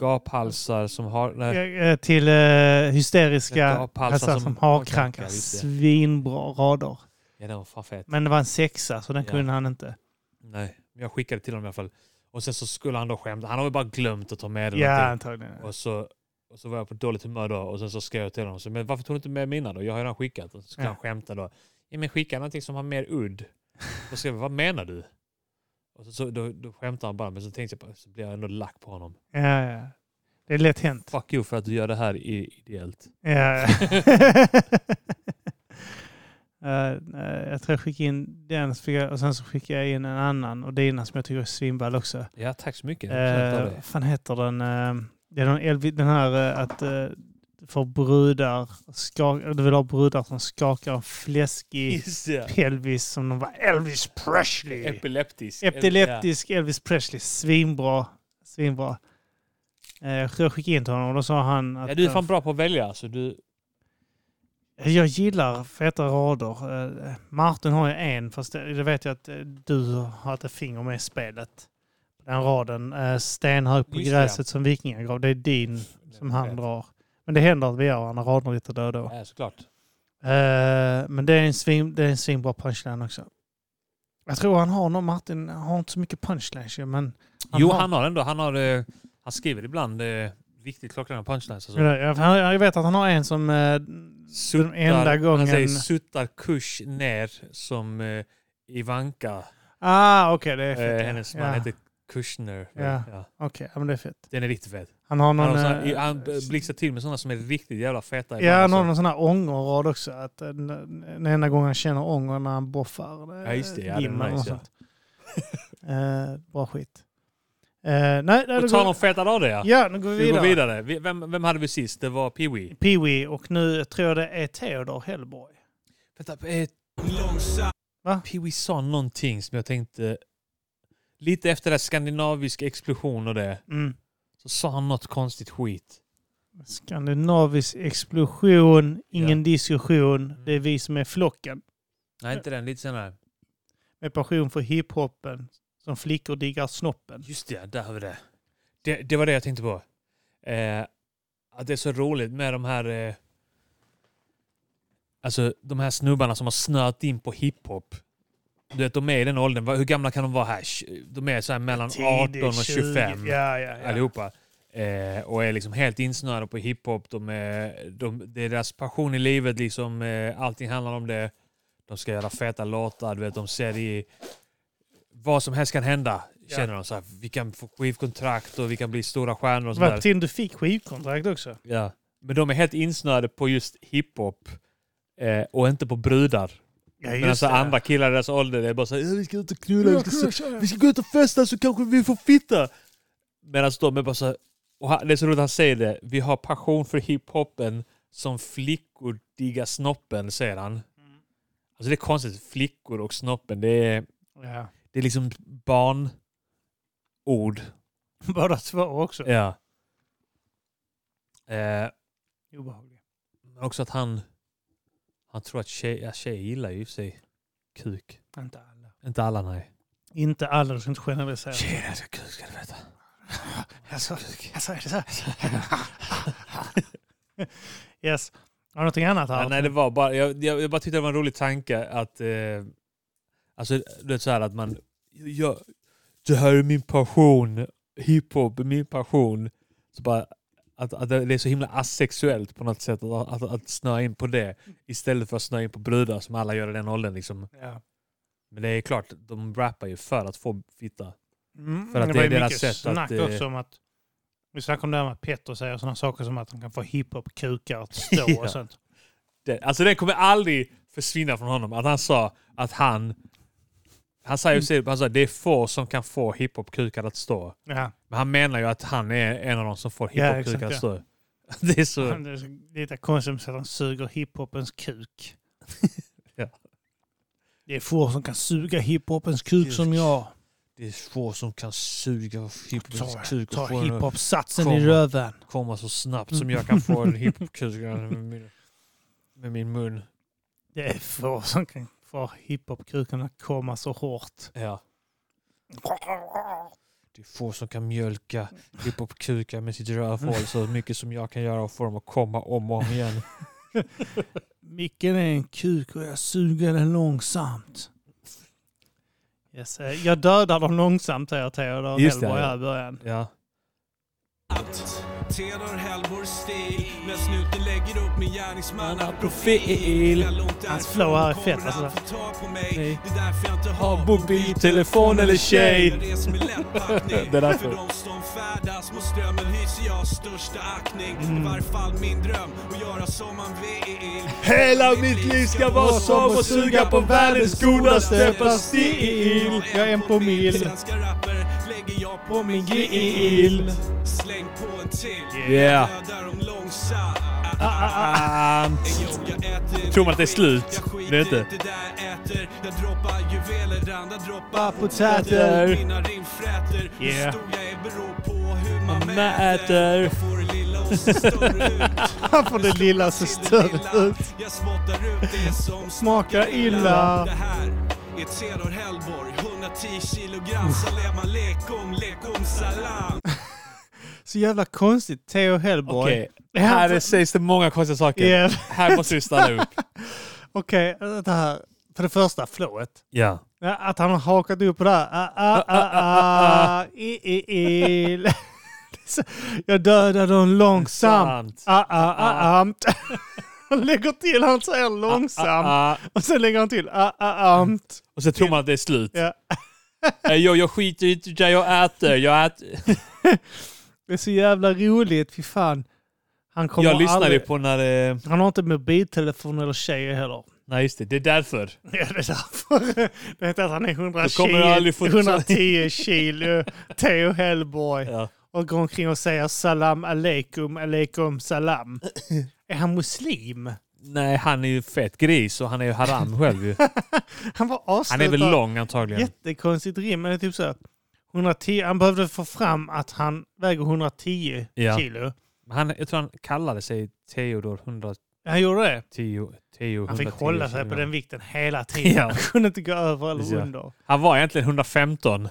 Speaker 2: gaphalsar som har... Nej,
Speaker 1: eh, eh, till eh, hysteriska
Speaker 2: Gaphalsar
Speaker 1: halsar som,
Speaker 2: som
Speaker 1: har
Speaker 2: harkrankar,
Speaker 1: krankar.
Speaker 2: just det.
Speaker 1: Svinbra rader.
Speaker 2: ja, den var fan fet.
Speaker 1: Men det var en sexa, så den
Speaker 2: Ja.
Speaker 1: kunde han inte.
Speaker 2: Nej, men jag skickade till honom i alla fall. Och sen så skulle han då skämta. Han har väl bara glömt att ta med det.
Speaker 1: Ja,
Speaker 2: någonting.
Speaker 1: antagligen.
Speaker 2: Och så, och så var jag på dåligt humör då och sen så skrev jag till honom. Så, men varför tog du inte med mina då? Jag har ju redan skickat. Och så skulle
Speaker 1: Ja.
Speaker 2: han skämta då. Ja, men skicka någonting som har mer udd. Då skrev jag, vad menar du? Och så, så, då, då skämtade han bara, men så tänkte jag på, så blev jag ändå lack på honom.
Speaker 1: Ja, ja. Det är lätt hänt.
Speaker 2: Fuck you för att du gör det här i, ideellt.
Speaker 1: Ja, ja. Eh, eh, jag tror jag skickade in den så fick jag- och sen så skickade jag in en annan och dina som jag tycker är svinball också.
Speaker 2: Ja, tack så mycket. Jag
Speaker 1: Eh,
Speaker 2: uppskattar det.
Speaker 1: Vad fan heter den? Eh, det är någon Elvi, den här eh, att eh, för brudar, skak, du vill ha brudar som skakar en fläskig
Speaker 2: Just det.
Speaker 1: pelvis som de var Elvis Presley.
Speaker 2: Epileptisk.
Speaker 1: Epileptisk Elvis Presley, svinbra. Svinbra. Eh, jag tror jag skickade in till honom och då sa han att
Speaker 2: Ja, du är
Speaker 1: eh,
Speaker 2: fan bra på att välja. Så du,
Speaker 1: jag gillar feta rader. Eh, Martin har ju en, fast det, det vet jag att eh, du har ett finger med i spelet. Den raden, eh, stenhög på
Speaker 2: Just det, ja. Mm,
Speaker 1: gräset som vikingar gav, det är din som han drar. Men det händer att vi gör andra rader lite då och då.
Speaker 2: Ja, såklart.
Speaker 1: Eh, men det är en, svin, det är en svinbra punchline också. Jag tror han har någon, Martin har inte så mycket punchlines ju, men...
Speaker 2: Jo, han har ändå. Han, har, eh, han skriver ibland eh, riktigt klockrena punchlines. alltså. Och så.
Speaker 1: Jag, jag, jag vet att han har en som... eh,
Speaker 2: suttar,
Speaker 1: enda gången-
Speaker 2: Han säger suttar kurs ner som eh, Ivanka.
Speaker 1: ah, okej, det är
Speaker 2: Eh,
Speaker 1: fett. ja.
Speaker 2: hennes
Speaker 1: ja.
Speaker 2: man heter Kushner.
Speaker 1: Ja. Okej, ja, men det är fett.
Speaker 2: Den är riktigt fet.
Speaker 1: Han har någon...
Speaker 2: Han, har sån-
Speaker 1: eh,
Speaker 2: han blixtrar till med sådana som är riktigt jävla feta.
Speaker 1: Ja, han
Speaker 2: ibland,
Speaker 1: har
Speaker 2: alltså.
Speaker 1: någon sån här ångerrad också. Att eh, den den enda gången han känner ånger när han boffar. eh,
Speaker 2: Ja, just det. Ja, den
Speaker 1: Jim
Speaker 2: är
Speaker 1: eller
Speaker 2: nice,
Speaker 1: något sånt. Eh, Bra skit. Eh, Nej, nej,
Speaker 2: På
Speaker 1: det
Speaker 2: tal
Speaker 1: går-
Speaker 2: om feta rader ja.
Speaker 1: Ja, nu går vi
Speaker 2: Vi går
Speaker 1: vidare.
Speaker 2: vidare. Vi- Vem, vem hade vi sist? Det var Pee-Wee.
Speaker 1: Pee-Wee och nu tror jag det är Theodor Hellborg.
Speaker 2: Vänta, eh,
Speaker 7: Långsamt
Speaker 2: Pee-Wee sa någonting som jag tänkte... Lite efter den skandinaviska explosion och det,
Speaker 1: Mm.
Speaker 2: så sa han något konstigt skit.
Speaker 1: Skandinavisk explosion, ingen diskussion.
Speaker 2: Mm.
Speaker 1: Det är vi som är flocken.
Speaker 2: Nej, inte den. Lite senare.
Speaker 1: Med passion för hiphopen som flickor diggar snoppen.
Speaker 2: Just det, där har vi det. Det, det var det jag tänkte på. Eh, att det är så roligt med de här... Eh, alltså de här snubbarna som har snöat in på hiphop. Du vet, de är i den åldern. Vad- Hur gamla kan de vara här? Tj- De är så här mellan 18 och 25.
Speaker 1: Ja, ja, ja.
Speaker 2: allihopa. Eh, och är liksom helt insnöade på hiphop. De är, de, det är deras passion i livet, liksom, eh, allting handlar om det. De ska göra feta låtar, du vet, de ser i... Vad som helst kan hända, känner de. Så här, vi kan få skivkontrakt och vi kan bli stora stjärnor och
Speaker 1: Det var på
Speaker 2: sådär.
Speaker 1: tiden du fick skivkontrakt också.
Speaker 2: Ja. Men de är helt insnöade på just hiphop eh, och inte på brudar.
Speaker 1: Ja, just
Speaker 2: Men alltså
Speaker 1: det.
Speaker 2: andra killar i deras ålder, det är bara så här, "Ja, vi ska ut och knulla, vi ska, så, vi ska gå ut och festa så kanske vi får fitta. Medan de är bara så här, och han, det är så roligt han säger det, vi har passion för hiphopen som flickor diggar snoppen, säger han. Alltså det är konstigt, flickor och snoppen, det är,
Speaker 1: Ja.
Speaker 2: det är liksom barnord.
Speaker 1: Båda två också.
Speaker 2: Ja. Eh,
Speaker 1: Obehagliga.
Speaker 2: men också att han, han tror att tjejer, ja, tjejer gillar ju i och för sig kuk.
Speaker 1: Inte alla.
Speaker 2: Inte alla nej.
Speaker 1: Inte alla, du ska inte generalisera.
Speaker 2: Tjejer älskar kuk ska du veta.
Speaker 1: Alltså, alltså, är det så här? yes. Har du någonting annat här?
Speaker 2: Ja, nej, det var bara, jag, jag, jag bara tyckte det var en rolig tanke att... Eh, alltså, du vet så här att man... Jag, det här är min passion. Hiphop är min passion. Så bara, att, att det är så himla asexuellt på något sätt att, att, att snöa in på det istället för att snöa in på brudar som alla gör i den åldern. Liksom.
Speaker 1: Ja.
Speaker 2: Men det är klart, de rappar ju för att få fitta.
Speaker 1: Mm,
Speaker 2: För att
Speaker 1: men
Speaker 2: det är
Speaker 1: var ju
Speaker 2: deras
Speaker 1: mycket
Speaker 2: sätt att,
Speaker 1: snack
Speaker 2: eh,
Speaker 1: också om att... Vi snackade om det här med att Petter säger sådana saker som att han kan få hiphop-kukar att stå
Speaker 2: Ja.
Speaker 1: och sånt.
Speaker 2: Det, alltså det kommer aldrig försvinna från honom. Att han sa att han... Han säger ju mm. att det är få som kan få hiphop-kukar att stå.
Speaker 1: Ja.
Speaker 2: Men han menar ju att han är en av de som får
Speaker 1: Ja,
Speaker 2: hiphop-kukar
Speaker 1: exakt,
Speaker 2: att
Speaker 1: ja.
Speaker 2: stå. Det är så...
Speaker 1: Det är så- det är lite konstigt att han suger hiphopens kuk.
Speaker 2: Ja.
Speaker 1: Det är få som kan suga hiphopens kuk
Speaker 2: Kuk.
Speaker 1: som jag.
Speaker 2: Det är få som kan suga
Speaker 1: Ta,
Speaker 2: hiphopens kuk
Speaker 1: ta Mm.
Speaker 2: och få den att
Speaker 1: hiphop-satsen
Speaker 2: komma.
Speaker 1: i röven.
Speaker 2: komma så snabbt som jag kan få en hiphop-kuk med min, med min mun.
Speaker 1: Det är få som kan få hiphop-kuken att komma så hårt.
Speaker 2: Ja. Det är få som kan mjölka hiphop-kukar med sitt rövhål så mycket som jag kan göra och få dem att komma om och om igen.
Speaker 1: Micken är en kuk och jag suger den långsamt. Yes, eh, jag dödar dem långsamt säger Theodor
Speaker 2: Just det,
Speaker 1: Hellborg
Speaker 2: ja.
Speaker 1: här i början.
Speaker 2: Ja.
Speaker 7: Allt Theodor Hellborgs stil När snuten lägger upp min
Speaker 2: Profil.
Speaker 7: gärningsmannaprofil När långt
Speaker 1: Hans
Speaker 7: därifrån
Speaker 1: flow här är
Speaker 7: kommer
Speaker 1: fett, alltså.
Speaker 7: han få tag på mig
Speaker 2: Nej.
Speaker 7: Det är därför jag inte har
Speaker 2: Har mobiltelefon eller tjej.
Speaker 7: Jag reser med lättbackning
Speaker 2: Det är därför.
Speaker 7: För de som färdas mot strömmen hyser jag största aktning I varje fall min dröm att göra som man vill
Speaker 2: Hela mitt liv ska vara som att suga på världens godaste pastil.
Speaker 1: Jag är en promille.
Speaker 7: Svenska rapper lägger jag på min
Speaker 2: gill.
Speaker 7: gill Släng på en till
Speaker 2: Yeah. Ah.
Speaker 7: Dödar dem långsamt
Speaker 2: Tror man att det är slut? Det är inte.
Speaker 7: Jag droppar juveler, andra
Speaker 2: Ah,
Speaker 7: droppar
Speaker 2: potäter.
Speaker 7: Mina rimfräter. Hur
Speaker 1: Yeah.
Speaker 7: stor jag är beror på hur man
Speaker 2: Man
Speaker 7: mäter.
Speaker 2: mäter.
Speaker 7: Jag får det lilla och ser större ut.
Speaker 1: Han får det lilla så större ut.
Speaker 7: Jag spottar ut det som
Speaker 1: Smakar illa.
Speaker 7: Det här är Theodor Hellborg, 110 kilogram. Salema lekum, lekum salam.
Speaker 1: Så jävla konstigt. Theo Hellborg.
Speaker 2: Okej, här sägs det många konstiga saker.
Speaker 1: Yeah.
Speaker 2: Här måste vi stanna upp.
Speaker 1: Okej, det här. För det första, flowet.
Speaker 2: Ja.
Speaker 1: Ja, Att han har hakat upp på det här. Ah, ah, ah, ah, i, i, i. Det är så- Jag dödar dem långsamt.
Speaker 2: Sant.
Speaker 1: Ah, ah, ah, amt. Han lägger till, han säger långsamt.
Speaker 2: Ah, ah.
Speaker 1: Och sen lägger han till, ah, ah, amt.
Speaker 2: Och så tror man att det är slut.
Speaker 1: Ja.
Speaker 2: Eh, Jag, jag skiter inte i det jag äter. Jag, äter.
Speaker 1: Det är så jävla roligt, fy fan. Han kommer
Speaker 2: jag lyssnade ju
Speaker 1: aldrig...
Speaker 2: på när det...
Speaker 1: Han har inte mobiltelefon eller tjejer heller.
Speaker 2: Nej just det, det är därför.
Speaker 1: Ja, det är därför. Det är inte att han är 100
Speaker 2: Då kommer du aldrig få-
Speaker 1: 110 kilo, Theo Hellborg.
Speaker 2: Ja.
Speaker 1: och går omkring och säger salam aleikum, aleikum salam. är han muslim?
Speaker 2: Nej, han är ju fet gris och han är ju haram själv ju.
Speaker 1: Han var
Speaker 2: Han är väl
Speaker 1: avslutad.
Speaker 2: lång antagligen.
Speaker 1: Jättekonstigt rim. Men det är typ så här, 110, han behövde få fram att han väger 110
Speaker 2: Ja.
Speaker 1: kilo.
Speaker 2: Han, jag tror han kallade sig Theodor 110.
Speaker 1: Han gjorde det.
Speaker 2: Theo
Speaker 1: Han fick
Speaker 2: 110
Speaker 1: hålla sig på
Speaker 2: kilogram.
Speaker 1: den vikten hela tiden.
Speaker 2: Ja.
Speaker 1: Han kunde inte gå över eller
Speaker 2: Ja.
Speaker 1: under.
Speaker 2: Han var egentligen 115.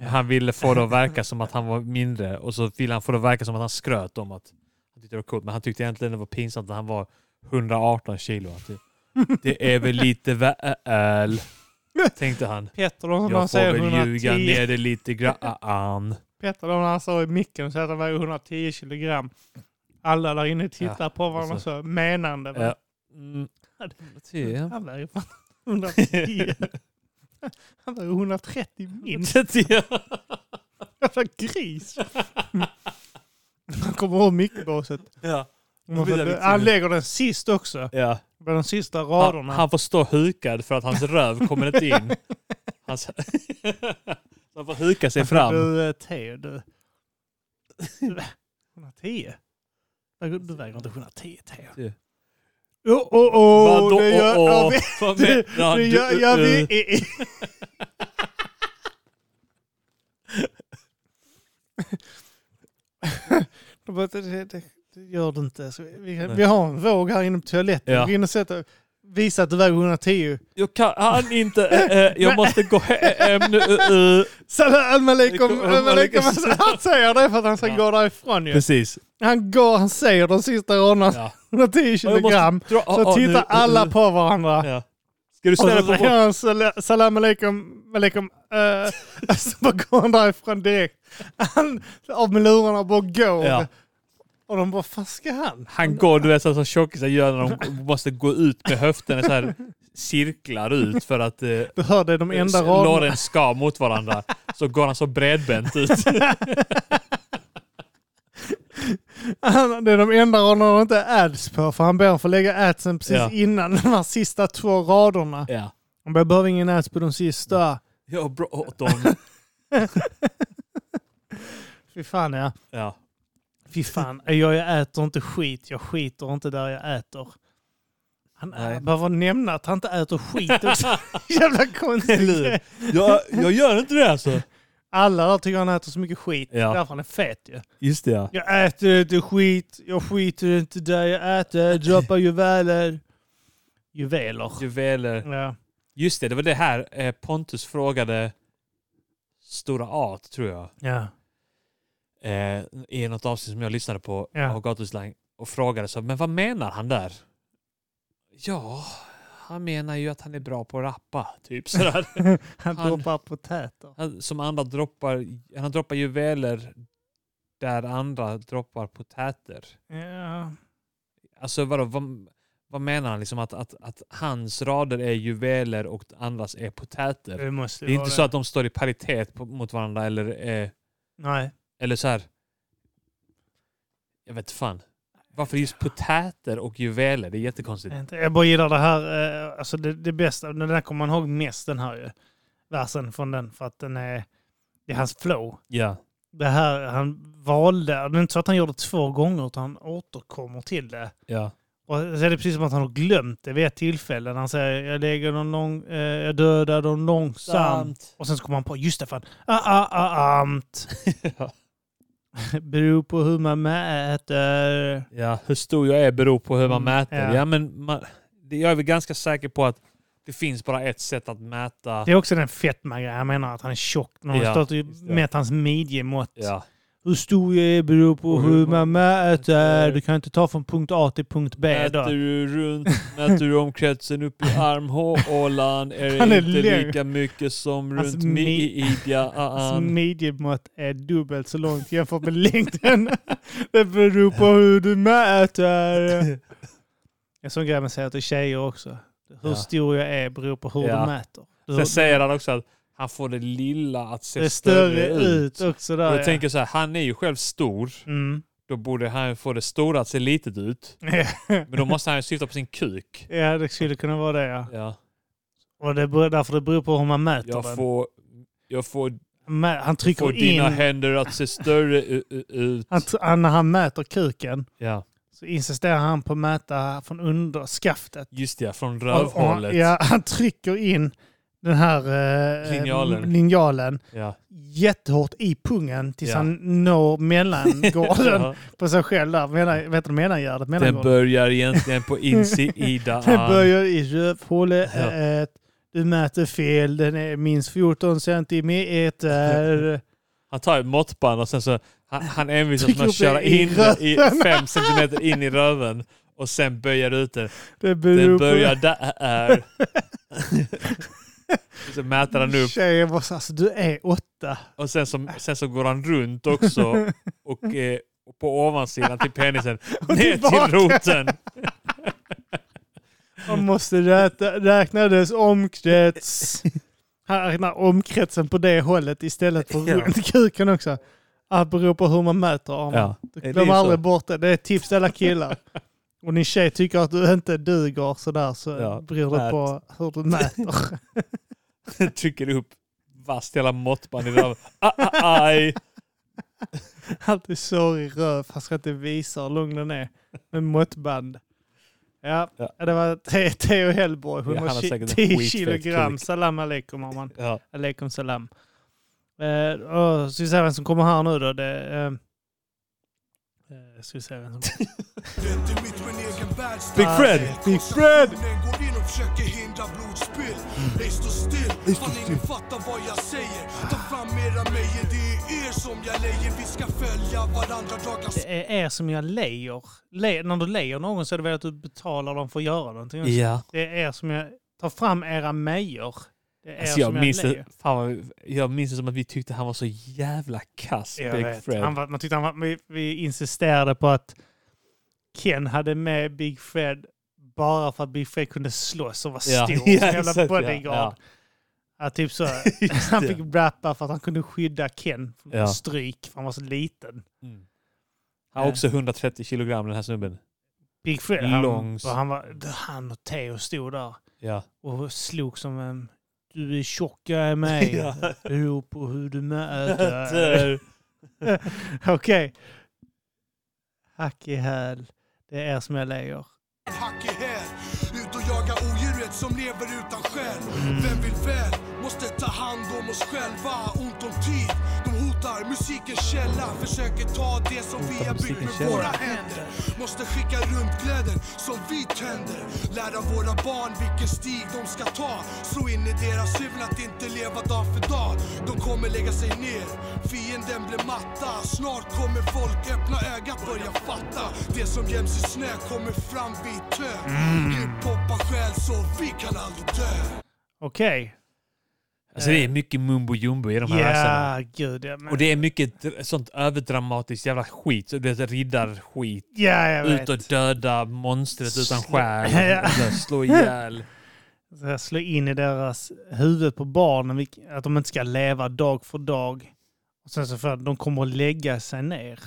Speaker 2: Han ville få det att verka som att han var mindre och så ville han få det att verka som att han skröt om att han tyckte det var coolt. Men han tyckte egentligen det var pinsamt när han var 118 kilo. Att det- Det är väl lite väl, tänkte han.
Speaker 1: Petter då, när han
Speaker 2: Jag får
Speaker 1: säger
Speaker 2: väl
Speaker 1: 110,
Speaker 2: ljuga ner det lite grann.
Speaker 1: Petter då, när han sa i micken så att han väger 110 kilogram. Alla där inne tittar
Speaker 2: Ja,
Speaker 1: på varandra
Speaker 2: alltså.
Speaker 1: så menande. va?
Speaker 2: Ja. Mm. Ja.
Speaker 1: Han väger fan 110. Han väger 130 minst. Jävla gris. Han kommer ihåg mickbåset.
Speaker 2: Ja.
Speaker 1: Han lägger den sist också.
Speaker 2: Ja.
Speaker 1: Det var de sista
Speaker 2: Han,
Speaker 1: raderna.
Speaker 2: han får stå hukad för att hans röv kommer inte in. Hans... han får huka sig fram.
Speaker 1: Du, eh, Theo, du... du- 110? Du du väger inte 110, Theo.
Speaker 2: Du.
Speaker 1: Oh, oh, oh,
Speaker 2: Vadå?
Speaker 1: det gör
Speaker 2: Åh,
Speaker 1: jag
Speaker 2: åh.
Speaker 1: vet.
Speaker 2: Vad
Speaker 1: Det,
Speaker 2: menar
Speaker 1: det gör
Speaker 2: du? Eh,
Speaker 1: jag vet. De bara, Det, det, det, det gör du inte. Så vi- vi, vi har en våg här inne på toaletten.
Speaker 2: Ja.
Speaker 1: Gå in och sätta, visa att du väger 110.
Speaker 2: Jag kan han inte. eh, eh, jag måste gå hem nu. eh, eh.
Speaker 1: Salam alaikum.
Speaker 2: Alaikum, alaikum.
Speaker 1: Han säger det för att han ska
Speaker 2: Ja.
Speaker 1: gå därifrån ju.
Speaker 2: Precis.
Speaker 1: Han går, han säger de sista raderna.
Speaker 2: Ja.
Speaker 1: 110
Speaker 2: Och jag måste
Speaker 1: kilogram.
Speaker 2: dra- ah,
Speaker 1: Så
Speaker 2: ah, nu,
Speaker 1: tittar
Speaker 2: eh,
Speaker 1: alla
Speaker 2: eh.
Speaker 1: på varandra.
Speaker 2: Ja. Ska du
Speaker 1: Och så
Speaker 2: ställa dig
Speaker 1: säger
Speaker 2: på
Speaker 1: han "Sala- salam alaikum, alaikum. Uh, så bara går han därifrån direkt. Han av med lurarna och bara går.
Speaker 2: Ja.
Speaker 1: Och de bara, fan ska han?
Speaker 2: Han går, du vet, så som tjockisar gör när de måste gå ut med höfterna så här cirklar ut för att eh,
Speaker 1: Du hörde de enda raderna.
Speaker 2: låren ska mot varandra. Så går han så bredbent ut.
Speaker 1: Han, det är de enda raderna de inte har ads på. För han ber att få lägga adsen precis
Speaker 2: Ja.
Speaker 1: innan de här sista två raderna.
Speaker 2: Ja.
Speaker 1: Han bara, jag behöver ingen ads på de sista.
Speaker 2: Ja, bråttom.
Speaker 1: Fy fan ja.
Speaker 2: Ja.
Speaker 1: Fy fan, jag, jag äter inte skit. Jag skiter inte där jag äter. Han
Speaker 2: Nej.
Speaker 1: behöver nämna att han inte äter skit också. Jävla konstigt.
Speaker 2: Eller Jag, jag gör inte det alltså.
Speaker 1: Alla där tycker han äter så mycket skit.
Speaker 2: Ja.
Speaker 1: Därför han är fet ju.
Speaker 2: Just det ja.
Speaker 1: Jag äter inte skit. Jag skiter inte där jag äter. Jag droppar juveler. Juveler.
Speaker 2: Juveler.
Speaker 1: Ja.
Speaker 2: Just det, det var det här eh, Pontus frågade Stora Art tror jag.
Speaker 1: Ja.
Speaker 2: Eh, I något avsnitt som jag lyssnade på
Speaker 1: Ja.
Speaker 2: av Gatuslang och frågade så, men vad menar han där? Ja, han menar ju att han är bra på att rappa. Typ sådär.
Speaker 1: Han,
Speaker 2: Han-
Speaker 1: droppar potäter.
Speaker 2: Han, som andra droppar, han droppar juveler där andra droppar potäter.
Speaker 1: Ja.
Speaker 2: Alltså vadå, vad, vad menar han? Liksom att, att, att hans rader är juveler och andras är potäter?
Speaker 1: Det måste
Speaker 2: Det är
Speaker 1: vara
Speaker 2: inte så att de står i paritet på, mot varandra eller, eh,
Speaker 1: Nej.
Speaker 2: eller så här. Jag vet fan. Varför just potäter och juveler? Det är jättekonstigt.
Speaker 1: Inte. Jag bara gillar det här, eh, alltså det, det bästa, den där kommer man ihåg mest den här ju. Versen från den, för att den är, det är hans flow.
Speaker 2: Ja.
Speaker 1: Det här han valde, det är inte så att han gjorde det två gånger utan han återkommer till det.
Speaker 2: Ja.
Speaker 1: Och så är det precis som att han har glömt det vid ett tillfälle. När han säger jag lägger dem lång, eh, jag dödar dem långsamt. Och sen så kommer han på, just det fan, ah, ah, ah, amt.
Speaker 2: Ja.
Speaker 1: Beror på hur man mäter.
Speaker 2: Ja, hur stor jag är beror på hur man
Speaker 1: Mm,
Speaker 2: mäter.
Speaker 1: ja.
Speaker 2: Ja, men man, det, jag är väl ganska säker på att det finns bara ett sätt att mäta.
Speaker 1: Det är också den fetma-grejen. Han menar att han är tjock. När han
Speaker 2: Ja,
Speaker 1: stått och
Speaker 2: just det.
Speaker 1: mätt hans midjemått.
Speaker 2: Ja.
Speaker 1: Hur stor jag är beror på
Speaker 2: Och
Speaker 1: hur
Speaker 2: hur
Speaker 1: man
Speaker 2: man-
Speaker 1: mäter. Du kan inte ta från punkt A till punkt B
Speaker 2: Mäter
Speaker 1: då.
Speaker 2: du runt, mäter du omkretsen upp i armhålan är
Speaker 1: Han
Speaker 2: det
Speaker 1: är
Speaker 2: inte
Speaker 1: lugn. Alltså,
Speaker 2: lika mycket som
Speaker 1: Hans
Speaker 2: runt ah,
Speaker 1: mi- Hans
Speaker 2: midjan.
Speaker 1: midjemått Alltså, är dubbelt så långt jämfört med längden. Det beror på hur du mäter. En sån grej man säger till tjejer också. Hur
Speaker 2: Ja.
Speaker 1: stor jag är beror på hur
Speaker 2: Ja.
Speaker 1: du mäter. Du,
Speaker 2: Sen säger han också att han får det lilla att se
Speaker 1: det är
Speaker 2: större
Speaker 1: större ut
Speaker 2: ut.
Speaker 1: också
Speaker 2: Och
Speaker 1: där.
Speaker 2: jag tänker så här, han är ju själv stor.
Speaker 1: ja. mm.
Speaker 2: Då borde han få det stora att se litet ut. Men då måste han ju syfta på sin kuk.
Speaker 1: ja, det skulle kunna vara det ja.
Speaker 2: Ja.
Speaker 1: Och det beror, därför det beror på hur man mäter den.
Speaker 2: Jag får, jag får,
Speaker 1: Han mä- Han trycker
Speaker 2: får dina
Speaker 1: in...
Speaker 2: händer att se större u- u- ut.
Speaker 1: Han, tr- han, när han mäter kuken
Speaker 2: Ja,
Speaker 1: så insisterar han på att mäta från underskaftet.
Speaker 2: just det. Från
Speaker 1: Och- och-
Speaker 2: rövhålet.
Speaker 1: Ja, han trycker in den här eh,
Speaker 2: Linjalen.
Speaker 1: eh, linjalen
Speaker 2: Ja.
Speaker 1: jättehårt i pungen tills
Speaker 2: Ja.
Speaker 1: han når mellangården
Speaker 2: Ja.
Speaker 1: på sig själv där. Mellan, vet du, mellangärdet?
Speaker 2: Den
Speaker 1: Mellangården.
Speaker 2: börjar egentligen på insidan.
Speaker 1: Den börjar i rövhålet.
Speaker 2: Ja.
Speaker 1: eh, Du mäter fel. Den är minst 14 centimeter.
Speaker 2: Han tar ett måttband och sen så han, han envisas
Speaker 1: Trycker
Speaker 2: med
Speaker 1: upp
Speaker 2: att köra
Speaker 1: det i
Speaker 2: in det i
Speaker 1: röven.
Speaker 2: fem centimeter in i röven och sen böjer ut den.
Speaker 1: Det
Speaker 2: Den
Speaker 1: beror på...
Speaker 2: börjar där. Och så mäter han upp
Speaker 1: Tjejen bara så, alltså, du är åtta.
Speaker 2: och sen så, sen så går han runt också och eh, och på ovansidan till penisen ner
Speaker 1: tillbaka.
Speaker 2: till roten.
Speaker 1: Man måste räkna, räkna dess omkrets. Han räknar omkretsen på det hållet istället för
Speaker 2: Ja.
Speaker 1: runt kuken också. Allt beror på hur man mäter. Arman.
Speaker 2: Ja.
Speaker 1: Du
Speaker 2: Det är
Speaker 1: glöm
Speaker 2: så.
Speaker 1: aldrig bort det. Det är ett tips till alla killar. Och din tjej tycker att du inte duger sådär så
Speaker 2: Ja,
Speaker 1: beror det
Speaker 2: nät.
Speaker 1: på hur du mäter.
Speaker 2: Trycker upp vasst jävla måttband i röven. Ah, ah, aj.
Speaker 1: Alltid sår i röv fast jag inte visar hur lång den är. Med måttband. Ja,
Speaker 2: Ja.
Speaker 1: det var Te- Theo Hellborg.
Speaker 2: Ja, han har säkert en
Speaker 1: 110
Speaker 2: skitfet
Speaker 1: kilogram.
Speaker 2: kuk.
Speaker 1: Salam aleikum har man.
Speaker 2: Ja.
Speaker 1: Aleikum salam. Eh, och ska vi se vem som kommer här nu då. Det, eh, eh, ska vi se vem som
Speaker 2: Big Fred!
Speaker 1: Ah,
Speaker 2: Big Fred!
Speaker 3: Fan, ingen fattar vad jag säger. Ta fram era mejjer, det är er som jag lejer. Vi ska följa varandra, dagar
Speaker 1: Det är, är som jag lejer. Le, när du lejer någon så är det väl att du betalar dem för att göra någonting. också.
Speaker 2: Ja.
Speaker 1: Det är som jag... Ta fram era mejor. Det är
Speaker 2: Alltså
Speaker 1: som
Speaker 2: jag,
Speaker 1: jag,
Speaker 2: minns det,
Speaker 1: lejer.
Speaker 2: fan vad, jag minns det som att vi tyckte han var så jävla kass,
Speaker 1: Jag
Speaker 2: Big
Speaker 1: vet.
Speaker 2: Fred.
Speaker 1: Han var, man tyckte han var, vi, vi insisterade på att Ken hade med Big Fred bara för att Big Fred kunde slåss och var
Speaker 2: Ja,
Speaker 1: stor.
Speaker 2: ja,
Speaker 1: som en
Speaker 2: exakt,
Speaker 1: jävla
Speaker 2: ja,
Speaker 1: bodyguard.
Speaker 2: ja.
Speaker 1: Ja, typ så.
Speaker 2: Just
Speaker 1: han
Speaker 2: det.
Speaker 1: fick rappa för att han kunde skydda Ken från
Speaker 2: Ja.
Speaker 1: stryk, för han var så liten.
Speaker 2: Mm. Han var också 130 kilogram den här snubben.
Speaker 1: Big Fred, han,
Speaker 2: Lång.
Speaker 1: han, var, han och Theo stod där.
Speaker 2: Ja.
Speaker 1: och slog som en du är tjock, jag är med.
Speaker 2: Ja. Typ.
Speaker 1: Det beror på hur du mäter. Okej. Hack i häl. Det är er som jag lejer.
Speaker 3: hack i häl. Ut och jaga odjuret som lever utan själ. Vem vill väl? Måste ta hand om oss själva. Ont om tid. De hotar musikens källa. Försöker ta det som vi har byggt med
Speaker 2: musikens källa.
Speaker 3: våra händer. Måste skicka runt glädjen som vi tänder. Lära våra barn vilken stig de ska ta. Slå in i deras huvuden att inte leva dag för dag. De kommer lägga sig ner. Fienden blir matta. Snart kommer folk öppna ögat, börja fatta. Det som göms i snö kommer fram vid tö.
Speaker 2: Mm.
Speaker 3: Hiphop har själ så vi kan aldrig dö.
Speaker 1: Okej.
Speaker 2: Alltså det är mycket mumbo jumbo i de här verserna.
Speaker 1: Ja, gud. Ja, men,
Speaker 2: Och det är mycket dr- sånt överdramatiskt jävla skit. Så Det är riddarskit.
Speaker 1: ja jag vet.
Speaker 2: Ut och döda monstret utan själ.
Speaker 1: Ja.
Speaker 2: Eller Slå ihjäl.
Speaker 1: Så jag slår in i deras huvud på barnen vilk- att de inte ska leva dag för dag. Och sen så för att de kommer att lägga sig ner.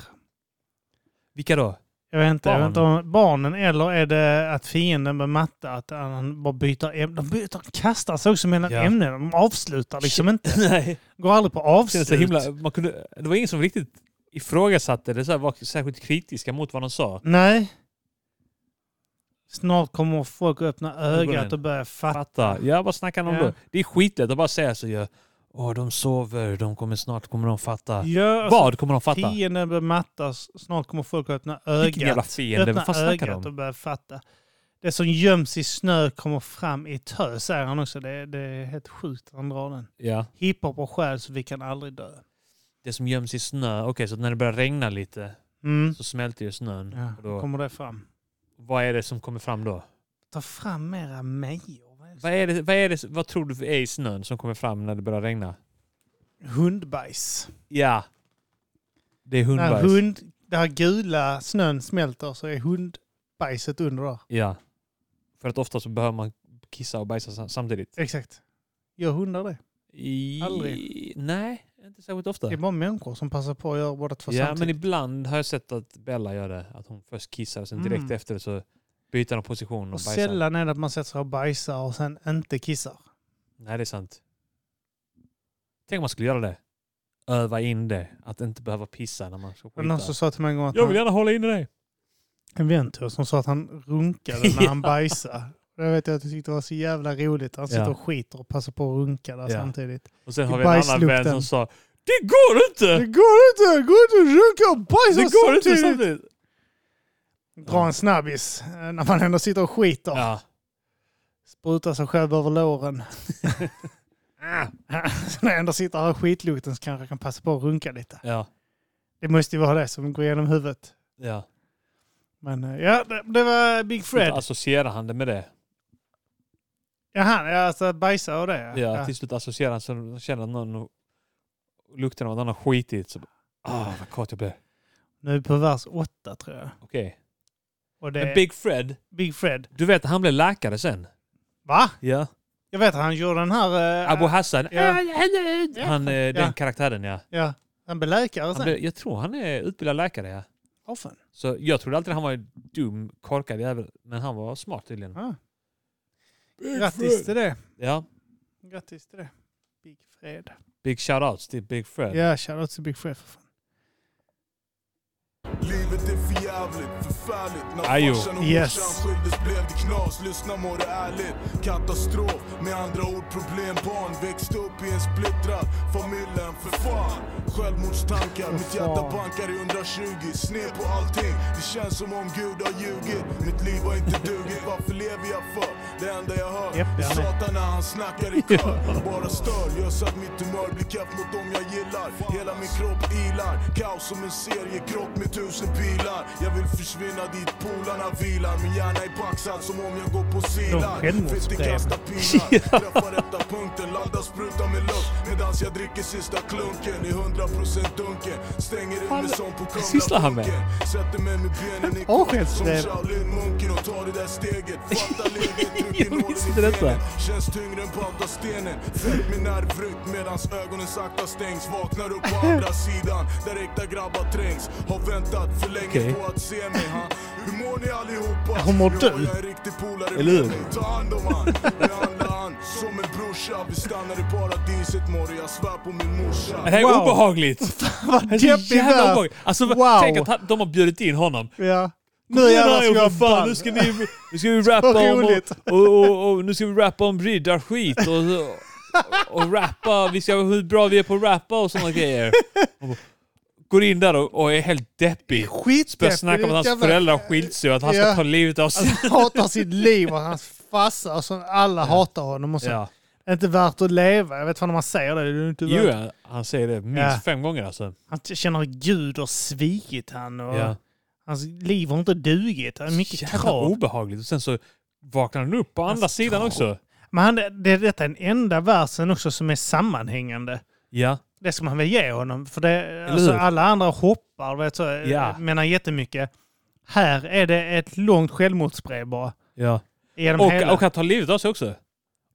Speaker 2: Vilka då?
Speaker 1: Jag vet inte, jag vet
Speaker 2: Barn.
Speaker 1: inte om barnen eller är det att fienden med matte, att han bara byter ämne. De byter, de kastar sig också mellan
Speaker 2: Ja.
Speaker 1: ämnen. De avslutar liksom inte.
Speaker 2: Nej.
Speaker 1: Går aldrig på
Speaker 2: Det,
Speaker 1: avslut.
Speaker 2: kändes så himla, man kunde, det var ingen som riktigt ifrågasatte det, så här, var särskilt kritiska mot vad de sa.
Speaker 1: Nej. Snart kommer folk att öppna ögat
Speaker 2: Ögonen.
Speaker 1: och börja fatta.
Speaker 2: Fatta. Ja, vad snackar de om
Speaker 1: Ja.
Speaker 2: då? Det är skitlätt att bara säga så. Ja. Åh, de sover, de kommer snart kommer de fatta.
Speaker 1: Ja, alltså,
Speaker 2: vad kommer de fatta?
Speaker 1: Fienden bör mattas. Snart kommer folk att öppna
Speaker 2: Vilken jävla
Speaker 1: ögat.
Speaker 2: fiende,
Speaker 1: Öppna
Speaker 2: vad fan snackar de
Speaker 1: ögat och
Speaker 2: om?
Speaker 1: börja fatta. Det som göms i snö kommer fram i tö, säger han också. Det, det är helt sjukt att han drar den.
Speaker 2: Ja.
Speaker 1: Hiphop har själ så vi kan aldrig dö.
Speaker 2: Det som göms i snö, okej, så när det börjar regna lite
Speaker 1: Mm.
Speaker 2: så smälter ju snön.
Speaker 1: Ja,
Speaker 2: Och
Speaker 1: då
Speaker 2: då,
Speaker 1: kommer det fram.
Speaker 2: vad är det som kommer fram då?
Speaker 1: Ta fram era mejor. Vad är det?
Speaker 2: Vad, är det, vad, är det, vad tror du är i snön som kommer fram när det börjar regna?
Speaker 1: Hundbajs.
Speaker 2: Ja. Det är
Speaker 1: När
Speaker 2: hundbajs.
Speaker 1: hund, där gula snön smälter så är hundbajset under där.
Speaker 2: Ja. För att ofta så behöver man kissa och bajsa sam- samtidigt.
Speaker 1: Exakt. Gör hundar det?
Speaker 2: I...
Speaker 1: Aldrig.
Speaker 2: Nej, inte särskilt ofta.
Speaker 1: Det är bara människor som passar på att göra båda två
Speaker 2: Ja, men
Speaker 1: samtidigt.
Speaker 2: ibland har jag sett att Bella gör det. Att hon först kissar och sen direkt
Speaker 1: Mm.
Speaker 2: efter det så byter hon position och,
Speaker 1: Och
Speaker 2: bajsar.
Speaker 1: sällan är det att man sätter sig och bajsar och sen inte kissar.
Speaker 2: Nej, det är sant. Tänk om man skulle göra det. Öva in det. Att inte behöva pissa när man ska
Speaker 1: Det var någon
Speaker 2: skita.
Speaker 1: som sa till mig en gång att
Speaker 2: Jag vill
Speaker 1: han,
Speaker 2: gärna hålla in det.
Speaker 1: en vän till oss som sa att han runkade när
Speaker 2: Ja.
Speaker 1: han bajsade. Och Jag vet jag att jag tyckte det var så jävla roligt. Han sitter
Speaker 2: Ja.
Speaker 1: och skiter och passar på att runka där
Speaker 2: Ja.
Speaker 1: samtidigt.
Speaker 2: Och sen
Speaker 1: I
Speaker 2: har vi en annan vän
Speaker 1: bajslukten.
Speaker 2: som sa Det går
Speaker 1: Det
Speaker 2: inte!
Speaker 1: går inte! Det går inte att runka och bajsa
Speaker 2: Det går inte
Speaker 1: samtidigt!
Speaker 2: samtidigt!
Speaker 1: Dra en snabbis eh, när man ändå sitter och skiter.
Speaker 2: Ja.
Speaker 1: Spruta sig själv över låren. så när jag ändå sitter här och har skitlukten så kanske jag kan passa på att runka lite.
Speaker 2: Ja.
Speaker 1: Det måste ju vara det som går igenom huvudet.
Speaker 2: Ja.
Speaker 1: Men eh, ja, det, det var Big Fred.
Speaker 2: Då associerar han det med det.
Speaker 1: Jaha, ja, alltså bajsa och det.
Speaker 2: Ja, till slut associerar han så känner han någon och- lukten av att någon har skitit. Så, bara, ah, vad kort jag blev.
Speaker 1: Nu är vi på vers åtta tror jag.
Speaker 2: Okej.
Speaker 1: Och det
Speaker 2: Men
Speaker 1: är Big...
Speaker 2: Big Fred,
Speaker 1: Fred.
Speaker 2: du vet han blev läkare sen.
Speaker 1: Va?
Speaker 2: Ja.
Speaker 1: Jag vet han gjorde den här... eh,
Speaker 2: Abu Hassan.
Speaker 1: Ja.
Speaker 2: Han, eh,
Speaker 1: Ja.
Speaker 2: Den karaktären ja.
Speaker 1: Ja, han blev läkare
Speaker 2: Han
Speaker 1: sen.
Speaker 2: blev, jag tror han är utbildad läkare ja.
Speaker 1: Åh fan.
Speaker 2: Så jag trodde alltid han var en dum, korkad jävel. Men han var smart tydligen.
Speaker 1: Ah. Grattis till det.
Speaker 2: Ja.
Speaker 1: Grattis till det. Big Fred.
Speaker 2: Big shoutouts till Big Fred.
Speaker 1: Ja, shoutout till Big Fred för fan.
Speaker 3: Livet är förjävligt, förfärligt. När
Speaker 2: Ajo.
Speaker 3: farsan och
Speaker 1: Yes.
Speaker 3: morsan skildes blev det knas. Lyssna må det ärligt. Katastrof, med andra ord problembarn. Växte upp i en splittrad familjen, för fan. Självmordstankar, mitt hjärta
Speaker 1: fan.
Speaker 3: bankar i 120. Sned på allting, det känns som om Gud har ljugit. Mitt liv har inte dugit, varför lever jag för? Det enda jag hör
Speaker 1: Japp,
Speaker 3: är
Speaker 1: jag med.
Speaker 3: Satan när han snackar i kör Bara stör, gör så att mitt humör blir kapp mot dem jag gillar Hela min kropp ilar, kaos som en seriekropp med tusen pilar Jag vill försvinna dit polarna vilar Min hjärna är paxad som om jag går på silar
Speaker 1: självmordsbrev.
Speaker 3: Fisk kasta pilar, träffar rätta punkten Laddar spruta med luft medans jag dricker sista klunken I 100% dunken, stänger in mig som på
Speaker 2: sysslar han med?
Speaker 3: Kumlabunken. Sätter mig med benen i
Speaker 1: Åh,
Speaker 3: kors som
Speaker 1: självskrev.
Speaker 3: Shaolin-munken och tar det där steget Fattar läget, tryck
Speaker 2: Jag
Speaker 3: in nålen
Speaker 2: visste
Speaker 3: i
Speaker 2: detta.
Speaker 3: benen Känns tyngre än pautastenen Fält min nervrytm medans ögonen sakta stängs Vaknar upp på andra sidan där äkta grabbar trängs Har väntat för länge
Speaker 2: Okej.
Speaker 3: på att se mig ha. Hur mår ni allihopa?
Speaker 1: Hur mår
Speaker 3: Nu
Speaker 1: du?
Speaker 3: har Jag en riktig polare
Speaker 2: Eller hur?
Speaker 3: med mig. Ta hand om han, behandla han som en brorsa Vi stannar i paradiset morre, jag svär på min morsa
Speaker 2: Det här är
Speaker 1: Wow.
Speaker 2: obehagligt!
Speaker 1: Vad
Speaker 2: Det är så Alltså, jävla obehagligt. Alltså,
Speaker 1: Wow.
Speaker 2: tänk att han- de har bjudit in honom.
Speaker 1: Ja. Nu jävlar ska jag
Speaker 2: fan,
Speaker 1: ball.
Speaker 2: nu ska vi, nu ska vi rappa om,
Speaker 1: roligt.
Speaker 2: och, och, och, och, nu ska vi rappa om riddarskit och, och, och rappa, vi ska hur bra vi är på att rappa och sådana grejer. Och går in där och, och är helt deppig. Börjar
Speaker 1: Skitdeppigt.
Speaker 2: snacka om att hans föräldrar har skilt sig och att han ska
Speaker 1: Ja.
Speaker 2: ta livet av sig.
Speaker 1: Alltså, hatar sitt liv och hans farsa och så alla hatar honom och så.
Speaker 2: Ja.
Speaker 1: Det är inte värt att leva. Jag vet fan om man säger det. det är inte
Speaker 2: Jo,
Speaker 1: värt.
Speaker 2: ja, han säger det minst
Speaker 1: Ja.
Speaker 2: fem gånger alltså.
Speaker 1: Han t- känner att Gud har svikit han och
Speaker 2: Ja.
Speaker 1: hans liv har inte dugit. Han är mycket
Speaker 2: Jävla
Speaker 1: krav. Alltså,
Speaker 2: obehagligt. Och sen så vaknar han upp på andra sidan också.
Speaker 1: Men han, det, detta är den enda versen också som är sammanhängande.
Speaker 2: Ja.
Speaker 1: Det ska man väl ge honom. För det, alltså,
Speaker 2: hur?
Speaker 1: alla andra hoppar, vet så, eh,
Speaker 2: Ja.
Speaker 1: menar jättemycket. Här är det ett långt självmordsbrev bara.
Speaker 2: ja.
Speaker 1: Genom hela.
Speaker 2: Och, och han tar livet av sig också.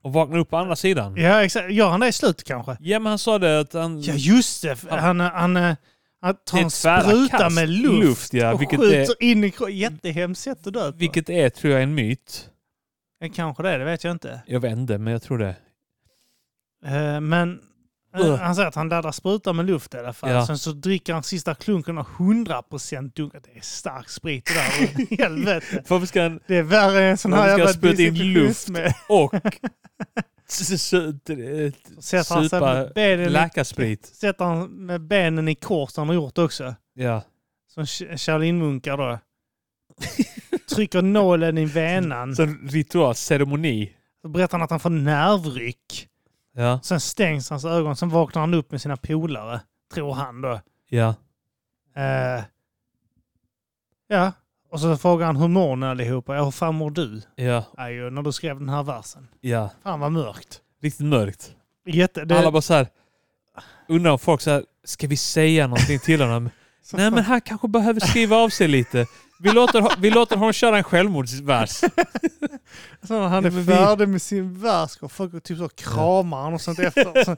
Speaker 2: Och vaknar upp på andra sidan.
Speaker 1: Ja, exakt. Gör han det i slutet kanske?
Speaker 2: Ja men han sa det att han...
Speaker 1: Ja, just det.
Speaker 2: Mm. Ja.
Speaker 1: Han, han, han, han tar
Speaker 2: Det är
Speaker 1: en
Speaker 2: tvära
Speaker 1: spruta
Speaker 2: kast.
Speaker 1: med luft,
Speaker 2: Luft, ja,
Speaker 1: och
Speaker 2: vilket
Speaker 1: skjuter in i kroppen. Jättehemskt sätt att dö på.
Speaker 2: Vilket är tror jag en myt.
Speaker 1: Ja, Kanske det, det vet jag inte.
Speaker 2: Jag vet inte men jag tror det.
Speaker 1: Eh, Men eh,
Speaker 2: Ugh.
Speaker 1: han säger att han laddar spruta med luft i alla fall.
Speaker 2: Ja.
Speaker 1: Sen så dricker han sista klunken och 100% dunkar. Det är stark sprit det där. Helvete.
Speaker 2: Varför ska han...
Speaker 1: Det är värre än en sån här
Speaker 2: Varför
Speaker 1: jävla
Speaker 2: ska han spruta in luft?
Speaker 1: med.
Speaker 2: Och... s- s- s-
Speaker 1: Sätter han, sig
Speaker 2: Supa
Speaker 1: med benen,
Speaker 2: läkarsprit.
Speaker 1: sätter han med benen i kors, han har gjort också.
Speaker 2: Ja.
Speaker 1: Som Sh- Shaolin-munkar då. Trycker nålen i venan.
Speaker 2: Så en ritual, ceremoni.
Speaker 1: Så berättar han att han får nervryck.
Speaker 2: Ja.
Speaker 1: Sen stängs hans ögon. Sen vaknar han upp med sina polare. Tror han då.
Speaker 2: Ja.
Speaker 1: Eh, ja. Och så frågar han hur mår ni allihopa? Ja, hur fan mår du?
Speaker 2: Ja.
Speaker 1: Är ju när du skrev den här versen.
Speaker 2: Ja.
Speaker 1: Fan vad mörkt.
Speaker 2: Riktigt mörkt.
Speaker 1: Jätte, det,
Speaker 2: Alla bara så här, undrar om folk så här, ska vi säga någonting till honom? Nej men han kanske behöver skriva av sig lite. Vi låter, vi låter honom köra en självmordsvers.
Speaker 1: så när han är
Speaker 2: Ja, men vi-
Speaker 1: färdig med sin vers och folk typ så kramar han och sånt efter. Så,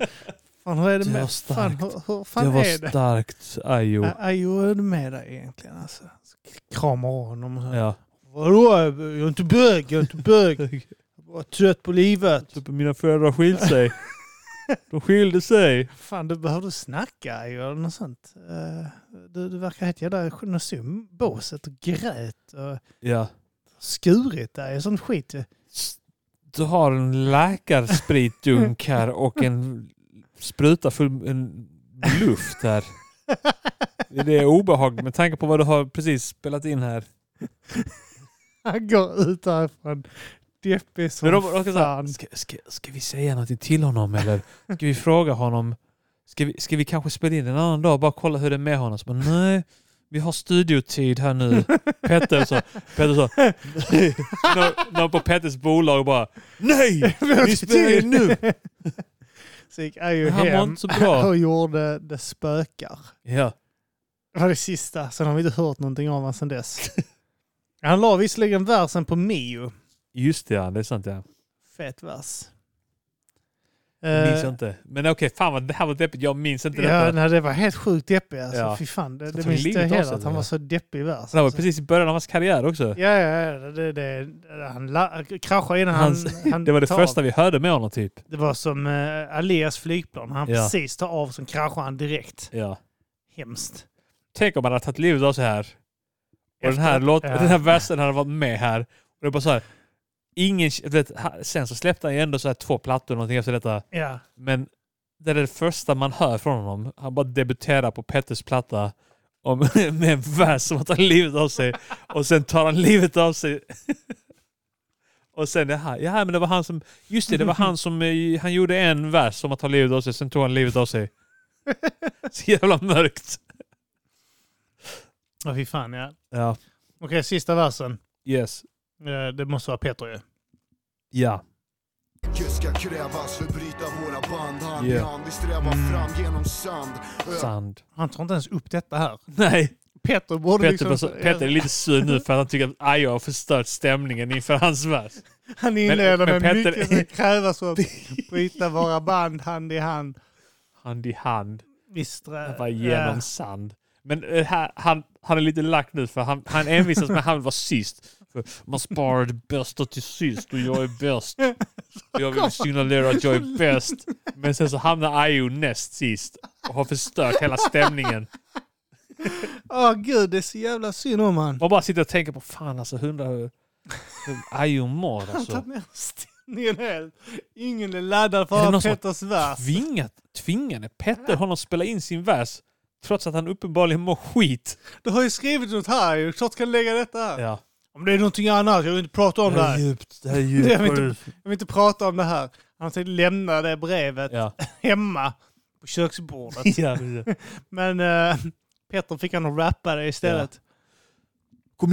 Speaker 1: fan hur är det
Speaker 2: Det var
Speaker 1: med... Fan,
Speaker 2: starkt.
Speaker 1: hur, hur fan
Speaker 2: Det var
Speaker 1: är det?
Speaker 2: starkt. Ajo.
Speaker 1: Ä- Aj, hur är det med dig egentligen? Alltså, Så kramar honom. och Så.
Speaker 2: Ja.
Speaker 1: Vadå? Jag är inte bög, jag är inte bög. Jag är bara trött på livet.
Speaker 2: Typ mina föräldrar skilde sig. De skilde sig.
Speaker 1: Fan, du behöver du snacka ju eller något sånt. Eh, Du, du verkar helt jävla... Nu stod jag i båset och grät och
Speaker 2: Ja.
Speaker 1: skurit dig och sånt skit. ju.
Speaker 2: Du har en läkarspritdunk här och en spruta full en luft här. Det är obehagligt med tanke på vad du har precis spelat in här.
Speaker 1: Han går ut därifrån deppig som
Speaker 2: Men de, de kan säga,
Speaker 1: fan.
Speaker 2: ska, ska, ska vi säga någonting till honom eller ska vi fråga honom? Ska vi, ska vi kanske spela in en annan dag och bara kolla hur det är med honom? Så bara, nej, vi har studiotid här nu. Petter så, Petter så, nej. Nå- Någon på Petters bolag bara, nej! Vi spelar in nu!
Speaker 1: Så gick jag ju
Speaker 2: Han mår
Speaker 1: hem
Speaker 2: inte så bra.
Speaker 1: och gjorde Det spökar.
Speaker 2: Ja,
Speaker 1: Det var det sista. Sen har vi inte hört någonting av honom sedan dess. Han la visserligen versen på Mio.
Speaker 2: just det ja, det är sant ja.
Speaker 1: Fet vers.
Speaker 2: Jag
Speaker 1: Eh,
Speaker 2: minns inte. Men okej, fan vad det här var deppigt. Jag minns inte
Speaker 1: Ja,
Speaker 2: detta.
Speaker 1: nej, det var helt sjukt deppig alltså.
Speaker 2: Ja.
Speaker 1: Fy fan, det,
Speaker 2: Så
Speaker 1: det
Speaker 2: tog
Speaker 1: minns
Speaker 2: livet
Speaker 1: jag
Speaker 2: av
Speaker 1: heller
Speaker 2: sig,
Speaker 1: att han
Speaker 2: eller?
Speaker 1: var så deppig i världen.
Speaker 2: Det här var precis i början av hans karriär också.
Speaker 1: Ja, ja, ja. Det, det, det, han la, kraschade innan
Speaker 2: Hans-
Speaker 1: han, han
Speaker 2: Det var det
Speaker 1: tar
Speaker 2: första
Speaker 1: av.
Speaker 2: vi hörde med honom typ.
Speaker 1: Det var som eh, Alias flygplan. Han
Speaker 2: Ja.
Speaker 1: precis tar av, sen kraschar han direkt.
Speaker 2: Ja.
Speaker 1: Hemskt.
Speaker 2: Tänk om man hade tagit livet av sig här. Och den här,
Speaker 1: Efter-
Speaker 2: låt,
Speaker 1: ja.
Speaker 2: den här versen hade varit med här. Och det var bara så här. Ingen, du vet, ha- sen så släppte han ju ändå så här två plattor eller någonting efter detta.
Speaker 1: Ja.
Speaker 2: Men det är det första man hör från honom. Han bara debuterar på Petters platta om, med en vers som att han tar livet av sig. Och sen tar han livet av sig. Och sen det här. Ja, men det var han som... Just det, det var han som... eh, Han gjorde en vers som att ta livet av sig. Sen tog han livet av sig. Så jävla mörkt.
Speaker 1: ja, fy fan ja.
Speaker 2: Ja.
Speaker 1: Okej, sista versen.
Speaker 2: Yes.
Speaker 1: Eh, det måste vara Peter ju.
Speaker 2: Ja.
Speaker 3: Mycket ska krävas för att bryta våra band hand i
Speaker 2: Yeah. Mm.
Speaker 3: hand. Vi strävar fram genom sand.
Speaker 2: Sand.
Speaker 1: Han tar inte ens upp detta här.
Speaker 2: Nej.
Speaker 1: Peter borde
Speaker 2: Petter,
Speaker 1: liksom...
Speaker 2: bara så- Petter är lite sur nu för att han tycker att Ayo har förstört stämningen inför hans vers.
Speaker 1: Han inleder
Speaker 2: men- men
Speaker 1: med
Speaker 2: Petter-
Speaker 1: mycket som krävas för att bryta våra band hand i hand.
Speaker 2: Hand i hand.
Speaker 1: Visst. eh,
Speaker 2: Han var genom sand. Men eh, här, han, han är lite lack nu för han, han envisas med att han var sist. För man sparar det bästa till sist och jag är bäst. Jag vill signalera att jag är bäst. Men sen så hamnar Ayo näst sist och har förstört hela stämningen.
Speaker 1: Åh gud, det är så jävla synd om han.
Speaker 2: Man bara sitter och tänker på fan alltså hundra hur hur Ayo mår
Speaker 1: Han tar
Speaker 2: alltså.
Speaker 1: med stämningen helt. Ingen är laddad
Speaker 2: Är det
Speaker 1: för
Speaker 2: någon
Speaker 1: att
Speaker 2: som har
Speaker 1: Petters vers.
Speaker 2: Tvingat, tvingade Alltså. Petter honom spela in sin vers trots att han uppenbarligen mår skit.
Speaker 1: Du har ju skrivit något här ju. Klart kan lägga detta här.
Speaker 2: Ja.
Speaker 1: Om det är någonting annat, jag vill inte prata om det här.
Speaker 2: djupt, det här är
Speaker 1: Jag vill inte, jag vill inte prata om det här. Han tänkte lämna det brevet
Speaker 2: Ja.
Speaker 1: hemma på köksbordet.
Speaker 2: ja.
Speaker 1: Men eh, Petter fick han att rappa det istället.
Speaker 2: Kom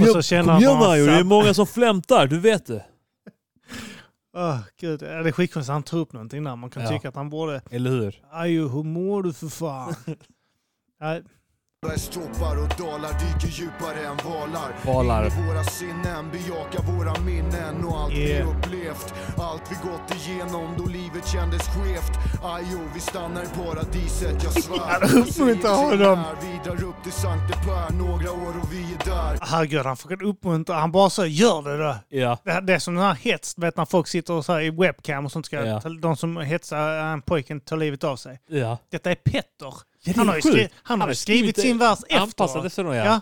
Speaker 1: Och
Speaker 2: igen,
Speaker 1: så
Speaker 2: kom
Speaker 1: känner
Speaker 2: igen
Speaker 1: han bara
Speaker 2: Mario, det är
Speaker 1: satt-
Speaker 2: många som flämtar, du vet det.
Speaker 1: Åh, Ah, gud. Ja, Det är skitkonstigt att han tar upp någonting där. Man kan
Speaker 2: Ja.
Speaker 1: tycka att han borde...
Speaker 2: Eller hur?
Speaker 1: Ajo, hur mår du för fan? Nej,
Speaker 3: Världens toppar och dalar dyker djupare än valar.
Speaker 2: Valar.
Speaker 3: In i våra sinnen, bejakar våra minnen och allt
Speaker 1: Yeah.
Speaker 3: vi upplevt. Allt vi gått igenom då livet kändes skevt. Ajo, vi stannar i paradiset, jag svär.
Speaker 1: Ja, uppmuntra
Speaker 3: Jag säger till
Speaker 1: honom.
Speaker 3: när Vi drar upp till Sankte Per, några år och vi är där.
Speaker 1: herregud, han får uppmuntra. Han bara så gör det då.
Speaker 2: Ja.
Speaker 1: Det, här- det är som den här hets, du vet när folk sitter och så här i webcam och sånt. Ska,
Speaker 2: Ja.
Speaker 1: De som hetsar äh, pojken tar livet av sig.
Speaker 2: ja.
Speaker 1: Detta är Petter.
Speaker 2: det är
Speaker 1: han har ju
Speaker 2: sjukt.
Speaker 1: skrivit, han har
Speaker 2: har
Speaker 1: ju skrivit
Speaker 2: skrivit
Speaker 1: sin
Speaker 2: det
Speaker 1: vers
Speaker 2: Anpassa det
Speaker 1: efter.
Speaker 2: sig då ja.
Speaker 1: Ja.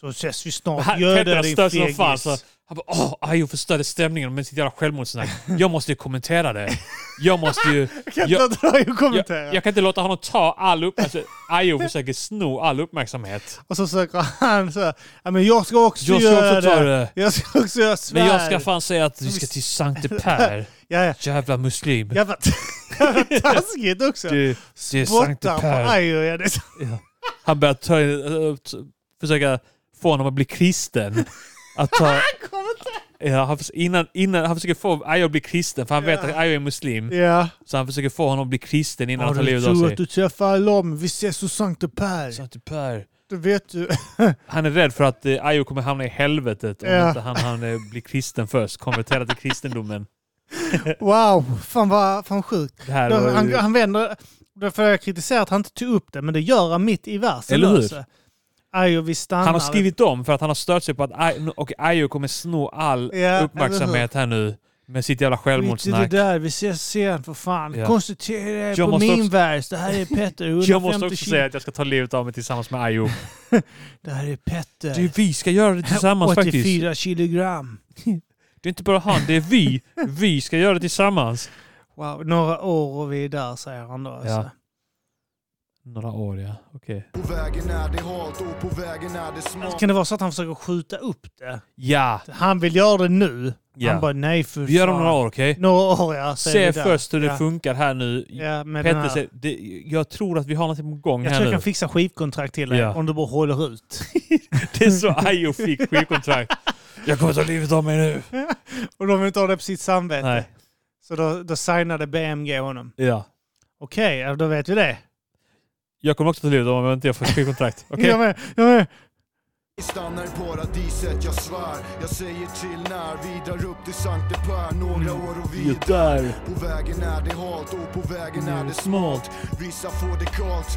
Speaker 1: Så ses vi snart.
Speaker 2: Han,
Speaker 1: Gör
Speaker 2: Petter
Speaker 1: det
Speaker 2: har
Speaker 1: din
Speaker 2: stört sig som fan.
Speaker 1: fegis.
Speaker 2: Så han bara åh, Ayo förstörde stämningen med sitt jävla självmordssnack. Jag måste ju kommentera det. Jag måste ju...
Speaker 1: Kan
Speaker 2: jag,
Speaker 1: inte låta dig kommentera.
Speaker 2: jag, jag kan inte låta honom ta all uppmärksamhet. Alltså, Ayo försöker sno all uppmärksamhet.
Speaker 1: Och så söker han så här, ja, men jag ska också
Speaker 2: Jag ska
Speaker 1: göra
Speaker 2: också ta det.
Speaker 1: Jag ska också göra svär.
Speaker 2: Men jag ska fan säga att vi ska till Sankte Per.
Speaker 1: Ja, ja.
Speaker 2: Jävla muslim.
Speaker 1: Jävla, jävla taskigt också.
Speaker 2: Det, det är Sankte
Speaker 1: Spottar på
Speaker 2: Per.
Speaker 1: Ayo. Ja, det är så-
Speaker 2: Han börjar ta, eh, t- försöka få honom att bli kristen. Att ta, ja, han, förs- innan, innan, han försöker få Ayo att bli kristen, för han vet att Ayo är muslim.
Speaker 1: ja.
Speaker 2: Så han försöker få honom att bli kristen innan han tar
Speaker 1: du
Speaker 2: livet av
Speaker 1: tror att
Speaker 2: sig.
Speaker 1: du träffar alla, men vi ses hos Sankte Per.
Speaker 2: Sankte Per.
Speaker 1: Det vet du.
Speaker 2: Han är rädd för att eh, Ayo kommer hamna i helvetet om
Speaker 1: Ja.
Speaker 2: inte han, han eh, blir kristen först. Konvertera till kristendomen.
Speaker 1: Wow, fan vad fan sjukt.
Speaker 2: Det här
Speaker 1: Då,
Speaker 2: var ju-
Speaker 1: han, han vänder... Därför har jag kritiserat att han inte tog upp det, men det gör han mitt i versen.
Speaker 2: Eller hur?
Speaker 1: också. Ayo, vi stannar.
Speaker 2: Han har skrivit om för att han har stört sig på att Ay- och Ayo kommer sno all
Speaker 1: Ja,
Speaker 2: uppmärksamhet här nu med sitt jävla
Speaker 1: Skit i det
Speaker 2: självmordssnack.
Speaker 1: där, vi ses sen för fan.
Speaker 2: Ja.
Speaker 1: Koncentrera er
Speaker 2: Jag
Speaker 1: på
Speaker 2: måste
Speaker 1: min
Speaker 2: också-
Speaker 1: vers. Det här är Petter, 150
Speaker 2: Jag måste också
Speaker 1: kilo.
Speaker 2: säga att jag ska ta livet av mig tillsammans med Ayo.
Speaker 1: Det här är Petter.
Speaker 2: Det är vi ska göra det tillsammans
Speaker 1: 84
Speaker 2: faktiskt.
Speaker 1: kilogram.
Speaker 2: Det är inte bara han, det är vi. Vi ska göra det tillsammans.
Speaker 1: Wow, några år och vi är där, säger han då. Alltså.
Speaker 2: Några år ja, okej.
Speaker 3: På vägen är det halt och på vägen är det smalt.
Speaker 1: Kan det vara så att han försöker skjuta upp det?
Speaker 2: Ja,
Speaker 1: Han vill göra det nu.
Speaker 2: Ja.
Speaker 1: Han bara nej för
Speaker 2: vi gör det om
Speaker 1: fan.
Speaker 2: några år okej?
Speaker 1: Några år ja. säger
Speaker 2: Se
Speaker 1: vi där.
Speaker 2: först hur det
Speaker 1: ja.
Speaker 2: funkar här nu.
Speaker 1: Ja, med den här.
Speaker 2: Petter säger, det, jag tror att vi har någonting på gång
Speaker 1: Jag
Speaker 2: här
Speaker 1: tror
Speaker 2: nu.
Speaker 1: jag kan fixa skivkontrakt till dig
Speaker 2: Ja.
Speaker 1: om du bara håller ut.
Speaker 2: Det är så Ayo fick skivkontrakt. jag kommer ta livet av mig nu.
Speaker 1: och de vill inte ha det på sitt samvete.
Speaker 2: Nej.
Speaker 1: Så då, då signade BMG honom.
Speaker 2: Ja.
Speaker 1: Okej, ja, då vet vi det.
Speaker 2: Jag kommer också ta livet av mig om inte jag får skivkontrakt. Okej?
Speaker 1: Jag med, jag med.
Speaker 3: Vi stannar i paradiset, jag svär. Jag säger till när vi drar upp till Sankte Per. Några år och vi är där. På vägen är det halt och på vägen är det smalt. Vissa får det kallt,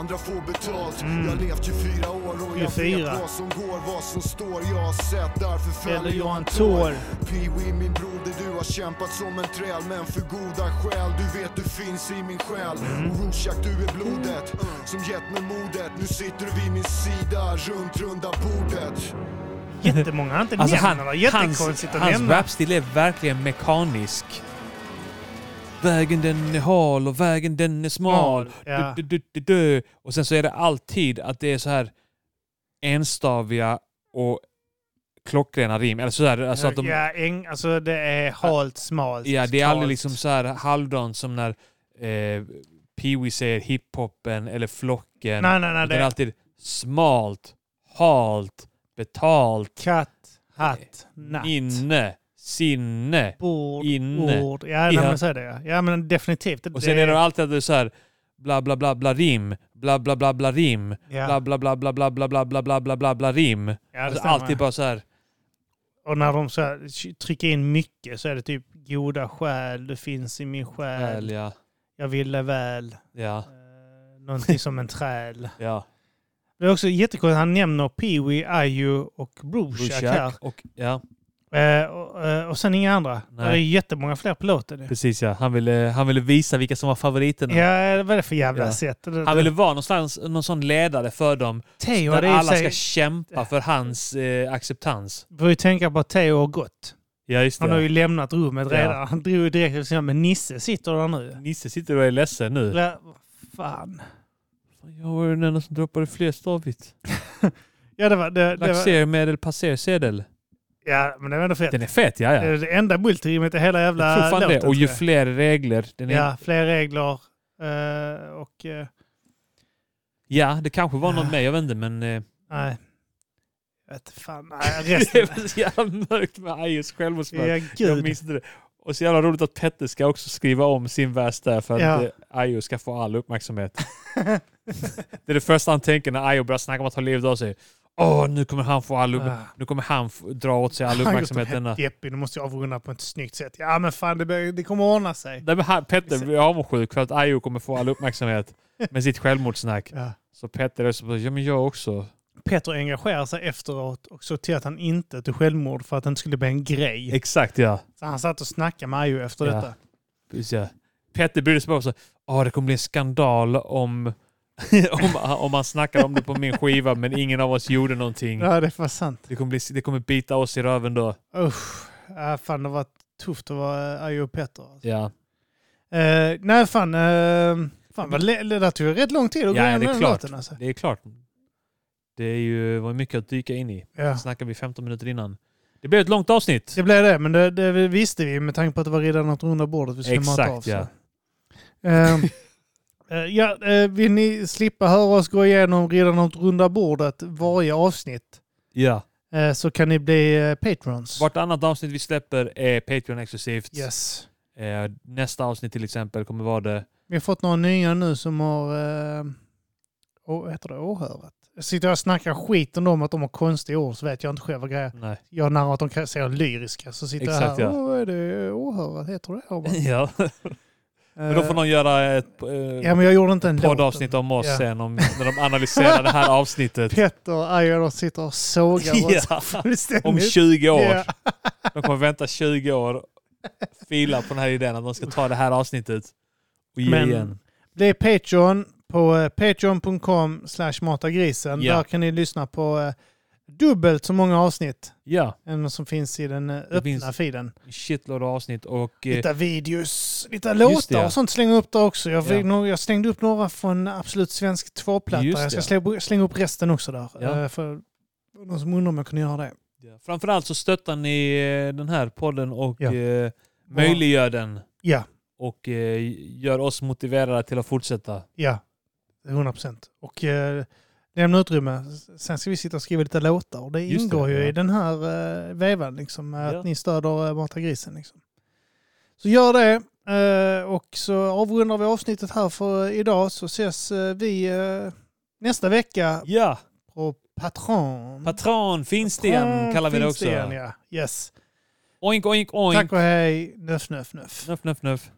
Speaker 3: andra får betalt. Jag har levt 24 år och jag
Speaker 1: 24.
Speaker 3: vet vad som går, vad som står. Jag har sett, därför fäller
Speaker 1: Fäller
Speaker 3: jag en tår. Pee-wee min broder, du har kämpat som en träl Men för goda skäl, du vet du finns i min själ Och Rorschach, du är blodet som gett mig modet Nu sitter du vid min sida, runt runda bordet
Speaker 1: Jättemånga har inte
Speaker 2: Alltså
Speaker 1: nämnt
Speaker 2: han,
Speaker 1: honom.
Speaker 2: hans,
Speaker 1: Jättekonstigt att
Speaker 2: hans
Speaker 1: nämna.
Speaker 2: rapstil är verkligen mekanisk. Vägen den är hal och vägen den är smal.
Speaker 1: Ja.
Speaker 2: Du, du, du, du, du. Och sen så är det alltid att det är så här enstaviga och klockrena rim. Eller så här, alltså att de,
Speaker 1: Ja, äng, alltså det är halt, smalt.
Speaker 2: ja, det är aldrig
Speaker 1: kalt.
Speaker 2: liksom så här halvdant som när eh, Pee-wee säger hiphopen eller flocken.
Speaker 1: Nej, nej, nej.
Speaker 2: det
Speaker 1: Det
Speaker 2: är
Speaker 1: är
Speaker 2: alltid smalt, halt, betalt,
Speaker 1: katt, hatt, natt.
Speaker 2: inne, sinne.
Speaker 1: Bord,
Speaker 2: Inne.
Speaker 1: ord. Ja, nej,
Speaker 2: Ja.
Speaker 1: men så är det. ja. Ja, men definitivt.
Speaker 2: Och sen är det alltid att det är så här bla bla bla bla rim, bla bla bla bla rim,
Speaker 1: Ja.
Speaker 2: bla bla bla bla bla bla bla bla bla bla bla bla rim.
Speaker 1: Ja, det
Speaker 2: Alltså
Speaker 1: stämmer.
Speaker 2: alltid bara så här.
Speaker 1: Och när de så här, trycker in mycket så är det typ goda själ, du finns i min själ,
Speaker 2: väl, Ja,
Speaker 1: jag ville väl,
Speaker 2: ja,
Speaker 1: eh, någonting som en träl.
Speaker 2: ja.
Speaker 1: Det är också jättekonstigt, han nämner Pee-Wee, Ayu och Bruchak här.
Speaker 2: Bushak och ja,
Speaker 1: Eh, och, eh, och sen inga andra.
Speaker 2: Nej.
Speaker 1: Det är jättemånga fler på låten.
Speaker 2: precis ja. Han ville, han ville visa vilka som var favoriterna.
Speaker 1: Ja, eh, vad är det för jävla
Speaker 2: Ja.
Speaker 1: sätt? Det-
Speaker 2: Han
Speaker 1: det-
Speaker 2: ville vara någonstans, någon sån ledare för dem.
Speaker 1: Teo
Speaker 2: där
Speaker 1: hade i och
Speaker 2: alla
Speaker 1: för
Speaker 2: ska
Speaker 1: sig-
Speaker 2: kämpa för hans eh, acceptans.
Speaker 1: får ju tänka på att Theo har gått.
Speaker 2: Ja, just
Speaker 1: Han har
Speaker 2: det.
Speaker 1: ju lämnat rummet
Speaker 2: Ja.
Speaker 1: redan. Han drog ju direkt till sina, men Nisse sitter där nu.
Speaker 2: Nisse sitter och är ledsen nu.
Speaker 1: Eller, vad Fan.
Speaker 2: Fan, Jag var den enda som droppade flerstavigt.
Speaker 1: Ja, det var... Det, det var
Speaker 2: Laxermedel, passersedel.
Speaker 1: ja, men det var ändå fett.
Speaker 2: Den är fet, ja ja.
Speaker 1: Det är det enda multirimmet i hela jävla
Speaker 2: Jag tror fan
Speaker 1: låten.
Speaker 2: det. Och ju
Speaker 1: tror jag.
Speaker 2: fler regler. Den är... ja.
Speaker 1: Ja, fler regler. eh, och... eh,
Speaker 2: ja, det kanske var något
Speaker 1: Ja.
Speaker 2: med. Jag vet inte, men... eh,
Speaker 1: nej. Jag vet fan. Nej,
Speaker 2: det
Speaker 1: resten...
Speaker 2: är så jävla mörkt med Ayers självmordsmörk.
Speaker 1: ja,
Speaker 2: jag
Speaker 1: gud.
Speaker 2: minns inte det. Och så jävla roligt att Petter ska också skriva om sin vers där för att
Speaker 1: Ja.
Speaker 2: ja. Ayo ska få all uppmärksamhet. det är det första han tänker när Ayo börjar snacka om att han livet av sig. Åh, nu kommer han få all upp...
Speaker 1: Ah.
Speaker 2: Nu kommer han f- dra åt sig all
Speaker 1: Han går som
Speaker 2: uppmärksamhet. denna.
Speaker 1: helt deppig. Nu måste jag avrunda på ett snyggt sätt. Ja, men fan, det, bör- det kommer ordna sig.
Speaker 2: Nej, men han, Petter blir avundsjuk för att Ayo kommer få all uppmärksamhet med sitt självmordssnack.
Speaker 1: Ja.
Speaker 2: Så Petter är så bara, ja men jag också.
Speaker 1: Peter engagerar sig efteråt och såg till att han inte tog självmord för att det inte skulle bli en grej.
Speaker 2: Exakt ja.
Speaker 1: Så han satt och snackade med Ayo efter
Speaker 2: Ja.
Speaker 1: detta.
Speaker 2: Precis, ja. Petter brydde sig bara om så ah det kommer bli en skandal om, om, om man snackar om det på min skiva men ingen av oss gjorde någonting.
Speaker 1: Ja, det var sant.
Speaker 2: Det kommer, bli, det kommer bita oss i röven då.
Speaker 1: Usch. Ja, fan, det var tufft att vara eh, Ayo och Peter. alltså.
Speaker 2: Ja,
Speaker 1: Eh, nej, fan. Uh, fan vad le- det där tog ju rätt lång tid att gå
Speaker 2: Ja,
Speaker 1: igenom
Speaker 2: det är
Speaker 1: den
Speaker 2: klart.
Speaker 1: låten. Alltså.
Speaker 2: det är klart. Det är ju, var mycket att dyka in i.
Speaker 1: Ja.
Speaker 2: Snackar vi 15 minuter innan. Det blev ett långt avsnitt.
Speaker 1: Det blev det, men det, det visste vi med tanke på att det var redan åt runda bordet vi skulle mata av.
Speaker 2: Exakt
Speaker 1: så.
Speaker 2: ja.
Speaker 1: Ehm, eh, ja, eh, vill ni slippa höra oss gå igenom redan åt runda bordet varje avsnitt
Speaker 2: ja.
Speaker 1: eh, så kan ni bli eh, patrons.
Speaker 2: Vartannat avsnitt vi släpper är Patreon exklusivt.
Speaker 1: Yes.
Speaker 2: Eh, Nästa avsnitt till exempel kommer vara det.
Speaker 1: Vi har fått några nya nu som har eh, å- vad heter det, åhörat. Jag sitter och snackar skit om dem att de har konstiga ord så vet jag inte själv vad grejer.
Speaker 2: Nej.
Speaker 1: Jag när att de kan- säger lyriska så sitter
Speaker 2: Exakt,
Speaker 1: jag här.
Speaker 2: ja.
Speaker 1: Åh, vad är det åhörat? Heter det åhörat?
Speaker 2: Ja. Men då får någon göra ett eh,
Speaker 1: Ja, men jag gjorde inte en låt.
Speaker 2: poddavsnitt om oss
Speaker 1: Ja.
Speaker 2: sen om, när de analyserar det här avsnittet.
Speaker 1: Petter Ayer sitter och sågar oss
Speaker 2: Ja.
Speaker 1: fullständigt.
Speaker 2: Om 20 år.
Speaker 1: Ja.
Speaker 2: De kommer vänta 20 år, fila på den här idén att de ska ta det här avsnittet och ge
Speaker 1: Men-
Speaker 2: igen.
Speaker 1: Det är Patreon på eh, patreon.com slash matagrisen.
Speaker 2: Ja.
Speaker 1: Där kan ni lyssna på eh, dubbelt så många avsnitt
Speaker 2: Ja,
Speaker 1: än som finns i den eh, öppna
Speaker 2: finns-
Speaker 1: feeden.
Speaker 2: en shitload av avsnitt och eh,
Speaker 1: Lite videos, lite
Speaker 2: Just det,
Speaker 1: låtar
Speaker 2: ja.
Speaker 1: och sånt slänger jag upp där också. Jag, fick
Speaker 2: Ja.
Speaker 1: nog, jag slängde upp några från Absolut Svensk 2-platta.
Speaker 2: Just
Speaker 1: Jag ska
Speaker 2: det.
Speaker 1: slä- slänga upp resten också där.
Speaker 2: Ja.
Speaker 1: eh, För någon som undrar om jag kunde göra det.
Speaker 2: ja, framförallt så stöttar ni eh, den här podden och
Speaker 1: Ja.
Speaker 2: eh, möjliggör den
Speaker 1: Ja,
Speaker 2: och eh, gör oss motiverade till att fortsätta.
Speaker 1: ja. 100 procent. Och eh, lämna utrymme. Sen ska vi sitta och skriva lite låtar. Och det
Speaker 2: Just det,
Speaker 1: ingår ju
Speaker 2: ja.
Speaker 1: i den här eh, vevan, liksom, att
Speaker 2: Ja.
Speaker 1: ni stöder eh, Mata grisen. Liksom. Så gör det. eh, och så avrundar vi avsnittet här för idag. Så ses eh, vi eh, nästa vecka
Speaker 2: Ja,
Speaker 1: på Patron.
Speaker 2: Patron, finsten kallar vi det också.
Speaker 1: Finsten, ja. Yes.
Speaker 2: Oink, oink, oink.
Speaker 1: Tack och hej. Nöff, nöff, nöff.
Speaker 2: Nuff, nuff, nuff.